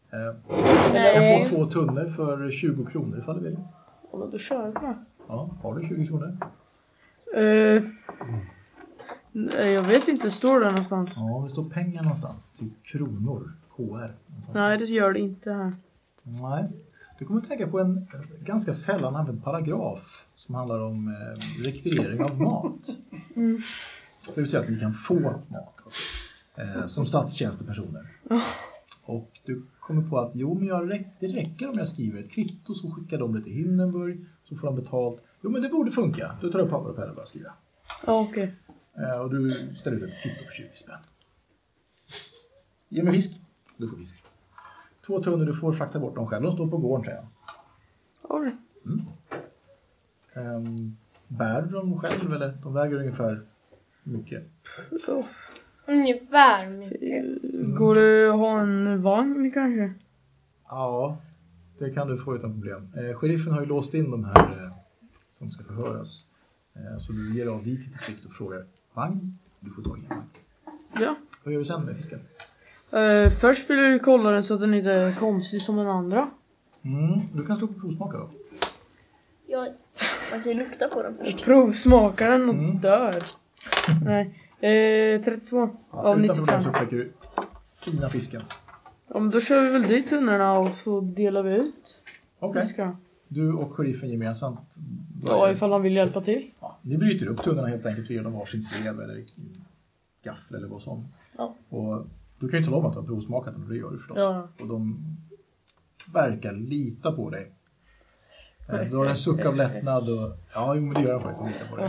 Speaker 6: Eh, Du kan
Speaker 3: Nej.
Speaker 6: få två tunnor för 20 kronor ifall du vill.
Speaker 4: ja, men då kör vi på det.
Speaker 6: Ja, har du 20 kronor?
Speaker 4: Eh, nej, jag vet inte, står det någonstans?
Speaker 6: Ja, det står pengar någonstans. Typ kronor. HR. något sånt.
Speaker 4: Nej, det gör det inte här.
Speaker 6: Nej. Du kommer att tänka på en eh, ganska sällan använd paragraf som handlar om eh, rekvirering av mat. Det betyder att ni kan få mat alltså, eh, som statstjänstepersoner. Och du kommer på att jo, men jag räck, det räcker om jag skriver ett kvitto så skickar de det till Hindenburg så får de betalt. Jo, men det borde funka. Du tar upp papper och penna och börjar skriva.
Speaker 4: Ja, okej.
Speaker 6: Eh, och du ställer ut ett kvitto på 20 spänn. Ge mig fisk. Du får fisk. Två tunnor, du får frakta bort dem själv. De står på gården, säger jag.
Speaker 4: All right.
Speaker 6: Ehm, bär du dem själv eller? De väger ungefär mycket.
Speaker 4: Så.
Speaker 8: Ungefär mycket.
Speaker 4: Går det att ha en vagn kanske?
Speaker 6: Ja, det kan du få utan problem. Eh, sheriffen har ju låst in de här eh, som ska förhöras. Eh, så du ger av dit lite kvickt och frågar. Vagn? Du får tag i en vagn.
Speaker 4: Ja.
Speaker 6: Vad gör du sen med fisken?
Speaker 4: Eh, först vill jag ju kolla den så att den inte är konstig som den andra.
Speaker 6: Mm, du kan slå på provsmaka då.
Speaker 2: Jag...
Speaker 3: Man kan ju lukta på den först.
Speaker 4: Jag provsmakar den och
Speaker 6: Mm.
Speaker 4: dör. Nej. Eh, 32 av
Speaker 6: utan problem
Speaker 4: 95.
Speaker 6: så upptäcker du fina fisken.
Speaker 4: Ja, men då kör vi väl dit tunnorna och så delar vi ut.
Speaker 6: Okej.
Speaker 4: Ska.
Speaker 6: Du och sheriffen gemensamt.
Speaker 4: Ja, ifall han vill hjälpa till.
Speaker 6: Ja, ni bryter upp tunnorna helt enkelt och ger dem varsin slev eller gaffel eller vad som.
Speaker 4: Ja.
Speaker 6: Och du kan ju tala om att du har provsmakat dem, och det gör du förstås.
Speaker 4: Ja.
Speaker 6: Och de verkar lita på dig. Eh, Du har en suck av lättnad och ja, jo, men det gör de faktiskt. De litar på dig.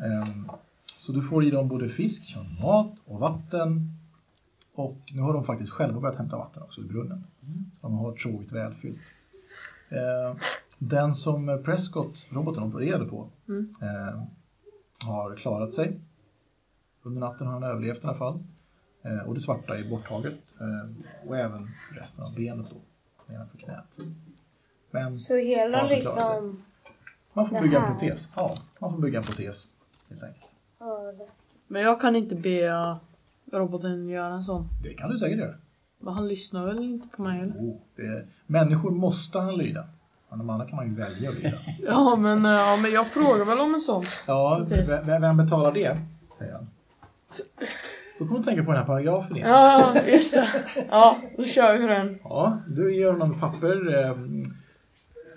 Speaker 6: Ehm, Så du får i dem både fisk, mat och vatten. Och nu har de faktiskt själva börjat hämta vatten också ur brunnen.
Speaker 4: Mm.
Speaker 6: De har tråkigt välfyllt. Eh, Den som Prescott, roboten, opererade på
Speaker 8: Mm.
Speaker 6: eh, har klarat sig. Under natten har han överlevt i alla fall. Eh, och det svarta är borttaget. Eh, och även resten av benet då, nedanför knät. Men
Speaker 8: Så hela
Speaker 6: Ja, förklara sig.
Speaker 8: liksom...
Speaker 6: man får bygga
Speaker 8: det
Speaker 6: en
Speaker 8: här.
Speaker 6: protes. Ja, man får bygga en protes helt enkelt.
Speaker 8: Ja, läskigt.
Speaker 4: Men jag kan inte be eh, roboten göra en sån.
Speaker 6: Det kan du säkert göra.
Speaker 4: Men han lyssnar väl inte på mig eller?
Speaker 6: Oh, det, människor måste han lyda. Men de andra kan man ju välja att lyda.
Speaker 4: Ja men, eh, ja, men jag frågar väl om en sån.
Speaker 6: Ja,
Speaker 4: Precis.
Speaker 6: vem, vem betalar det? Säger han. Då kommer du tänka på den här paragrafen igen.
Speaker 4: Ja, just det. Ja, då kör vi den.
Speaker 6: Ja, du ger honom papper. Eh,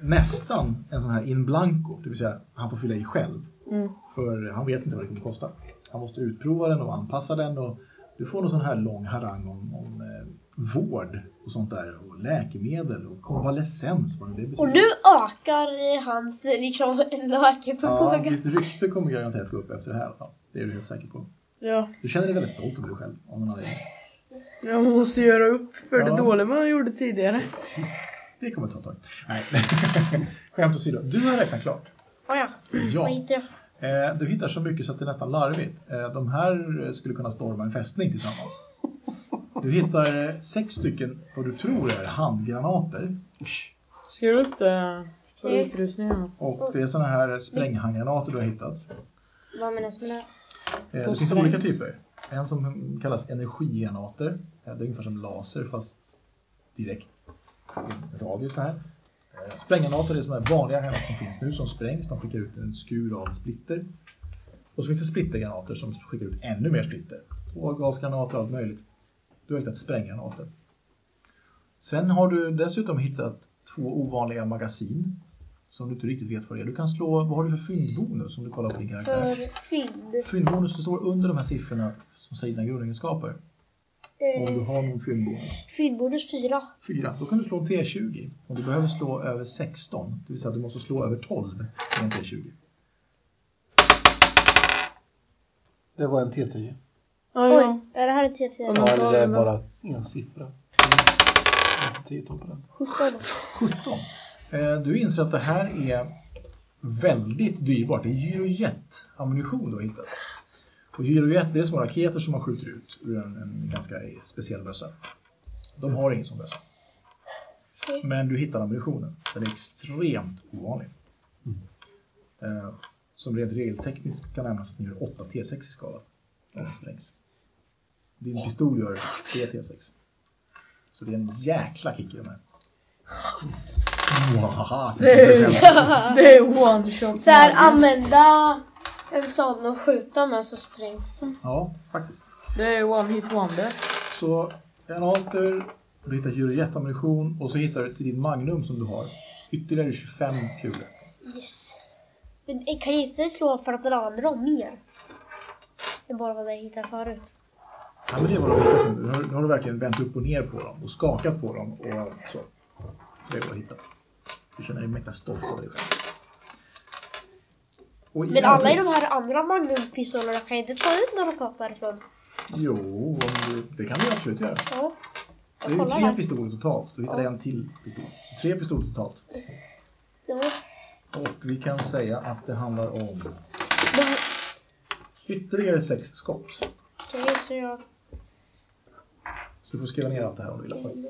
Speaker 6: nästan en sån här in blanco. Det vill säga, han får fylla i själv.
Speaker 4: Mm.
Speaker 6: För han vet inte vad det kommer kosta. Han måste utprova den och anpassa den och Du får någon sån här lång harang om, om eh, vård och sånt där och läkemedel och konvalescens. Vad det betyder.
Speaker 2: Och nu ökar eh, hans eh, liksom
Speaker 6: Ja,
Speaker 2: läkarförmåga.
Speaker 6: ditt rykte kommer garanterat gå upp efter det här. Ja, det är du helt säker på.
Speaker 4: Ja,
Speaker 6: Du känner dig väldigt stolt över dig själv. Om någon anledning.
Speaker 4: jag måste göra upp för
Speaker 6: Ja.
Speaker 4: det dåliga man gjorde tidigare.
Speaker 6: det kommer ta ett tag. Nej. Skämt åsido, du har räknat klart.
Speaker 2: Oh, ja. Vad
Speaker 6: Ja.
Speaker 2: hittar jag?
Speaker 6: Eh, Du hittar så mycket så att det är nästan larvigt. Eh, De här eh, skulle kunna storma en fästning tillsammans. Du hittar eh, sex stycken, vad du tror är handgranater.
Speaker 4: Ska du upp det? Så utrustningen.
Speaker 6: Och det är sådana här spränghandgranater du har hittat.
Speaker 8: Vad menas med det?
Speaker 6: Eh,
Speaker 4: De
Speaker 6: Det finns
Speaker 4: sprängs.
Speaker 6: olika typer. En som kallas energigranater. Eh, Det är ungefär som laser fast direkt i en radio så här. Eh, Spränggranater är sådana här vanliga granater som finns nu som sprängs. De skickar ut en skur av splitter. Och så finns det splittergranater som skickar ut ännu mer splitter. Tårgasgranater och allt möjligt. Du har hittat spränggranater. Sen har du dessutom hittat två ovanliga magasin som du inte riktigt vet vad det är. Du kan slå, vad har du för fyndbonus om du kollar på din karaktär?
Speaker 2: För fynd.
Speaker 6: fyndbonus det står under de här siffrorna som säger dina grundegenskaper. Om
Speaker 2: Eh,
Speaker 6: du har någon fyndbonus.
Speaker 2: fyndbonus 4.
Speaker 6: 4. Då kan du slå en T20. Och du behöver slå över 16. Det vill säga att du måste slå över 12 med en T20.
Speaker 7: Det var en T10.
Speaker 4: Ja, ja.
Speaker 2: Oj, är det här är T4?
Speaker 4: Ja,
Speaker 7: Ja,
Speaker 4: men
Speaker 7: det där är
Speaker 4: då-
Speaker 7: bara en siffra. Tio på den.
Speaker 2: 17.
Speaker 6: 17. Eh, Du inser att det här är väldigt dyrbart. Det är gyrojet-ammunition du har hittat. Och gyrojet det är små raketer som man skjuter ut ur en, en ganska speciell bössa. De har ingen sån bössa. Men du hittar ammunitionen. Den är extremt ovanlig. Eh, Som rent regeltekniskt kan nämnas att den gör 8 T6 i skala. Om den sprängs. Din pistol gör 3 T6. Så det är en jäkla kick i de här. Wahaha,
Speaker 4: Det är one shot.
Speaker 8: Så här, använda en sån och skjuta med så sprängs den.
Speaker 6: Ja, faktiskt.
Speaker 4: Det är one hit wonder.
Speaker 6: Så granater, du hittar jurejetammunition och så hittar du till din magnum som du har ytterligare 25 kulor.
Speaker 2: Yes. Men eh, kan jag inte slå för att den andra har mer? Det är bara vad jag hittade förut.
Speaker 6: Ja, men det var det. Nu har, nu har du verkligen vänt upp och ner på dem och skakat på dem och så. Så det går att hitta. Du känner dig mäkta stolt över dig själv. Och i
Speaker 2: Men alla i de här andra magnumpistolerna kan jag inte ta ut några kort därifrån.
Speaker 6: Jo, om du, det kan du absolut göra.
Speaker 2: Ja.
Speaker 6: Det är
Speaker 2: kollar
Speaker 6: ju tre
Speaker 2: här.
Speaker 6: pistoler totalt. Du hittar en till pistol. Tre pistoler totalt.
Speaker 2: Ja.
Speaker 6: Och vi kan säga att det handlar om
Speaker 2: Men
Speaker 6: ytterligare sex skott.
Speaker 2: Okej, så jag...
Speaker 6: Så du får skriva ner allt det här om du vill.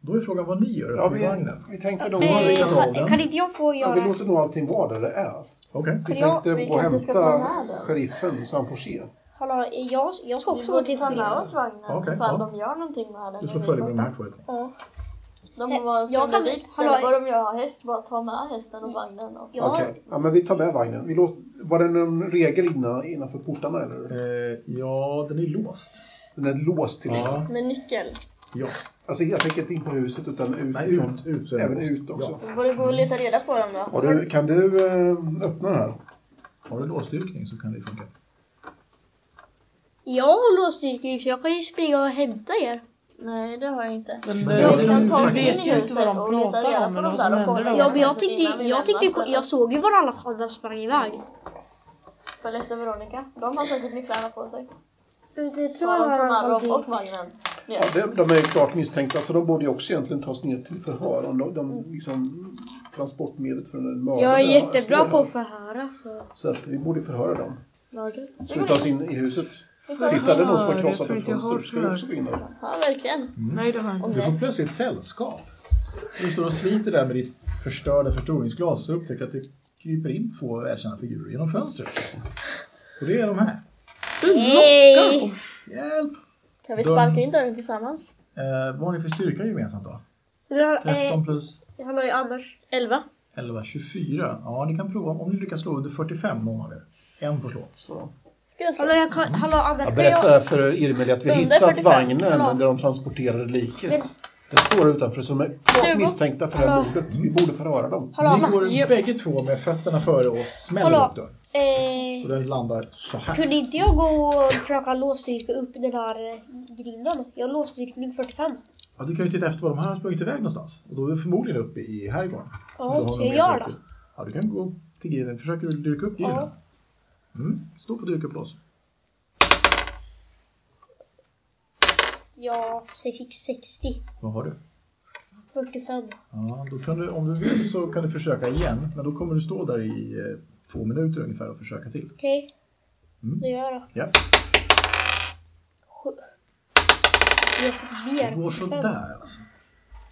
Speaker 6: Då är frågan vad ni gör
Speaker 7: Ja,
Speaker 6: uppe i
Speaker 7: vi,
Speaker 6: vagnen.
Speaker 7: vi tänkte nog...
Speaker 6: har
Speaker 2: Eh,
Speaker 6: ringat av den.
Speaker 2: kan inte jag få
Speaker 7: Ja, vi
Speaker 2: göra...
Speaker 7: låter nog allting vara där det är.
Speaker 6: Okej.
Speaker 7: Vi
Speaker 2: Men jag-
Speaker 7: tänkte
Speaker 3: vi
Speaker 7: gå och
Speaker 3: kanske ska ta
Speaker 7: hämta
Speaker 3: med den.
Speaker 7: sheriffen så han får se.
Speaker 2: Hallå, eh, jag, jag ska
Speaker 3: Vi
Speaker 2: också gå
Speaker 3: borde
Speaker 2: till
Speaker 3: ta med oss vagnen
Speaker 6: Okej,
Speaker 3: ifall
Speaker 6: ja.
Speaker 3: de gör någonting med den.
Speaker 6: Du slår följe med de här två. helt enkelt.
Speaker 2: Ja.
Speaker 3: De var
Speaker 2: Jag kan-
Speaker 3: generellt säga
Speaker 2: hallå.
Speaker 3: vad de gör har häst, bara ta med hästen och vagnen. Och...
Speaker 2: Ja,
Speaker 7: Okej, ja, men vi tar med vagnen. Vi låter, var det någon regel innan, innanför portarna eller?
Speaker 6: Eh, ja, den är låst.
Speaker 7: Den är låst till
Speaker 6: Ja.
Speaker 3: Med nyckel.
Speaker 6: ja.
Speaker 7: Alltså jag tänker inte in på huset utan ut.
Speaker 6: Nej, ut. ut så är den
Speaker 7: Även
Speaker 6: låst.
Speaker 7: ut också.
Speaker 3: Vi borde gå och leta reda på dem då.
Speaker 7: Har du, kan du eh, öppna den här?
Speaker 6: Ja. Har du låsdyrkning så kan det funka.
Speaker 2: Jag har låsstyrka så jag kan ju springa och hämta er.
Speaker 3: Nej, det har jag inte.
Speaker 4: Men
Speaker 6: Ja,
Speaker 4: det,
Speaker 6: vi
Speaker 4: du,
Speaker 6: kan
Speaker 4: du,
Speaker 6: ta oss
Speaker 4: vet
Speaker 3: in i
Speaker 4: ju inte vad de
Speaker 3: huset och leta
Speaker 4: pratar
Speaker 3: reda
Speaker 4: om
Speaker 3: på
Speaker 4: eller
Speaker 3: dem
Speaker 4: vad
Speaker 3: där
Speaker 4: som
Speaker 3: och kolla.
Speaker 4: händer då.
Speaker 2: Ja, men alltså, jag
Speaker 3: Kanske
Speaker 2: tyckte,
Speaker 3: innan vi
Speaker 2: jag,
Speaker 3: lämnar
Speaker 2: tyckte,
Speaker 3: stället.
Speaker 2: jag såg ju var alla andra sprang iväg.
Speaker 3: Palette och Veronica. De har säkert nycklarna på sig.
Speaker 2: Det tror
Speaker 3: Bara
Speaker 2: jag
Speaker 3: de tar
Speaker 2: var
Speaker 3: med dem och
Speaker 2: någonting.
Speaker 3: vagnen.
Speaker 7: Ja, de, de är ju klart misstänkta så de borde ju också egentligen tas ner till förhör om de, de liksom transportmedlet för en mördare.
Speaker 8: Jag är jättebra
Speaker 7: står
Speaker 8: på
Speaker 7: här.
Speaker 8: att förhöra. Så.
Speaker 7: Så att vi borde förhöra dem.
Speaker 3: Det
Speaker 7: Ska vi
Speaker 3: går
Speaker 7: ta
Speaker 3: in.
Speaker 7: oss in i huset?
Speaker 3: tar oss
Speaker 7: Titta, det är någon som har
Speaker 4: in.
Speaker 7: krossat
Speaker 4: Jag tror
Speaker 7: ett
Speaker 4: inte jag
Speaker 7: fönster.
Speaker 4: har
Speaker 7: Ska vi också gå in där?
Speaker 3: Ja, verkligen.
Speaker 4: Nej, det har jag inte.
Speaker 3: Om
Speaker 6: Du
Speaker 3: det
Speaker 6: får plötsligt sällskap. Du står och sliter där med ditt förstörda förstoringsglas och upptäcker att det kryper in två välkända figurer genom fönstret. Och det är de här.
Speaker 2: Hej!
Speaker 6: Hjälp!
Speaker 3: Kan vi sparka in dörren tillsammans?
Speaker 6: Eh, vad har ni för styrka gemensamt då?
Speaker 2: Eh,
Speaker 6: 13 plus
Speaker 2: Hallå, Anders.
Speaker 3: 11.
Speaker 6: 11, 24. Ja, ni kan prova om ni lyckas slå under 45 någon av er. En får slå. Så.
Speaker 3: Ska jag
Speaker 2: Hallå,
Speaker 3: slå?
Speaker 2: jag kan, hallå Anders.
Speaker 7: Jag
Speaker 2: Kan jag,
Speaker 7: berättar för Irmeli att vi har
Speaker 3: Under
Speaker 7: hittat
Speaker 3: 45.
Speaker 7: vagnen
Speaker 2: Ja.
Speaker 7: där de transporterade
Speaker 2: Men-
Speaker 7: liket. Det står utanför som är klart
Speaker 3: 20.
Speaker 7: misstänkta för det här mordet. Vi borde förhöra dem.
Speaker 2: hallå,
Speaker 6: Ni går
Speaker 2: Anders.
Speaker 6: bägge två med fötterna före och smäller
Speaker 2: Hallå.
Speaker 6: upp dörren.
Speaker 2: Eh,
Speaker 6: Och den landar så här.
Speaker 2: kunde inte jag gå och försöka låsstyrka upp den här eh, grinden? Jag har låsstyrkning 45.
Speaker 6: Ja, du kan ju titta efter var de här har sprungit iväg någonstans. Och då är du förmodligen uppe i härifrån. Om du
Speaker 2: Ja,
Speaker 6: har
Speaker 2: ska
Speaker 6: någon
Speaker 2: jag
Speaker 6: mer
Speaker 2: göra
Speaker 6: upp
Speaker 2: det?
Speaker 6: till. Ja, du kan gå till grinden. Försöker du dyrka upp grinden?
Speaker 2: Ja.
Speaker 6: Mm. Stå på dyrka upp oss.
Speaker 2: Jag fick 60.
Speaker 6: Vad har du?
Speaker 2: 45.
Speaker 6: Ja, då kan du, om du vill så kan du försöka igen. Men då kommer du stå där i eh, två minuter ungefär och försöka till.
Speaker 2: Okej.
Speaker 6: Mm.
Speaker 2: Då gör jag det.
Speaker 6: Ja.
Speaker 2: Sju. Jag fick mer.
Speaker 6: Det går
Speaker 2: 45.
Speaker 6: sådär alltså.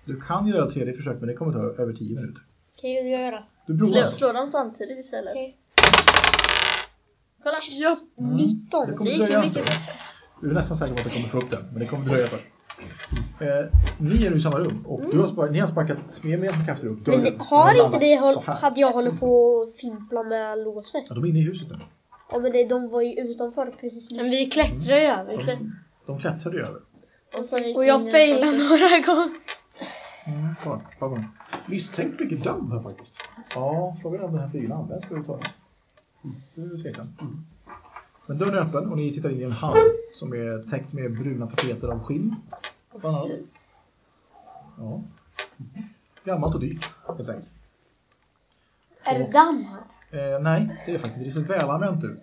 Speaker 6: Du kan göra tredje försök men det kommer ta över tio minuter.
Speaker 2: Okej, då gör jag det.
Speaker 6: Du provar
Speaker 3: Slå,
Speaker 6: alltså.
Speaker 3: slå dem samtidigt istället.
Speaker 2: Okej.
Speaker 3: Kolla!
Speaker 6: Mm.
Speaker 2: 19.
Speaker 6: Det
Speaker 2: Det
Speaker 6: kommer
Speaker 2: gick ju
Speaker 6: dröja en stund.
Speaker 2: mycket.
Speaker 6: Du är nästan säker på att du kommer få upp den, men det kommer dröja först. Eh, ni är nu i samma rum och du har sparkat, ni har sparkat med med krafter upp dörren.
Speaker 2: Men har inte det
Speaker 6: håll...
Speaker 2: håll, hade jag hållit på att fimpla med låset?
Speaker 6: Ja, de är inne i huset nu.
Speaker 2: Ja men det, de var ju utanför precis
Speaker 8: Men
Speaker 2: nu.
Speaker 8: vi klättrar ju
Speaker 4: Mm.
Speaker 8: över.
Speaker 6: De klättrade ju över.
Speaker 3: Och, sen gick
Speaker 8: Och jag
Speaker 3: ingen-
Speaker 8: failade några gånger.
Speaker 6: Mm, kolla, kolla på dem.
Speaker 10: Misstänkt mycket damm här faktiskt.
Speaker 6: Ja, frågan är om den här flygeln används överhuvudtaget. Du är tveksam. Men dörren är öppen och ni tittar in i en hall som är täckt med bruna tapeter av skinn. Bland annat. Ja. Gammalt och dyrt, helt enkelt.
Speaker 8: Är det damm här?
Speaker 6: Eh, nej, det är faktiskt inte. Det ser välanvänt ut.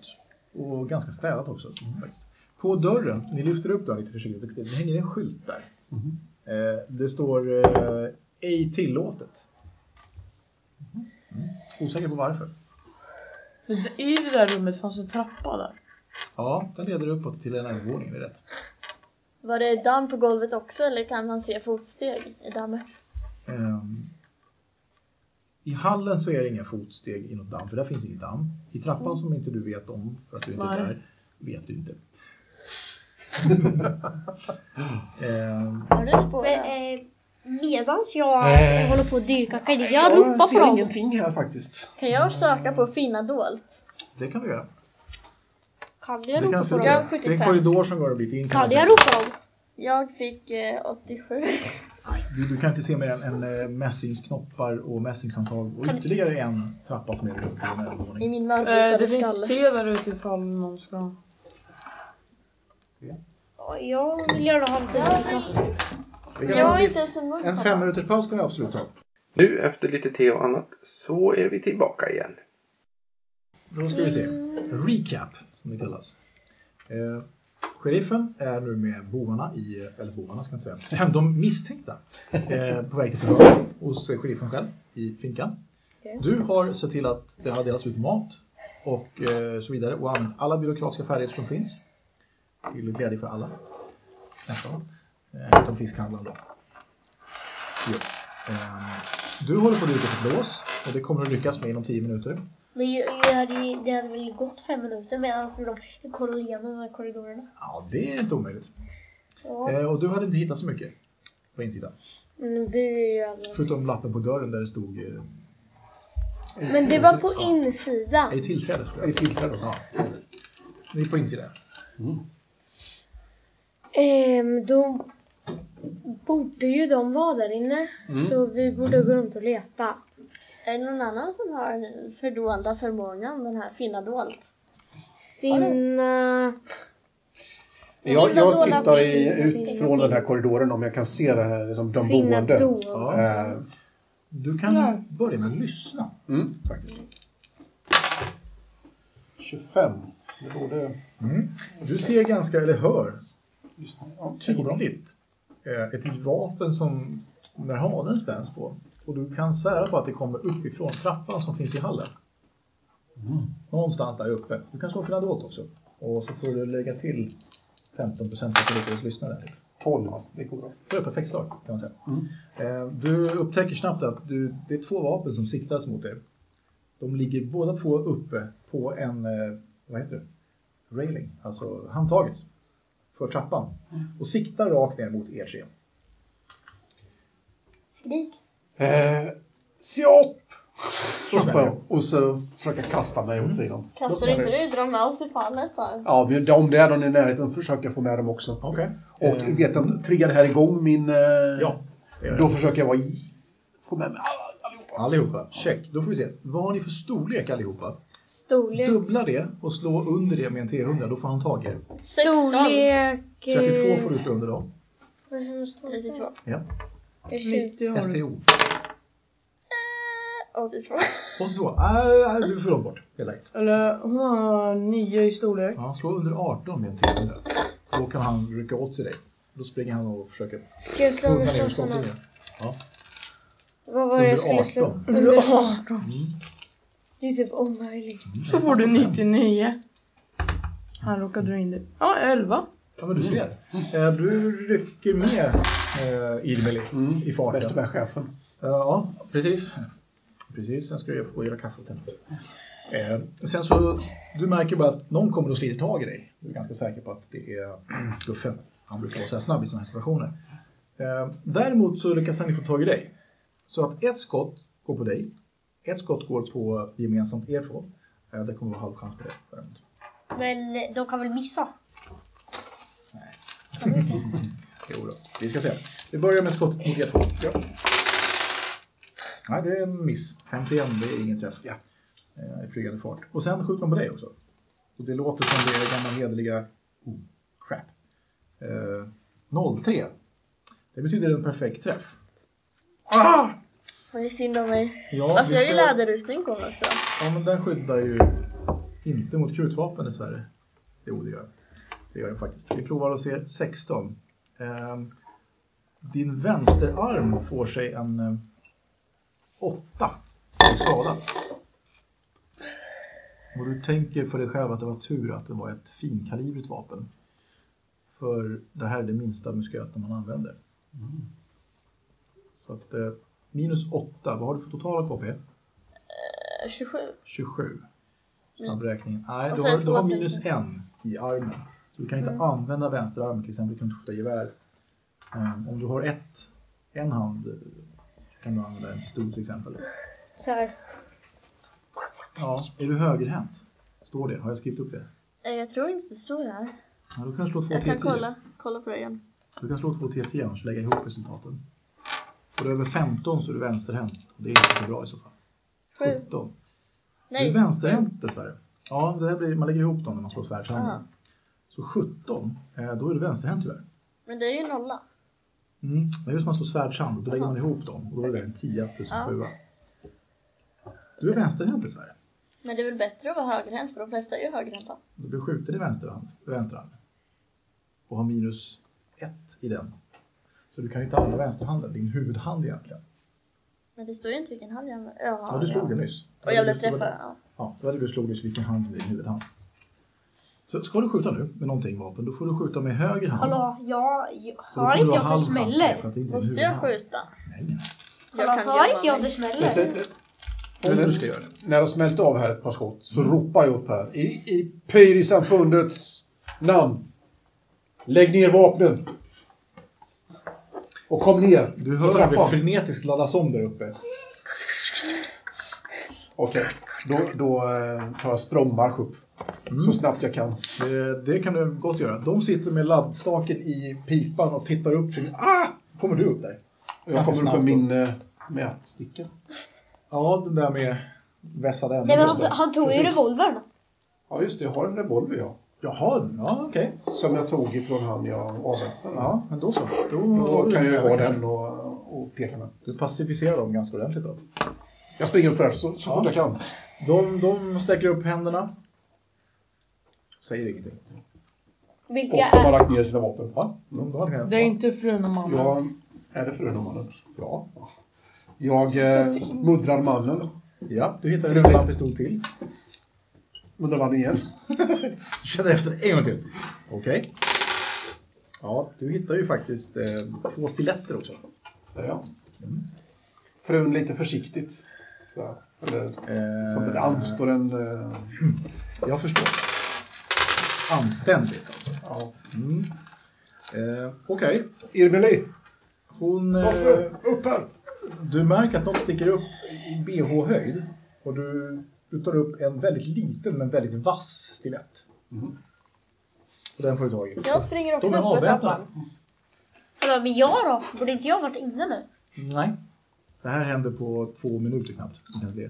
Speaker 6: Och ganska städat också. Faktiskt. På dörren, ni lyfter upp dörren lite försiktigt, och det hänger en skylt där. Eh, det står eh, ej tillåtet. Mm. Osäker på varför.
Speaker 4: För I det där rummet fanns en trappa där.
Speaker 6: Ja, den leder uppåt till en övervåning, det är rätt.
Speaker 3: Var det damm på golvet också eller kan man se fotsteg i dammet?
Speaker 6: Ehm, I hallen så är det inga fotsteg i något damm, för där finns inget damm. I trappan som inte du vet om, för att du inte är
Speaker 4: Nej.
Speaker 6: där, vet du inte. Ehm,
Speaker 3: Har du spår
Speaker 2: Men,
Speaker 3: där?
Speaker 2: eh, medans jag eh, håller på att dyka kan jag ropa på
Speaker 10: ser
Speaker 2: dem?
Speaker 10: ingenting här faktiskt.
Speaker 3: Kan jag söka på finna dolt?
Speaker 6: det kan du göra.
Speaker 2: Kan
Speaker 6: Det
Speaker 2: jag
Speaker 6: kan
Speaker 2: ropa
Speaker 6: jag
Speaker 2: på
Speaker 6: absolut
Speaker 2: dem?
Speaker 6: göra.
Speaker 3: Jag har
Speaker 6: Det är en
Speaker 3: 75.
Speaker 6: korridor som går en bit in.
Speaker 2: Kan
Speaker 6: man
Speaker 2: jag
Speaker 6: säga.
Speaker 2: ropa dem?
Speaker 3: Jag fick eh, 87.
Speaker 6: Du, du kan inte se mer än, än eh, mässingsknoppar och mässingshandtag och ytterligare en trappa som leder upp till en
Speaker 3: I
Speaker 6: övervåning.
Speaker 3: min
Speaker 4: Eh,
Speaker 3: mördarbitade
Speaker 4: det finns
Speaker 3: skalle.
Speaker 4: te där ute ifall någon ska...
Speaker 2: Ja, Jag vill gärna ha en dyka.
Speaker 3: Jag har inte ens en mugg
Speaker 6: En
Speaker 3: pappa.
Speaker 6: fem minuters paus kan vi absolut ta.
Speaker 1: Nu efter lite te och annat så är vi tillbaka igen.
Speaker 6: Då ska vi se. Recap, som det kallas. Eh, sheriffen är nu med bovarna, i, eller bovarna ska jag inte säga, de misstänkta, eh, på väg till förhör hos sheriffen själv i finkan. Du har sett till att det har delats ut mat och eh, så vidare och använt alla byråkratiska färdigheter som finns. Till glädje för alla. Nästan. Eh, utom fiskhandlaren då. Jo. Eh, du håller på att dyka på ett lås och det kommer att lyckas med inom 10 minuter.
Speaker 2: Men jag, jag hade, ju- det hade väl gått fem minuter medan för de kollade igenom de här korridorerna.
Speaker 6: Ja, det är inte omöjligt.
Speaker 2: Ja.
Speaker 6: Eh, och du hade inte hittat så mycket på insidan.
Speaker 8: Men vi är ju över.
Speaker 6: Förutom lappen på dörren där det stod eh,
Speaker 8: Men det var på insidan.
Speaker 6: ej tillträde. tror jag.
Speaker 10: Ej tillträde.
Speaker 6: Ja. Det är på insidan.
Speaker 8: Ehm, då borde ju de vara där inne. Så vi borde gå runt och leta.
Speaker 3: Är det någon annan som har den fördolda förmågan, den här finna dolt?
Speaker 8: Finna...
Speaker 2: Finna
Speaker 7: Jag, jag
Speaker 2: dolda
Speaker 7: tittar i,
Speaker 2: bilder.
Speaker 7: ut från den här korridoren om jag kan se det här, liksom, de
Speaker 8: Finna
Speaker 7: boende.
Speaker 8: då.
Speaker 6: Ja.
Speaker 7: Eh,
Speaker 6: Du kan börja med att lyssna.
Speaker 7: Mm.
Speaker 6: Faktiskt.
Speaker 10: 25. Det borde...
Speaker 6: Du ser ganska, eller hör
Speaker 10: Just, ja, det går bra.
Speaker 6: tydligt eh, ett vapen som när halen spänns på. Och du kan svära på att det kommer uppifrån trappan som finns i hallen.
Speaker 10: Mm.
Speaker 6: Någonstans där uppe. Du kan slå för Nadot också. Och så får du lägga till 15 procent för att du lyckas lyssna där.
Speaker 10: 12. Det går bra.
Speaker 6: Det är ett perfekt slag kan man säga. Eh, Du upptäcker snabbt att du, det är två vapen som siktas mot dig. De ligger båda två uppe på en, eh, vad heter det? Railing, alltså handtaget för trappan. Och siktar rakt ner mot er tre.
Speaker 2: Skrik.
Speaker 7: eh, se upp!
Speaker 6: smäller det. Mm.
Speaker 7: Och så försöka kasta mig åt sidan.
Speaker 3: Kastar inte du dra med oss i fallet här?
Speaker 7: Ja, men om det är någon i närheten försöker jag få med dem också.
Speaker 6: Okej.
Speaker 7: Och
Speaker 6: Eh,
Speaker 7: vet jag, triggar det här igång min... Eh,
Speaker 6: Ja, det gör
Speaker 7: Då
Speaker 6: jag.
Speaker 7: försöker jag vara... i- Få med mig alla.
Speaker 6: Allihopa, check. Då får vi se. Vad har ni för storlek allihopa?
Speaker 8: Storlek.
Speaker 6: Dubbla det och slå under det med en 300, då får han tag i det.
Speaker 3: 16.
Speaker 8: Storlek... eh,
Speaker 6: 32 får du slå under då.
Speaker 8: Vad som det står?
Speaker 3: 32.
Speaker 8: Ursäkta.
Speaker 4: 90 har du. Eh,
Speaker 6: STO.
Speaker 3: 82.
Speaker 6: 82. Äh, äh, du får dem bort helt enkelt.
Speaker 4: Eller hon har 9 i storlek.
Speaker 6: Ja, slå under 18 med en 300. Då kan han rycka åt sig dig. Då springer han och försöker
Speaker 8: Ska jag slå
Speaker 6: få ner
Speaker 8: under
Speaker 6: skottlinjen.
Speaker 8: sådana? Vad var det jag skulle slå?
Speaker 6: Under 18.
Speaker 8: Under 18.
Speaker 6: Mm.
Speaker 8: Det är typ omöjligt.
Speaker 4: Så får du 99. Han råkade dra in det. Ja, 11.
Speaker 6: Ja, men du ser. Eh, Du rycker med eh, Irmeli
Speaker 7: Mm.
Speaker 6: i farten.
Speaker 7: Västerbergschefen.
Speaker 6: Ja, precis. Precis, sen ska jag få göra kaffe åt henne. Eh, sen så, du märker bara att någon kommer och sliter tag i dig. Du är ganska säker på att det är Guffe. Han brukar vara så här snabb i sådana här situationer. Eh, däremot så lyckas han ju få tag i dig. Så att ett skott går på dig. Ett skott går på gemensamt er två. Eh, det kommer vara halv chans på det. däremot.
Speaker 2: Men de kan väl missa?
Speaker 6: Jo då. Vi ska se. Vi börjar med skottet mot er två. Ja. Nej, det är en miss. 51, det är ingen träff. Ja. Eh, I flygande fart. Och sen skjuter de på dig också. Och det låter som det är gamla hederliga... Oh, crap. Eh, 03. Det betyder en perfekt träff. Ah!
Speaker 3: Vad är synd om mig.
Speaker 6: Ja,
Speaker 3: Alltså
Speaker 6: vi
Speaker 3: jag
Speaker 6: ska-
Speaker 3: gillar läderrustning kommer också.
Speaker 6: Ja, men den skyddar ju inte mot krutvapen dessvärre. Jo, det gör den. Det gör den faktiskt. Vi provar och ser 16. Ehm, din vänsterarm får sig en eh, åtta i skada. Och du tänker för dig själv att det var tur att det var ett finkalibrigt vapen. För det här är det minsta musköten man använder. Så att eh, minus 8, vad har du för totala KP?
Speaker 3: Eh, 27.
Speaker 6: 27. Snabbräkningen. Nej,
Speaker 3: Mm. Och
Speaker 6: du
Speaker 3: sen
Speaker 6: har, du
Speaker 3: två
Speaker 6: har
Speaker 3: Mm. centimeter.
Speaker 6: minus en i armen. Så du kan inte använda vänsterarmen till exempel. Du kan inte skjuta gevär. Ehm, om du har ett, en hand eh, kan du använda en pistol till exempel.
Speaker 8: Så här.
Speaker 6: Ja, är du högerhänt? Står det? Har jag skrivit upp det?
Speaker 3: Eh, Jag tror inte det står här.
Speaker 6: Ja, du kan slå två
Speaker 3: Jag kan
Speaker 6: T10.
Speaker 3: kolla, kolla på det igen.
Speaker 6: Du kan slå två T10 och så lägga ihop resultaten. Och du är över 15 så är du vänsterhänt. Och det är inte så bra i så fall.
Speaker 3: Sju.
Speaker 6: 17. Du är
Speaker 3: Nej.
Speaker 6: vänsterhänt dessvärre. Ja, det här blir, man lägger ihop dem när man slår
Speaker 3: Aha.
Speaker 6: svärdshanden. Så 17, eh, då är du vänsterhänt tyvärr.
Speaker 3: Men det är ju nolla.
Speaker 6: Mm. Men just när man slår svärdshand, då lägger man ihop dem och då är det en 10 plus en
Speaker 3: Ja.
Speaker 6: 7. Du är vänsterhänt dessvärre.
Speaker 3: Men det är väl bättre att vara högerhänt för de flesta är ju högerhänta.
Speaker 6: Du blir skjuten i vänsterhand, vänsterhanden och har minus 1 i den. Så du kan ju inte använda vänsterhanden, din huvudhand egentligen.
Speaker 3: Men det står ju inte vilken hand jag använder.
Speaker 6: Ja, du slog den nyss.
Speaker 3: Och jag blev
Speaker 6: Du slog-
Speaker 3: träffad. Ja.
Speaker 6: Ja, då hade du slog just vilken hand som är din huvudhand. Så ska du skjuta nu med någonting vapen, då får du skjuta med höger hand.
Speaker 2: Hallå, ja, jag,
Speaker 6: Och då kommer
Speaker 2: hör
Speaker 6: du
Speaker 2: inte
Speaker 6: ha
Speaker 2: jag att det
Speaker 6: halv chans på det, för
Speaker 2: smäller?
Speaker 6: att det inte är
Speaker 3: Måste
Speaker 6: huvudhand.
Speaker 3: jag skjuta?
Speaker 6: Nej, nej.
Speaker 3: Jag
Speaker 2: Hallå,
Speaker 3: kan
Speaker 2: hör
Speaker 3: gömma
Speaker 2: inte jag att det
Speaker 3: mig.
Speaker 2: smäller?
Speaker 7: Men sen,
Speaker 6: Det är det du ska göra.
Speaker 7: när de smält av här ett par skott så ropar jag upp här. I, i Pyrisamfundets namn. Lägg ner vapnen. Och kom ner.
Speaker 6: Du hör hur det
Speaker 7: Trappan.
Speaker 6: frenetiskt laddas om där uppe.
Speaker 7: Okej, då, då eh, tar jag språngmarsch upp.
Speaker 6: Mm.
Speaker 7: Så snabbt jag kan.
Speaker 6: Det, det kan du gott göra. De sitter med laddstaken i pipan och tittar upp. till- Ah! Kommer du upp där?
Speaker 7: Och jag
Speaker 6: Ganska
Speaker 7: kommer upp
Speaker 6: snabbt
Speaker 7: med min eh, mätsticka.
Speaker 6: Ja, den där med vässade
Speaker 2: Nej,
Speaker 6: änden.
Speaker 2: men
Speaker 6: Just
Speaker 2: han,
Speaker 6: det.
Speaker 2: han tog ju
Speaker 7: Precis.
Speaker 2: revolvern.
Speaker 7: Ja, just det. Jag har en revolver jag.
Speaker 6: Jaha, ja okej.
Speaker 7: Som jag tog ifrån han jag avväpnade.
Speaker 6: Ja, men då så. Då,
Speaker 7: Då kan jag ju ha den och, och peka med.
Speaker 6: Du pacificerar dem ganska ordentligt då.
Speaker 7: Jag springer upp först så, så fort jag kan.
Speaker 6: De, de sträcker upp händerna. Säger ingenting.
Speaker 7: Och
Speaker 2: Vilka
Speaker 7: de har
Speaker 2: är...
Speaker 7: lagt ner sina vapen.
Speaker 6: Ja, de, de har knä-
Speaker 4: Det är inte frun och mannen.
Speaker 7: Jag är det frun och mannen? Ja. Jag eh, muddrar mannen.
Speaker 6: Ja, du hittar en annan pistol till.
Speaker 7: Muddrar mannen igen.
Speaker 6: Du känner efter en gång till. Okej. Ja, du hittar ju faktiskt eh, två stiletter också.
Speaker 7: Där ja. Frun lite försiktigt. Så, eller,
Speaker 6: Eh,
Speaker 7: som det anstår en... Eh,
Speaker 6: Jag förstår. Anständigt alltså.
Speaker 7: ja.
Speaker 6: Mm. Eh, Okej.
Speaker 7: Irmeli!
Speaker 6: Hon... Eh,
Speaker 7: Varför? Upp här!
Speaker 6: du märker att något sticker upp i bh-höjd. Och du, du tar upp en väldigt liten men väldigt vass stilett.
Speaker 7: Mm-hmm.
Speaker 6: Och den får du tag i.
Speaker 3: Jag springer också
Speaker 6: De är
Speaker 3: upp för
Speaker 6: avväpnade.
Speaker 3: trappan.
Speaker 2: Hallå, men jag då? Borde inte jag varit inne nu?
Speaker 6: Nej. Det här händer på två minuter knappt. Inte ens det.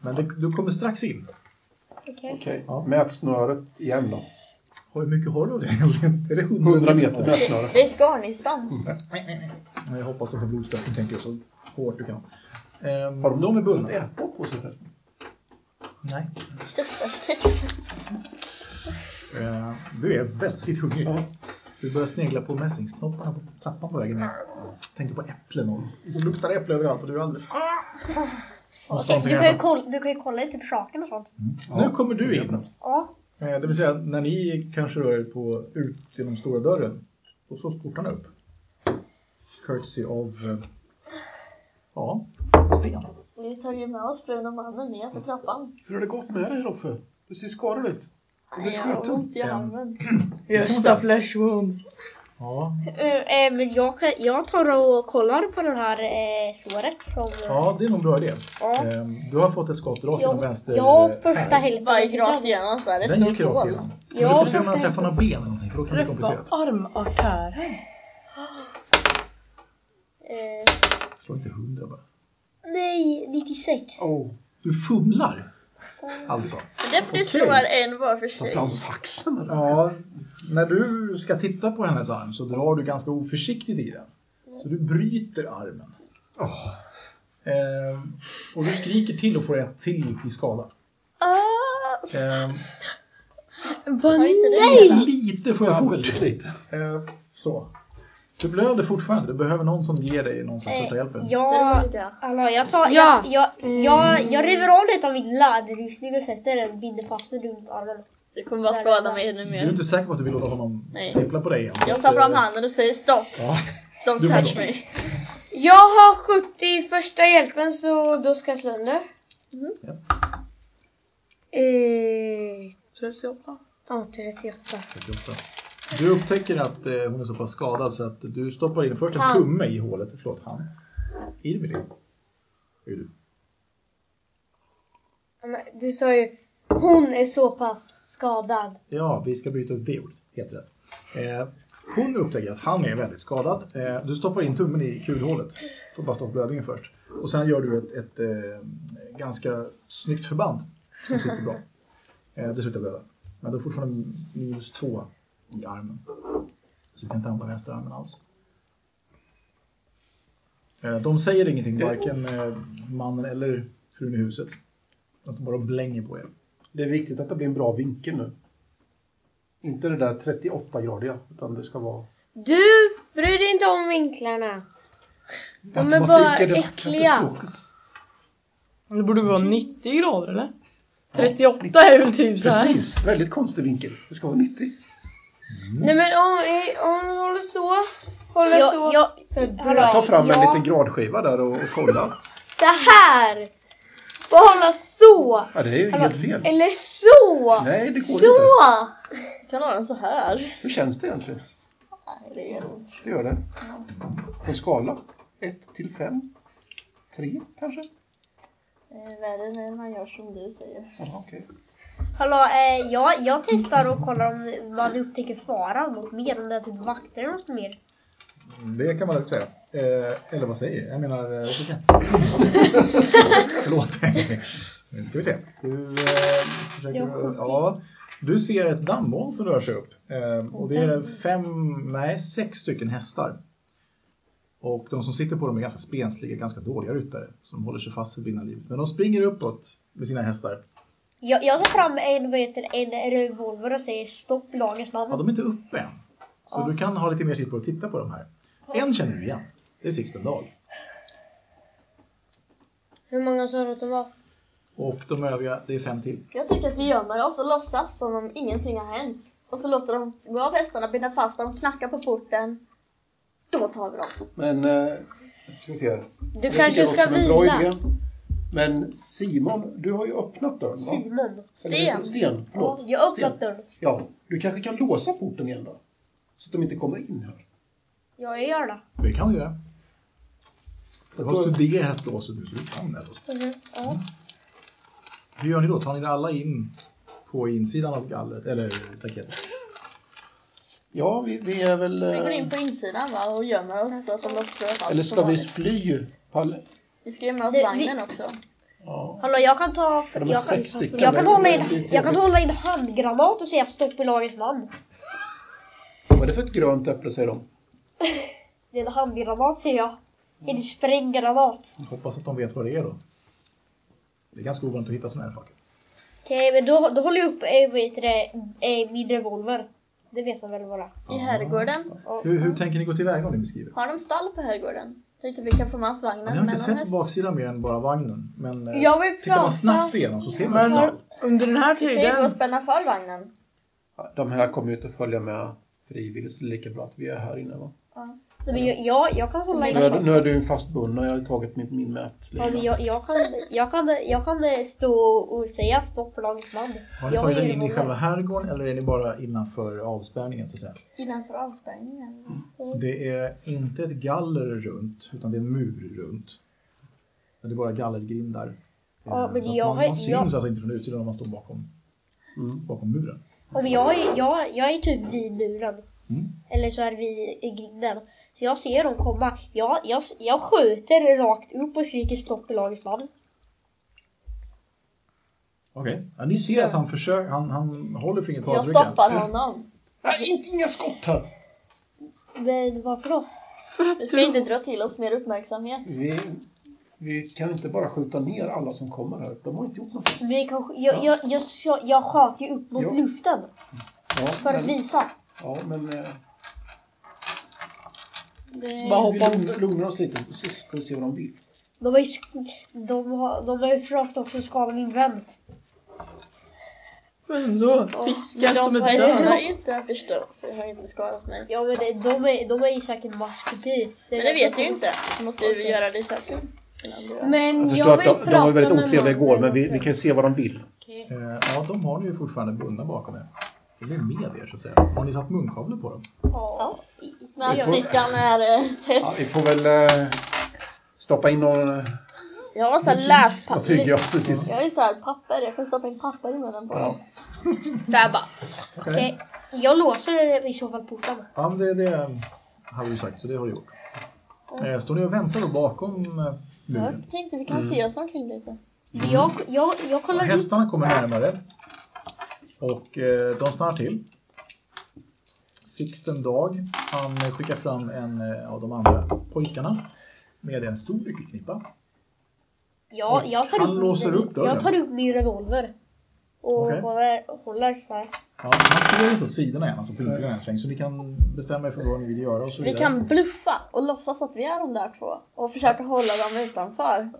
Speaker 6: Men det, du kommer strax in.
Speaker 2: Okej.
Speaker 7: Okej, mät snöret igen då.
Speaker 6: Hur mycket har du av det egentligen? Är det
Speaker 7: 100 meter mät snöret.
Speaker 3: Det är ett garningsband.
Speaker 6: Nej, Jag hoppas du får blodstötning tänker jag så hårt du kan. Ehm,
Speaker 7: Har de
Speaker 6: de är
Speaker 7: Ett
Speaker 6: bundna?
Speaker 7: ätbart på sig förresten.
Speaker 6: Nej.
Speaker 3: Största stress.
Speaker 6: Eh, Du är väldigt hungrig. Du börjar snegla på mässingsknopparna på trappan på vägen ner. Tänker på äpplen och Ah. och så luktar det äpple överallt och du är alldeles... Måste ha
Speaker 2: Okej,
Speaker 6: någonting
Speaker 2: du, kan ju
Speaker 6: att
Speaker 2: kolla, du kan ju kolla i typ saken och sånt.
Speaker 6: äta. Nu kommer du in.
Speaker 2: Ja.
Speaker 6: Eh, Det vill säga när ni kanske rör er på, ut genom stora dörren. Då slås portarna upp. Courtesy av... eh, Ja, Sten.
Speaker 3: Vi tar ju med oss frun och mannen ner för trappan.
Speaker 7: Hur har det gått med dig Roffe? Du ser skadad ut. Har du
Speaker 3: Jag
Speaker 7: blivit
Speaker 3: har
Speaker 7: skjuten?
Speaker 3: ont i armen.
Speaker 4: Gösta Flashwound.
Speaker 6: Ja,
Speaker 2: Eh, eh, men jag, kan- jag tar och kollar på det här eh, såret som...
Speaker 6: ja det är nog en bra idé.
Speaker 2: Ja.
Speaker 6: Ehm, Du har fått ett skott rakt genom
Speaker 2: Jag,
Speaker 6: vänster...
Speaker 2: jag
Speaker 6: eh,
Speaker 2: första
Speaker 3: Bara
Speaker 2: hälften.
Speaker 3: gick rakt igenom så här. Ett
Speaker 6: Den
Speaker 3: stort
Speaker 6: gick rakt
Speaker 3: hål.
Speaker 6: igenom. Men
Speaker 2: Ja,
Speaker 6: du får se
Speaker 2: första
Speaker 6: om man träffar några ben eller någonting för då kan det bli
Speaker 4: Träffa
Speaker 6: komplicerat.
Speaker 4: armartären.
Speaker 2: Eh,
Speaker 6: Slå inte hundra bara.
Speaker 2: nej, 96.
Speaker 7: Oh,
Speaker 6: Du fumlar! Alltså.
Speaker 3: Så det får du slå en var för
Speaker 7: ta
Speaker 3: sig.
Speaker 7: fram saxen eller?
Speaker 6: Ja, när du ska titta på hennes arm så drar du ganska oförsiktigt i den. Så du bryter armen.
Speaker 7: Åh.
Speaker 6: Ehm, och du skriker till och får ett till i skada.
Speaker 3: Ah.
Speaker 6: Ehm,
Speaker 3: Har inte det?
Speaker 6: lite får jag fort.
Speaker 7: lite. Eh,
Speaker 6: Ehm, så. Du blöder fortfarande. Du behöver någon som ger dig någon slags första
Speaker 2: Eh,
Speaker 6: hjälpen.
Speaker 2: jag,
Speaker 3: Det är
Speaker 2: hallå, jag, tar, jag, jag,
Speaker 3: Mm.
Speaker 2: jag, jag river av lite av min läderrustning och sätter den, binder fast den runt armen.
Speaker 3: Det kommer bara skada mig ännu
Speaker 6: Du är
Speaker 3: mer.
Speaker 6: inte säker på att du vill låta honom
Speaker 3: Nej.
Speaker 6: tejpla på dig igen.
Speaker 3: Jag tar fram handen och säger stopp. Don't
Speaker 6: Du får
Speaker 3: touch
Speaker 6: då.
Speaker 3: me.
Speaker 8: Jag har 70 i första hjälpen så då ska jag slå under.
Speaker 6: Ja.
Speaker 8: Eh, 38. Ja, 38.
Speaker 6: 38. Du upptäcker att eh, hon är så pass skadad så att du stoppar in först en
Speaker 8: Han.
Speaker 6: tumme i hålet. Förlåt, han. Är det med det? Är du?
Speaker 8: Ja, men Du sa ju hon är så pass skadad.
Speaker 6: Ja, vi ska byta ut det ordet. Helt rätt. Eh, hon upptäcker att han är väldigt skadad. Eh, du stoppar in tummen i kulhålet. Får bara stoppa blödningen först. Och sen gör du ett, ett eh, ganska snyggt förband som sitter bra. Eh, det slutar blöda. Men du har fortfarande minus två i armen. Så du kan inte använda vänsterarmen alls. Eh, de säger ingenting, varken eh, mannen eller frun i huset. De bara blänger på er.
Speaker 7: Det är viktigt att det blir en bra vinkel nu. Inte det där 38-gradiga, utan det ska vara...
Speaker 8: Du bryr dig inte om vinklarna.
Speaker 7: Mm.
Speaker 8: De är
Speaker 7: Matematik
Speaker 8: bara
Speaker 7: är det vackraste
Speaker 8: äckliga.
Speaker 7: språket.
Speaker 4: Det borde vara 90 grader eller? 38 är väl typ så här.
Speaker 7: Precis, väldigt konstig vinkel. Det ska vara 90.
Speaker 8: Nej men om, eh, om hon håller så, håller så.
Speaker 2: Jag, jag,
Speaker 8: så
Speaker 2: hallå,
Speaker 8: bra.
Speaker 6: Ta fram en
Speaker 2: jag-
Speaker 6: liten gradskiva där och, och kolla.
Speaker 8: Så här. Får hålla så.
Speaker 7: Ja, det är ju helt fel.
Speaker 8: Eller så.
Speaker 7: Nej, det går inte.
Speaker 8: så.
Speaker 3: Jag kan ha den så här.
Speaker 7: Hur känns det egentligen?
Speaker 3: Nej, det gör ont.
Speaker 7: Det gör det. På en skala. 1 till 5. 3 kanske?
Speaker 3: Eh, Värre när man gör som du säger.
Speaker 7: Jaha, okej.
Speaker 2: Hallå, eh, jag, jag testar och kollar om man upptäcker faran något mer, om det är typ vakter eller något mer.
Speaker 6: Det kan man lugnt säga. Eh, eller vad säger jag? Jag menar, eh, vad ska vi se. Förlåt. nu ska vi se. Du, eh, försöker, ja, du ser ett dammbål som rör sig upp. Eh, och det är fem, nej, sex stycken hästar. Och de som sitter på dem är ganska spensliga, ganska dåliga ryttare. Som håller sig fast för vinna livet. Men de springer uppåt med sina hästar.
Speaker 2: Jag, jag tar fram en, vad heter det, en revolver och säger stopp i lagens
Speaker 6: Ja,
Speaker 2: namn.
Speaker 6: de är inte uppe än. Så du kan ha lite mer tid på att titta på de här. En känner du igen. Det är Sixten Dag.
Speaker 8: Hur många sa du att de var?
Speaker 6: Och de övriga, det är fem till.
Speaker 3: Jag tycker att vi gömmer oss och låtsas som om ingenting har hänt. Och så låter de gå av hästarna, binda fast dem, knacka på porten. Då tar vi dem.
Speaker 7: Men... Eh, ska vi se. här.
Speaker 8: Du
Speaker 7: Det
Speaker 8: kanske
Speaker 7: tycker jag
Speaker 8: ska
Speaker 7: låter som en bra
Speaker 8: vila.
Speaker 7: idé. Men Simon, du har ju öppnat dörren va?
Speaker 2: Simon.
Speaker 7: Eller,
Speaker 3: Sten.
Speaker 7: Sten, förlåt.
Speaker 2: Jag har öppnat
Speaker 7: Sten.
Speaker 2: dörren.
Speaker 7: Ja, du kanske kan låsa porten igen då? Så att de inte kommer in här.
Speaker 2: Ja, jag gör det.
Speaker 6: Det kan du göra. Du har studerat låset nu, så du kan det.
Speaker 8: Mhm,
Speaker 6: Hur gör ni då? Tar ni alla in på insidan av gallret, eller staketet?
Speaker 7: Ja, vi, vi är väl...
Speaker 3: Vi går in
Speaker 7: Eh,
Speaker 3: på insidan va, och gömmer oss så att de måste slå fast
Speaker 7: eller
Speaker 3: som
Speaker 7: ska vi
Speaker 3: vanligt.
Speaker 7: fly? Pal-
Speaker 3: Vi ska gömma oss i
Speaker 2: Det-
Speaker 3: vagnen också.
Speaker 7: ja.
Speaker 2: Hallå, jag kan ta...
Speaker 7: För de är
Speaker 2: jag, kan,
Speaker 7: sex stycken.
Speaker 2: jag, kan
Speaker 7: Det är
Speaker 2: hålla in,
Speaker 7: lite
Speaker 2: jag kan
Speaker 7: jobbigt.
Speaker 2: hålla in handgranat och säga stopp i lagens namn.
Speaker 7: Vad är det för ett grönt äpple säger de?
Speaker 2: Det är en handgranat säger jag. Inte spränggranat.
Speaker 6: Hoppas att de vet vad det är då. Det är ganska ovanligt att hitta sådana här saker.
Speaker 2: Okej, men då, då håller jag upp eh, vad heter det, eh, min revolver. Det vet man väl vad det är.
Speaker 3: I herrgården.
Speaker 6: Hur, hur tänker ni gå tillväga om ni beskriver?
Speaker 3: Har de stall på herrgården? Tänkte vi kan få med oss vagnen.
Speaker 6: Ni har inte
Speaker 3: men någon
Speaker 6: sett
Speaker 3: häst.
Speaker 6: baksidan mer än bara vagnen. Men eh,
Speaker 3: Jag vill
Speaker 6: tittar
Speaker 3: prata.
Speaker 6: man snabbt igenom så ser man
Speaker 4: Men-
Speaker 6: stall.
Speaker 4: Under den här
Speaker 3: Vi kan ju gå
Speaker 4: tiden
Speaker 3: och spänna för vagnen.
Speaker 7: De här kommer ju inte följa med frivilligt så det är lika bra att vi är här inne va?
Speaker 2: Så, men jag, jag, jag kan hålla in...
Speaker 7: Nu är, nu är du en fastbundna, jag har ju tagit min, min
Speaker 2: Ja, men
Speaker 7: mätlina.
Speaker 2: jag, jag, kan, jag, kan, jag kan eh, stå och säga stopp i lagens namn.
Speaker 6: Har ni
Speaker 2: Jag
Speaker 6: tagit er
Speaker 2: min
Speaker 6: in i
Speaker 2: revolver.
Speaker 6: själva herrgården eller är ni bara innanför avspärrningen så att säga?
Speaker 3: Innanför avspärrningen.
Speaker 6: Det är inte ett galler runt, utan det är en mur runt. Men Det är bara gallergrindar.
Speaker 2: Ja,
Speaker 6: Eh,
Speaker 2: men
Speaker 6: så att
Speaker 2: jag
Speaker 6: man,
Speaker 2: har-
Speaker 6: man syns
Speaker 2: jag-
Speaker 6: alltså inte från utsidan om man står bakom, bakom muren.
Speaker 2: Ja, men jag, är- jag, jag är typ vid muren. Eller så är vi i grinden. Så jag ser dem komma. Jag, jag, jag skjuter rakt upp och skriker stopp i lagens namn.
Speaker 6: Okej. Ja, ni ser att han försöker, han, han håller fingret på
Speaker 3: Jag
Speaker 6: avtrycken.
Speaker 3: stoppar honom.
Speaker 7: Nej, inte inga skott här!
Speaker 2: Men varför då?
Speaker 3: Vi ska inte dra till oss mer uppmärksamhet.
Speaker 7: Vi, vi kan inte bara skjuta ner alla som kommer här. De har inte gjort något.
Speaker 2: Vi kan, jag, jag, jag, jag, jag sköt ju upp mot
Speaker 7: Ja.
Speaker 2: luften
Speaker 7: Ja,
Speaker 2: för att
Speaker 7: men,
Speaker 2: visa.
Speaker 7: ja, men eh,
Speaker 4: bara
Speaker 7: vi
Speaker 4: hoppa
Speaker 7: lugnar- lugnar oss lite så ska vi se vad de vill.
Speaker 2: De har ju sk- de har, de har ju försökt också skada min vän.
Speaker 4: ändå. Fiskar som ett
Speaker 3: Jag har
Speaker 4: död.
Speaker 3: inte har förstört, för jag har inte skadat mig.
Speaker 2: Ja men det, de, är, de är ju säkert maskopi.
Speaker 3: Men det vet jag ju inte. Så måste ju göra det säkert.
Speaker 8: Men jag,
Speaker 7: Jag förstår att
Speaker 8: vill
Speaker 7: de, de
Speaker 8: prata
Speaker 7: var väldigt
Speaker 8: med
Speaker 7: otrevliga
Speaker 8: någon.
Speaker 7: igår, men vi, vi kan ju se vad de vill.
Speaker 6: Eh, ja, de har ni ju fortfarande bundna bakom er. De är med er så att säga. Har ni tagit munkavle på dem?
Speaker 3: Ja. Men
Speaker 7: Vi får-
Speaker 3: stickan är eh, tätt.
Speaker 7: Ja, vi får väl eh, stoppa in någon eh,
Speaker 3: Jag har såhär läspapper.
Speaker 7: tyg, ja precis.
Speaker 3: Jag har ju såhär papper. Jag kan stoppa in papper i munnen på dem.
Speaker 2: Där bara.
Speaker 6: Okej.
Speaker 2: Okej. Jag låser i så fall porten.
Speaker 6: Ja, men det, det har du ju sagt, så det har du gjort. Eh, står ni och väntar då bakom eh, muren?
Speaker 3: Jag tänkte vi kan
Speaker 6: Mm.
Speaker 3: se oss omkring lite.
Speaker 2: Men Jag, jag, jag kollar upp.
Speaker 6: Hästarna kommer närmare. Och eh, de stannar till. Sixten Dag, han eh, skickar fram en eh, av de andra pojkarna med en stor nyckelknippa.
Speaker 2: Ja, jag tar
Speaker 6: Mm. Han
Speaker 2: upp,
Speaker 6: låser upp dörren.
Speaker 2: Jag tar upp min revolver. Och
Speaker 6: Okej.
Speaker 2: håller, håller så här.
Speaker 6: Ja, han ser inte åt sidorna än, alltså på insidan än så länge, så ni kan bestämma er för vad ni vill göra och så
Speaker 3: Vi
Speaker 6: vidare.
Speaker 3: kan bluffa och låtsas att vi är de där två. Och försöka hålla dem utanför.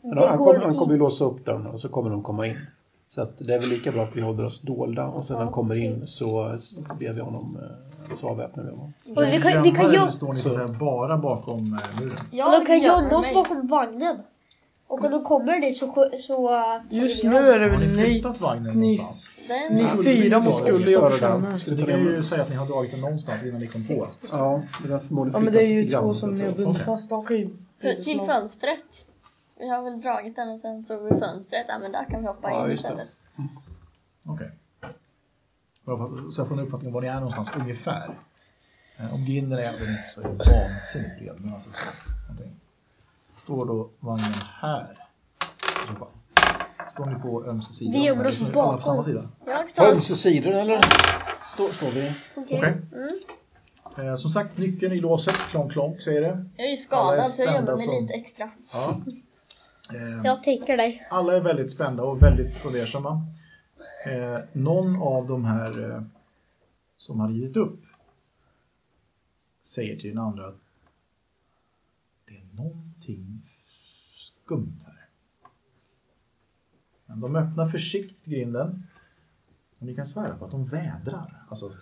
Speaker 7: Men han,
Speaker 2: går
Speaker 7: kommer- han
Speaker 2: i-
Speaker 7: kommer ju låsa upp dörren och så kommer de komma in. Så att det är väl lika bra att vi håller oss dolda och sen när han kommer in så eh, ber vi honom, eh, så avväpnar vi honom.
Speaker 2: Och vi kan, vi kan,
Speaker 6: Gömma
Speaker 2: göm,
Speaker 6: eller står ni så att säga bara bakom eh, muren?
Speaker 2: och de kan
Speaker 3: gömmer
Speaker 2: gömma oss
Speaker 3: mig.
Speaker 2: bakom vagnen. Och om de kommer dit så... skö- så äh,
Speaker 4: Just nu är det
Speaker 6: Har
Speaker 4: väl
Speaker 6: ni
Speaker 4: ni,
Speaker 6: flyttat vagnen
Speaker 4: ni-
Speaker 6: någonstans?
Speaker 3: Den-
Speaker 4: ni fyra
Speaker 7: Vi
Speaker 4: måste
Speaker 7: skulle göra det. Skulle
Speaker 6: Ni
Speaker 7: ta
Speaker 6: kan
Speaker 7: det
Speaker 6: ju säga att ni har dragit den någonstans innan ni kom på.
Speaker 7: ja, men den har förmodligen
Speaker 4: Ja men det är
Speaker 7: flyttats
Speaker 4: ju
Speaker 7: lite grann,
Speaker 4: två som ni har
Speaker 7: jag tror.
Speaker 4: bundit
Speaker 6: Okej.
Speaker 4: fast. Okej.
Speaker 3: Till typ fönstret. Vi har väl dragit den och sen såg vi fönstret. Ja men där kan vi hoppa
Speaker 7: Ja,
Speaker 3: in
Speaker 7: just det.
Speaker 3: istället.
Speaker 6: Okej. Okay. Så jag får en uppfattning om var ni är någonstans ungefär. Eh, Om grinden är öppen så är det vansinnigt bred. Men alltså så, någonting. Står då vagnen här? I så fall. Står ni på ömse sidor?
Speaker 2: Vi gömmer
Speaker 6: Eller
Speaker 2: oss
Speaker 6: står ni alla på samma
Speaker 2: bakom.
Speaker 6: sida?
Speaker 3: Jag
Speaker 7: På
Speaker 3: står
Speaker 7: ömse sidor eller? Står, står vi?
Speaker 6: Okej.
Speaker 2: Mm.
Speaker 6: Eh, som sagt, nyckeln i låset. Klonk, klonk säger det.
Speaker 3: Jag är ju
Speaker 6: Alla är
Speaker 3: skadad så jag
Speaker 6: spända
Speaker 3: gömmer mig
Speaker 6: som-
Speaker 3: lite extra.
Speaker 6: Ja. Eh,
Speaker 2: Jag täcker dig.
Speaker 6: Alla är väldigt spända och väldigt fundersamma. Eh, någon av de här eh, som har rivit upp säger till den andra att det är någonting skumt här. Men de öppnar försiktigt grinden och ni kan svära på att de vädrar. Alltså,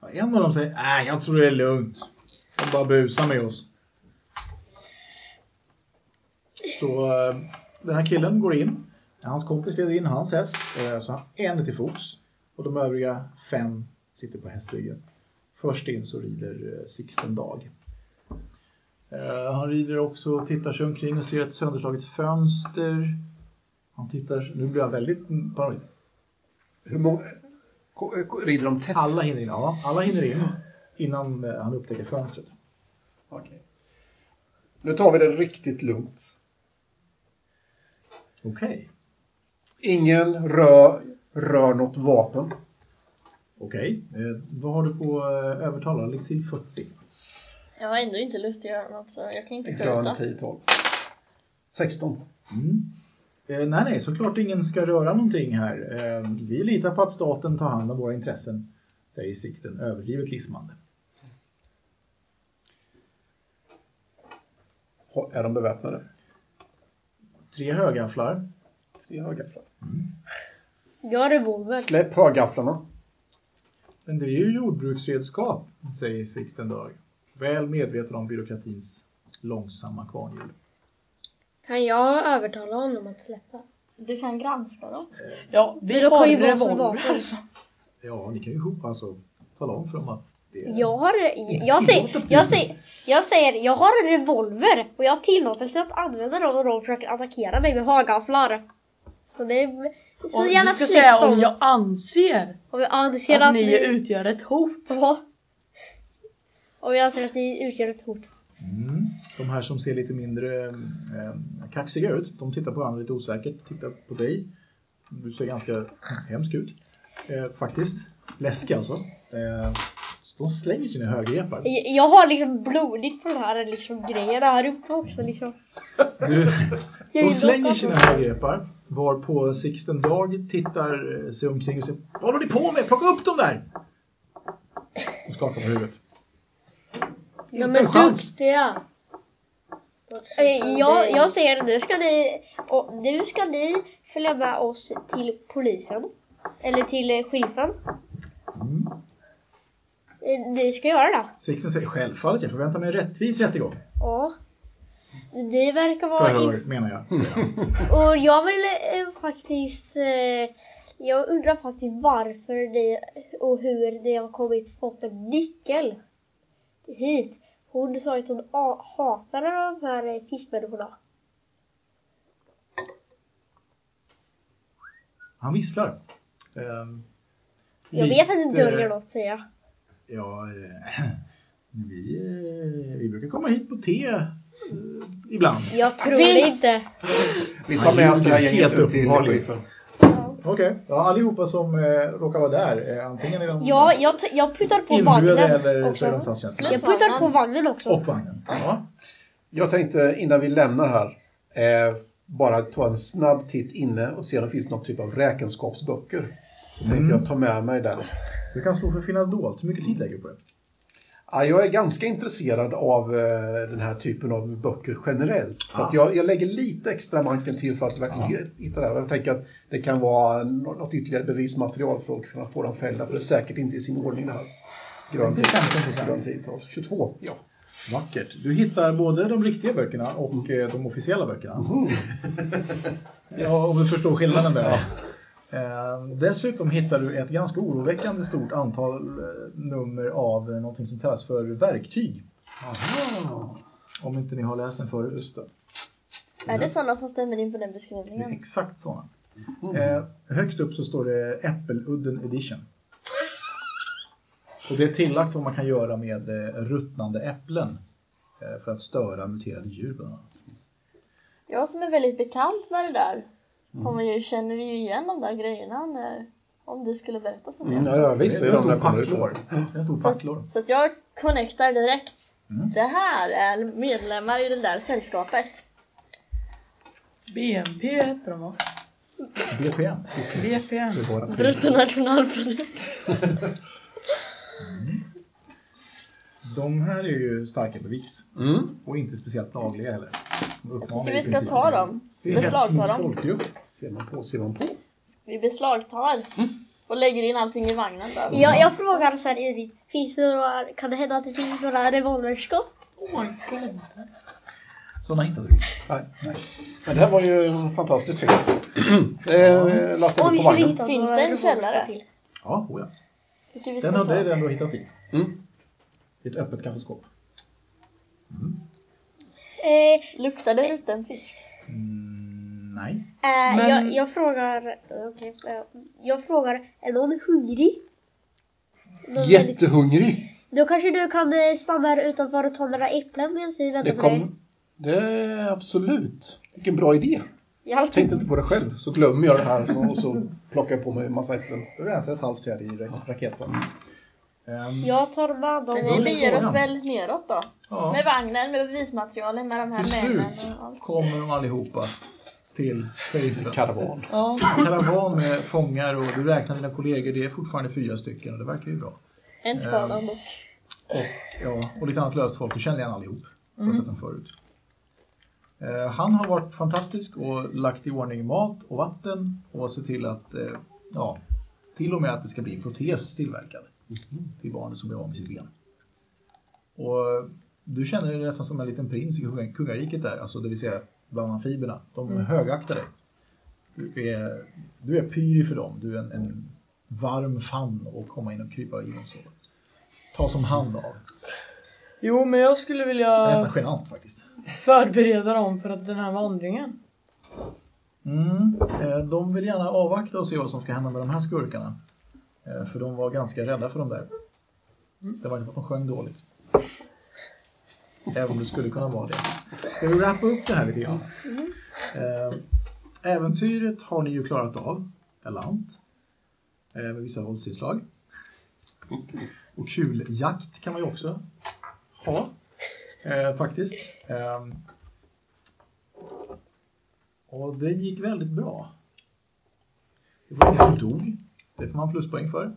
Speaker 6: ja, en av dem säger nej jag tror det är lugnt. De bara busar med oss. Så eh, den här killen går in. Hans kompis leder in hans häst. eh, Så han- en är till fots. Och de övriga fem sitter på hästryggen. Först in så rider eh, Sixten Dag. Eh, Han rider också och tittar sig omkring och ser ett sönderslaget fönster. Han tittar, nu blir jag väldigt paranoid.
Speaker 7: Hur många, Ko- eh, ko- Rider de tätt?
Speaker 6: Alla hinner in. Ja, alla hinner in innan eh, han upptäcker fönstret.
Speaker 7: Okej. Nu tar vi det riktigt lugnt.
Speaker 6: Okej.
Speaker 7: Ingen rör, rör något vapen.
Speaker 6: Okej. Eh, vad har du på eh, övertalare? Lägg till 40.
Speaker 3: Jag har ändå inte lust att göra något så jag kan inte
Speaker 7: Inte rör
Speaker 3: skjuta.
Speaker 7: 10, 12. 16.
Speaker 6: Eh, nej, nej, såklart ingen ska röra någonting här. Eh, vi litar på att staten tar hand om våra intressen, säger sikten överdrivet lismande.
Speaker 7: Ha- Är de beväpnade?
Speaker 6: Tre högafflar.
Speaker 7: Tre högafflar.
Speaker 2: Jag har revolver.
Speaker 7: Släpp högafflarna.
Speaker 6: Men det är ju jordbruksredskap, säger sikten dag. Väl medveten om byråkratins långsamma kvarnhjul.
Speaker 8: Kan jag övertala honom att släppa?
Speaker 3: Du kan granska dem.
Speaker 4: Ja, vi
Speaker 2: Då
Speaker 4: har
Speaker 2: kan ju vara som
Speaker 4: revolver.
Speaker 2: vapen.
Speaker 4: alltså.
Speaker 6: Ja, ni kan ju ihop alltså tala om för dem att det är...
Speaker 2: Jag har...
Speaker 6: Mm.
Speaker 2: Jag säger, jag, säger, jag säger, jag har en revolver och jag har tillåtelse att använda dem om de försöker attackera mig med hagafflar. Så det är... Så
Speaker 4: Om-
Speaker 2: gärna
Speaker 4: Du ska
Speaker 2: släpp
Speaker 4: säga
Speaker 2: dem.
Speaker 4: om jag anser
Speaker 2: om jag anser
Speaker 4: att
Speaker 2: att
Speaker 4: ni utgör ett hot.
Speaker 2: Ja. Om jag anser att ni utgör ett hot.
Speaker 6: Mm. De här som ser lite mindre eh, kaxiga ut, de tittar på varandra lite osäkert. Tittar på dig. Du ser ganska hemsk ut. Eh, faktiskt. Läskig alltså. Eh, de slänger sina högrepar.
Speaker 2: Jag- Jag har liksom blodigt på den här liksom, grejen här uppe också liksom.
Speaker 6: Du,
Speaker 2: Jag
Speaker 6: de
Speaker 2: vill
Speaker 6: slänger
Speaker 2: låta
Speaker 6: sina
Speaker 2: dem.
Speaker 6: högrepar. Varpå Sixten Dag tittar eh, sig omkring och säger Vad håller ni på med? Plocka upp dem där! Och skakar på huvudet.
Speaker 8: De
Speaker 6: en
Speaker 8: är
Speaker 6: chans.
Speaker 8: duktiga.
Speaker 2: Eh, Jag, jag säger nu ska ni, och nu ska ni följa med oss till polisen. Eller till eh, sheriffen. Mm. Eh, Ni ska göra det.
Speaker 6: Sixten säger Självfallet, jag förväntar mig en rättvis rättegång.
Speaker 2: Ja. Ni verkar vara... in-
Speaker 6: Förhör menar jag. säger han.
Speaker 2: Och jag vill eh, faktiskt... Eh, jag undrar faktiskt varför ni och hur ni har kommit fått en nyckel hit. Hon sa ju att hon a- hatade de här eh, fiskmänniskorna.
Speaker 6: Han visslar. Ehm,
Speaker 2: Jag vet att
Speaker 6: lite-
Speaker 2: det döljer något säger jag.
Speaker 6: Ja, eh, vi, eh, vi brukar komma hit på te eh, ibland.
Speaker 2: Jag tror det
Speaker 8: Visst!
Speaker 2: inte.
Speaker 7: Vi tar med oss det här gänget ut till sheriffen.
Speaker 6: Okej, ja, allihopa som eh, råkar vara där, eh, antingen är de
Speaker 2: Ja, jag, t- jag puttar på
Speaker 6: inburade
Speaker 2: vagnen
Speaker 6: eller så är de
Speaker 2: också.
Speaker 6: statstjänstemän.
Speaker 2: Jag puttar på
Speaker 3: Vagnen.
Speaker 2: vagnen också.
Speaker 6: Och vagnen. Ja.
Speaker 7: Jag tänkte innan vi lämnar här, eh, bara ta en snabb titt inne och se om det finns någon typ av räkenskapsböcker. Så tänkte jag ta med mig den.
Speaker 6: Du kan slå för finna dolt. Hur mycket tid lägger du på det?
Speaker 7: Ja, jag är ganska intresserad av eh, den här typen av böcker generellt. Så att jag, jag lägger lite extra manken till för att verkligen hitta det här. Jag tänker att det kan vara nå- något ytterligare bevismaterial för att kunna få dem fällda. För det är säkert inte i sin ordning det här. Grön tid.
Speaker 6: 15%.
Speaker 7: Grön tid. 22. Ja.
Speaker 6: Vackert. Du hittar både de riktiga böckerna och eh, de officiella böckerna. Ja, om du förstår skillnaden där. Eh, dessutom hittar du ett ganska oroväckande stort antal eh, nummer av eh, någonting som kallas för verktyg. Om inte ni har läst den förut. Just
Speaker 3: Är det sådana som stämmer in på den
Speaker 6: Det är
Speaker 3: beskrivningen?
Speaker 6: exakt sådana. Eh, högst upp så står det Äppeludden edition. Och det är tillagt vad man kan göra med eh, ruttnande äpplen eh, för att störa muterade djur bland annat.
Speaker 3: Jag som är väldigt bekant med det där
Speaker 7: Mm.
Speaker 3: kommer ju, känner ju igen de där grejerna när, om du skulle berätta för mig.
Speaker 7: Mm, ja, ja, visst.
Speaker 6: Det
Speaker 7: Det
Speaker 6: är
Speaker 7: är
Speaker 6: en
Speaker 7: de
Speaker 6: stor
Speaker 7: där kommer ut.
Speaker 6: facklor. Det är en stor facklor.
Speaker 3: Så att jag connectar direkt.
Speaker 7: Mm.
Speaker 3: Det här är medlemmar i det där sällskapet.
Speaker 4: BNP heter de va?
Speaker 6: BPM.
Speaker 4: BPM.
Speaker 3: Bruttonationalprodukt.
Speaker 6: De här är ju starka bevis.
Speaker 7: Mm.
Speaker 6: Och inte speciellt lagliga heller. De uppmanar
Speaker 3: Så
Speaker 6: i
Speaker 3: vi ska
Speaker 6: princip
Speaker 3: ta
Speaker 6: till-
Speaker 3: dem.
Speaker 6: till hets
Speaker 3: Beslagta
Speaker 6: mot
Speaker 3: dem.
Speaker 6: folkgrupp.
Speaker 7: Ser man på, ser man på.
Speaker 3: Vi beslagtar. Och lägger in allting i vagnen där.
Speaker 2: Jag, jag frågar så här Edvin, finns det några, kan det hända att det finns några revolverskott?
Speaker 6: Sådana hittade vi.
Speaker 7: Nej, nej. Men det här var ju fantastiskt fint. eh, lasta
Speaker 2: Om
Speaker 7: upp
Speaker 2: vi
Speaker 7: på
Speaker 2: skulle
Speaker 7: vagnen.
Speaker 2: hitta
Speaker 3: Finns
Speaker 2: några
Speaker 3: det
Speaker 2: revolver
Speaker 3: en källare?
Speaker 2: till.
Speaker 6: Ja, oja.
Speaker 3: Tycker vi
Speaker 6: Den
Speaker 3: ska
Speaker 6: hade
Speaker 3: ta.
Speaker 6: jag ändå hittat i.
Speaker 7: Mm.
Speaker 6: I ett öppet kassaskåp.
Speaker 2: Eh,
Speaker 3: Luktar det rutten fisk?
Speaker 6: Mm, Nej.
Speaker 2: Eh,
Speaker 4: Men-
Speaker 2: jag, jag frågar... okej, eh, jag frågar, är någon hungrig? Någon väldigt-
Speaker 7: Jättehungrig.
Speaker 2: Då kanske du kan eh, stanna här utanför och ta några äpplen medan vi väntar
Speaker 7: Det
Speaker 2: på dig.
Speaker 7: kom... Det är absolut. Vilken bra idé.
Speaker 3: Jag har alltid
Speaker 7: Tänkte inte på det själv. Så glömmer jag det här så, och så plockar jag på mig en massa äpplen.
Speaker 11: Då rensar ett halvt fjärde i ra- raketform.
Speaker 6: Ehm,
Speaker 2: Jag tar med
Speaker 3: Men
Speaker 2: dem.
Speaker 3: vi
Speaker 6: är
Speaker 3: beger
Speaker 6: frågan.
Speaker 3: oss väl neråt då.
Speaker 6: Ja.
Speaker 3: Med vagnen, med bevismaterialen, med de
Speaker 6: Till
Speaker 3: här männen
Speaker 6: slut
Speaker 3: och allt.
Speaker 6: kommer de allihopa till sheriffen.
Speaker 7: Karavan.
Speaker 4: Ja.
Speaker 6: Karavan med fångar och du räknar dina kollegor, det är fortfarande fyra stycken och det verkar ju bra. Ehm.
Speaker 3: En skada dock.
Speaker 6: Ja, och lite annat löst folk. Du känner igen allihop. Jag har sett dem förut. Eh, han har varit fantastisk och lagt i ordning mat och vatten och sett till att, eh, ja, till och med att det ska bli en protes tillverkad till barnet som blir av med sitt ben. Och du känner dig nästan som en liten prins i kung- kungariket där, alltså det vill säga bland amfiberna. De högaktar dig. Du är, du är pyrig för dem. Du är en, en varm famn och komma in och krypa i dem så. Ta som hand av.
Speaker 4: Jo, men jag skulle
Speaker 6: Det är
Speaker 4: vilja
Speaker 6: nästan genant faktiskt.
Speaker 4: förbereda dem för att den här vandringen.
Speaker 6: Mm. eh, De vill gärna avvakta och se vad som ska hända med de här skurkarna. Eh, För de var ganska rädda för de där. Det var inte för att de sjöng dåligt. Även om det skulle kunna vara det. Ska vi wrappa upp det här lite grann? Eh, Äventyret har ni ju klarat av. Galant. Eh, Med vissa våldsinslag. Och kuljakt kan man ju också ha. Eh, faktiskt. Ehm, och det gick väldigt bra. Det var ingen som dog. Det får man pluspoäng för.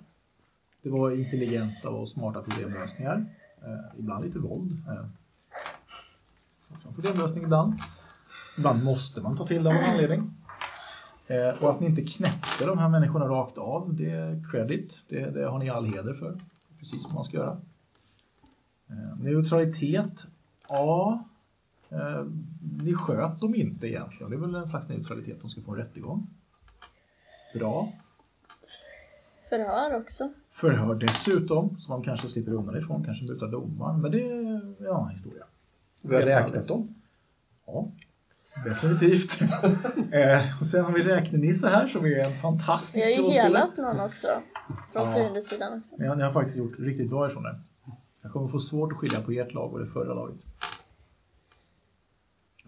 Speaker 6: Det var intelligenta och smarta problemlösningar. Eh, ibland lite våld. Eh, också en problemlösning ibland. Ibland måste man ta till det av någon anledning. Eh, och att ni inte knäckte de här människorna rakt av, det är credit. Det, det har ni all heder för. Precis som man ska göra. Eh, neutralitet. Ja, Eh, ni sköt dem inte egentligen. Det är väl en slags neutralitet. De ska få en rättegång. Bra.
Speaker 3: Förhör också.
Speaker 6: Förhör dessutom, som de kanske slipper undan ifrån. Kanske mutar domaren. Men det är en annan historia.
Speaker 11: Vi har
Speaker 6: Helt
Speaker 11: räknat
Speaker 6: ärligt.
Speaker 11: dem.
Speaker 6: Ja, definitivt. eh, och sen har vi räknenisse här som är en fantastisk
Speaker 3: Jag är ju
Speaker 6: skådespelare.
Speaker 3: helat någon också. Från
Speaker 6: Ja.
Speaker 3: fiendesidan också.
Speaker 6: Ni har, ni har faktiskt gjort riktigt bra ifrån det. Jag kommer få svårt att skilja på ert lag och det förra laget.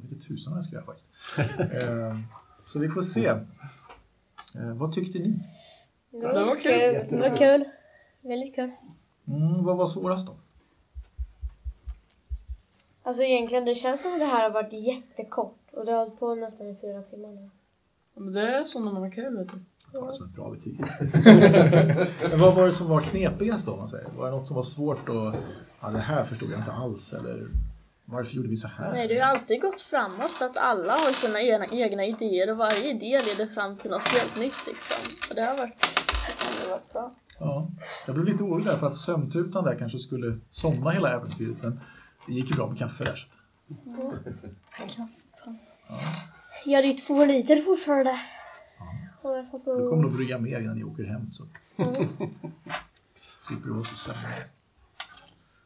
Speaker 6: Jag vet inte tusan vad jag ska göra faktiskt. eh, så vi får se. Eh, vad tyckte ni?
Speaker 4: Det var kul.
Speaker 2: Det var kul. Väldigt kul.
Speaker 6: Mm, vad var svårast då?
Speaker 8: Alltså egentligen, det känns som att det här har varit jättekort. Och det har hållit på nästan i fyra timmar nu.
Speaker 4: Men det är så när man har kul, vet du.
Speaker 6: Det var som ett bra betyg. Men vad var det som var knepigast då? Om man säger? Var det något som var svårt att... Ja, det här förstod jag inte alls. Eller varför gjorde vi så här?
Speaker 3: Nej, det har ju alltid gått framåt för att alla har sina egna, egna idéer och varje idé leder fram till något helt nytt liksom. Och det har varit, det har varit bra.
Speaker 6: Ja, jag blev lite orolig där för att sömntutan där kanske skulle somna hela äventyret. Men det gick ju bra med kaffe där. Så. att-
Speaker 2: Jag hade ju två liter fortfarande. Och jag fått
Speaker 6: Du
Speaker 2: att-
Speaker 6: kommer att brygga mer innan ni åker hem. Så. Slipper du vara så sömnig.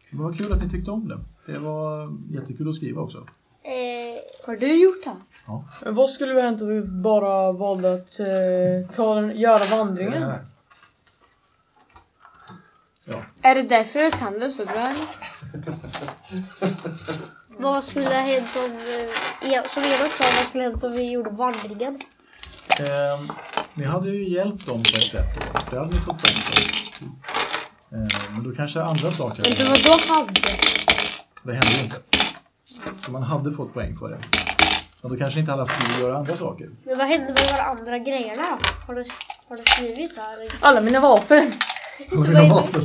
Speaker 6: Men vad kul att ni tyckte om det. Det var eh, jättekul att skriva också.
Speaker 2: Eh,
Speaker 8: Har du gjort det?
Speaker 4: Men vad skulle vi ha hänt om vi bara valde att eh, ta den, göra vandringen?
Speaker 6: Det här.
Speaker 8: Är det därför du kan det så bra? eller?
Speaker 2: vad skulle ha hänt om... eh, ja, Som Enoch sa, vad skulle ha hänt om vi gjorde vandringen?
Speaker 6: Ehm, ni hade ju hjälpt dem på ett sätt. då. Det hade ni fått poäng för. Ehm, men då kanske andra saker
Speaker 8: Men det var då hade.
Speaker 6: Det hände ju inte. Så man hade fått poäng för det. Men då kanske ni inte hade haft tid att göra andra saker.
Speaker 2: Men vad hände med de andra grejerna? Har du, har du skrivit det här?
Speaker 4: Alla mina vapen!
Speaker 6: Hörde ni maten?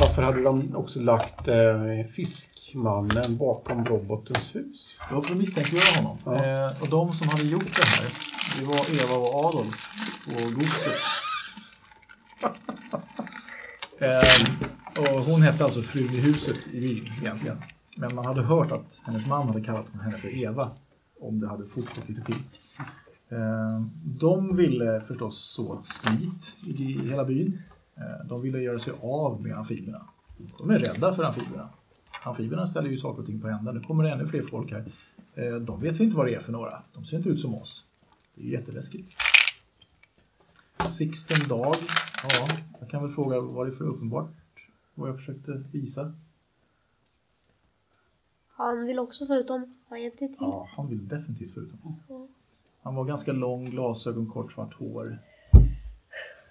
Speaker 7: Varför hade de också lagt eh, fiskmannen bakom robotens hus?
Speaker 6: Det var för att misstänkliggöra honom.
Speaker 7: Ja.
Speaker 6: Eh, och de som hade gjort det här, det var Eva och Adolf och godset. eh, och hon hette alltså frun i huset i byn egentligen. Men man hade hört att hennes man hade kallat henne för Eva om det hade fortgått lite till. Eh, de ville förstås så sprit i i hela byn. Eh, de ville göra sig av med amfiberna. De är rädda för amfiberna. Amfiberna ställer ju saker och ting på ända. Nu kommer det ännu fler folk här. Eh, De vet vi inte vad det är för några. De ser inte ut som oss. Det är ju jätteläskigt. Sixten Dag. Ja, jag kan väl fråga vad det är för uppenbart. Vad jag försökte visa.
Speaker 2: Han vill också få ut dem. Han hjälpte till.
Speaker 6: Ja, han vill definitivt få ut dem. Han var ganska lång, glasögon, kort svart hår.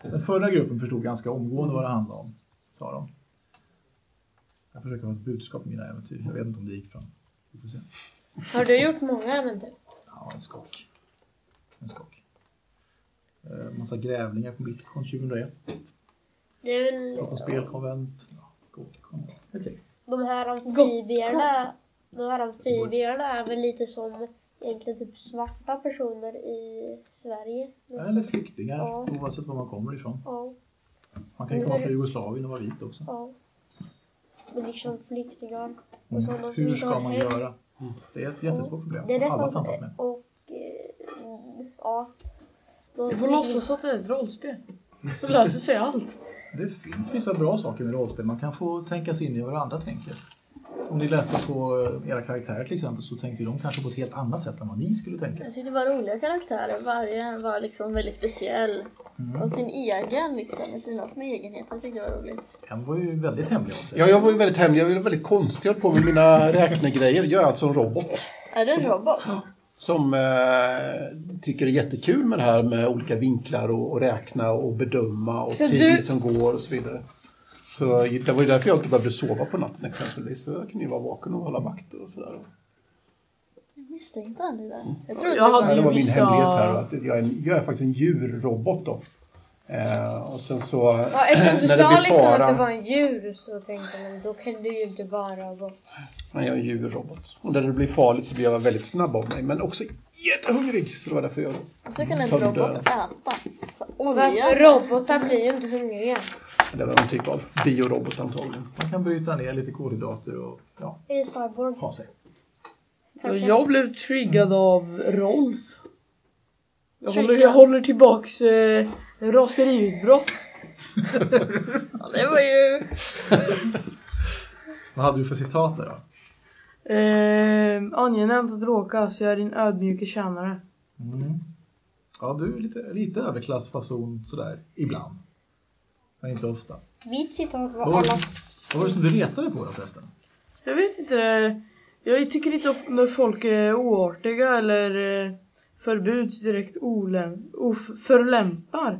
Speaker 6: Den förra gruppen förstod ganska omgående vad det handlade om, sa de. Jag försöker ha ett budskap i mina äventyr. Jag vet inte om det gick fram. Vi får se.
Speaker 3: Har du gjort många äventyr?
Speaker 6: Ja, en skock. En skock. Eh, massa grävlingar på Bitcoin 2001.
Speaker 2: Det är väl
Speaker 6: Stockholms spelkonvent. Ja, Gothcon. Ett gäng.
Speaker 2: de här amfibierna. De här amfibierna är väl lite som egentligen typ svarta personer i Sverige.
Speaker 6: Eller flyktingar,
Speaker 2: Ja.
Speaker 6: oavsett var man kommer ifrån.
Speaker 2: Ja,
Speaker 6: Man kan ju komma från Jugoslavien och vara vit också.
Speaker 2: ja. Men liksom flyktingar. Och sådana
Speaker 6: Mm.
Speaker 2: som
Speaker 6: Hur
Speaker 2: inte har
Speaker 6: ska man
Speaker 2: hem.
Speaker 6: göra? Mm. Det är ett jättesvårt problem.
Speaker 2: Det är det
Speaker 6: Alla
Speaker 2: som...
Speaker 6: tampas med.
Speaker 2: Och... eh, mm, Ja. De
Speaker 4: Vi
Speaker 2: som
Speaker 4: får
Speaker 2: inte-
Speaker 4: låtsas att det är ett rollspel. Så löser sig allt.
Speaker 6: Det finns vissa bra saker med rollspel. Man kan få tänka sig in i vad andra tänker. Om ni läste på eh, era karaktärer till exempel så tänkte de kanske på ett helt annat sätt än vad ni skulle tänka.
Speaker 2: Mm.
Speaker 3: Jag tyckte det var roliga karaktärer. Varje var liksom väldigt speciell.
Speaker 6: Mm.
Speaker 3: Och sin egen liksom, med sina små egenheter. Jag tyckte det var roligt.
Speaker 6: En var ju väldigt hemlig av sig.
Speaker 7: Ja, jag var ju väldigt hemlig. Jag var väldigt konstig. Jag höll på med mina räknegrejer. Jag är alltså en robot.
Speaker 3: Är du en robot?
Speaker 7: som eh, tycker det är jättekul med det här med olika vinklar och, och räkna och bedöma och
Speaker 8: Så
Speaker 7: tid
Speaker 8: du-
Speaker 7: som går och så vidare. Så det var ju därför jag inte behövde sova på natten exempelvis. Så jag kunde ju vara vaken och hålla vakt och sådär.
Speaker 3: Jag misstänkte aldrig det. Jag trodde
Speaker 4: Jag
Speaker 3: det var...
Speaker 4: hade-
Speaker 7: Ja, det var min
Speaker 4: vissa-
Speaker 7: hemlighet här. Att jag, är, en- jag är faktiskt en djurrobot då. Eh, och sen så...
Speaker 8: Ja, eftersom du
Speaker 7: när det
Speaker 8: sa
Speaker 7: blir
Speaker 8: liksom
Speaker 7: fara-
Speaker 8: att det var en djur så tänkte man då kan du ju inte bara vara...
Speaker 7: Nej, jag är en djurrobot. Och när det blir farligt så blir jag väldigt snabb av mig. Men också jättehungrig. Så det var därför jag...
Speaker 3: Så kan en
Speaker 7: Som
Speaker 3: robot
Speaker 7: dör.
Speaker 3: äta. Så
Speaker 8: Varför
Speaker 3: Olja.
Speaker 8: robotar blir ju inte hungriga.
Speaker 7: Det var någon typ av biorobot antagligen.
Speaker 6: Man kan bryta ner lite kolhydrater och ja,
Speaker 2: i cyborg.
Speaker 6: ha sig.
Speaker 4: Jag blev triggad av Rolf. Jag håller, jag håller tillbaks eh, raseriutbrott.
Speaker 3: Ja, det var ju...
Speaker 6: Vad hade du för citat där då?
Speaker 4: Eh, angenämt att råka så jag är din ödmjuke tjänare.
Speaker 6: Mm. Ja, du är lite, lite överklassfason sådär ibland. Men inte ofta.
Speaker 2: Mitt citat var
Speaker 6: Vad var,
Speaker 2: alla...
Speaker 6: det- vad var det som du retade på då förresten?
Speaker 4: Jag vet inte. eh, Jag tycker inte om när folk är oartiga eller eh, förbuds direkt olem, of, förlämpar.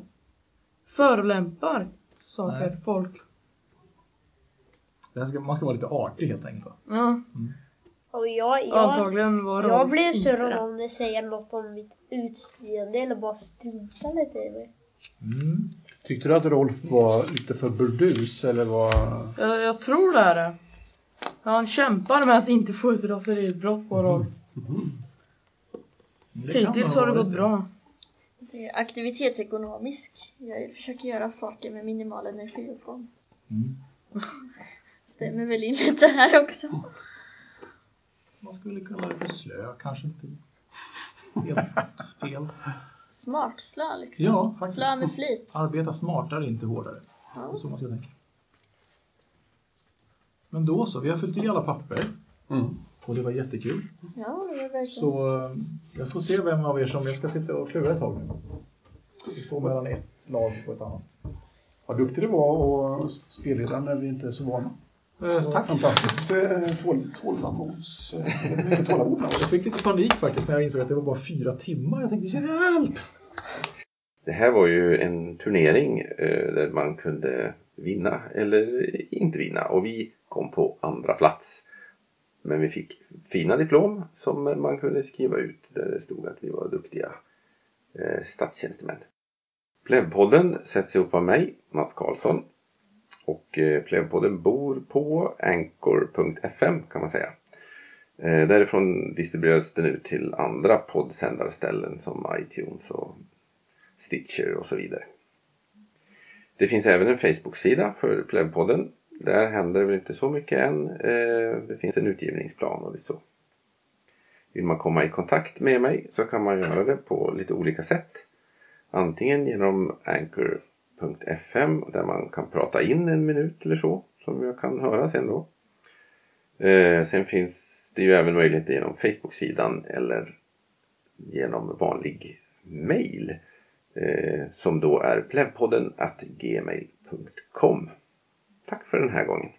Speaker 4: Förolämpar saker,
Speaker 6: Nej.
Speaker 4: folk.
Speaker 6: Det här ska, man ska vara lite artig helt enkelt. Då.
Speaker 4: Ja,
Speaker 2: Och jag, jag,
Speaker 4: antagligen var Rolf
Speaker 2: jag blir sur
Speaker 4: inte det.
Speaker 2: om någon säger något om mitt utseende eller bara struntar lite i mig.
Speaker 6: Mm.
Speaker 7: Tyckte du att Rolf var lite för burdus eller var...
Speaker 4: Jag, jag tror det är det. Han kämpar med att inte få ett raseriutbrott på Rolf.
Speaker 6: Det kan
Speaker 4: Hittills
Speaker 6: man
Speaker 4: har det
Speaker 6: vara
Speaker 4: gått
Speaker 6: lite.
Speaker 4: bra.
Speaker 3: Det är aktivitetsekonomisk. Jag försöker göra saker med minimal energiåtgång.
Speaker 6: Mm.
Speaker 3: Stämmer väl in lite här också.
Speaker 6: Man skulle kunna vara lite slö, kanske inte helt fel.
Speaker 3: Smartslö liksom.
Speaker 6: Ja, faktiskt.
Speaker 3: Slö med flit.
Speaker 6: Arbeta smartare, inte hårdare. Det är så man ska tänka. Men då så, vi har fyllt i alla papper.
Speaker 7: Mm.
Speaker 6: Och det var jättekul.
Speaker 3: Ja, det var verkligen.
Speaker 6: Så eh, jag får se vem av er som... Jag ska sitta och klura ett tag nu. Det står mellan ett lag och ett annat.
Speaker 7: Vad duktig du var och spelleda när vi inte är så vana.
Speaker 6: Eh, tack.
Speaker 7: Fantastiskt eh, tål- tålamods... eh, Mycket tålamod.
Speaker 6: Jag fick lite panik faktiskt när jag insåg att det var bara fyra timmar. Jag tänkte hjälp!
Speaker 1: Det här var ju en turnering eh, där man kunde vinna eller inte vinna och vi kom på andra plats. Men vi fick fina diplom som man kunde skriva ut där det stod att vi var duktiga eh, statstjänstemän. Plevpodden sätts ihop av mig, Mats Karlsson. Och eh, Plevpodden bor på anchor.fm kan man säga. Eh, Därifrån distribueras den ut till andra poddsändarställen som iTunes och Stitcher och så vidare. Det finns även en Facebook-sida för Plevpodden. Där händer väl inte så mycket än. Eh, Det finns en utgivningsplan och lite så. Vill man komma i kontakt med mig så kan man göra det på lite olika sätt. Antingen genom anchor.fm där man kan prata in en minut eller så som jag kan höra sen då. Eh, Sen finns det är ju även möjligt genom Facebook-sidan eller genom vanlig mail eh, som då är plevpodden gmail.com. Tack för den här gången.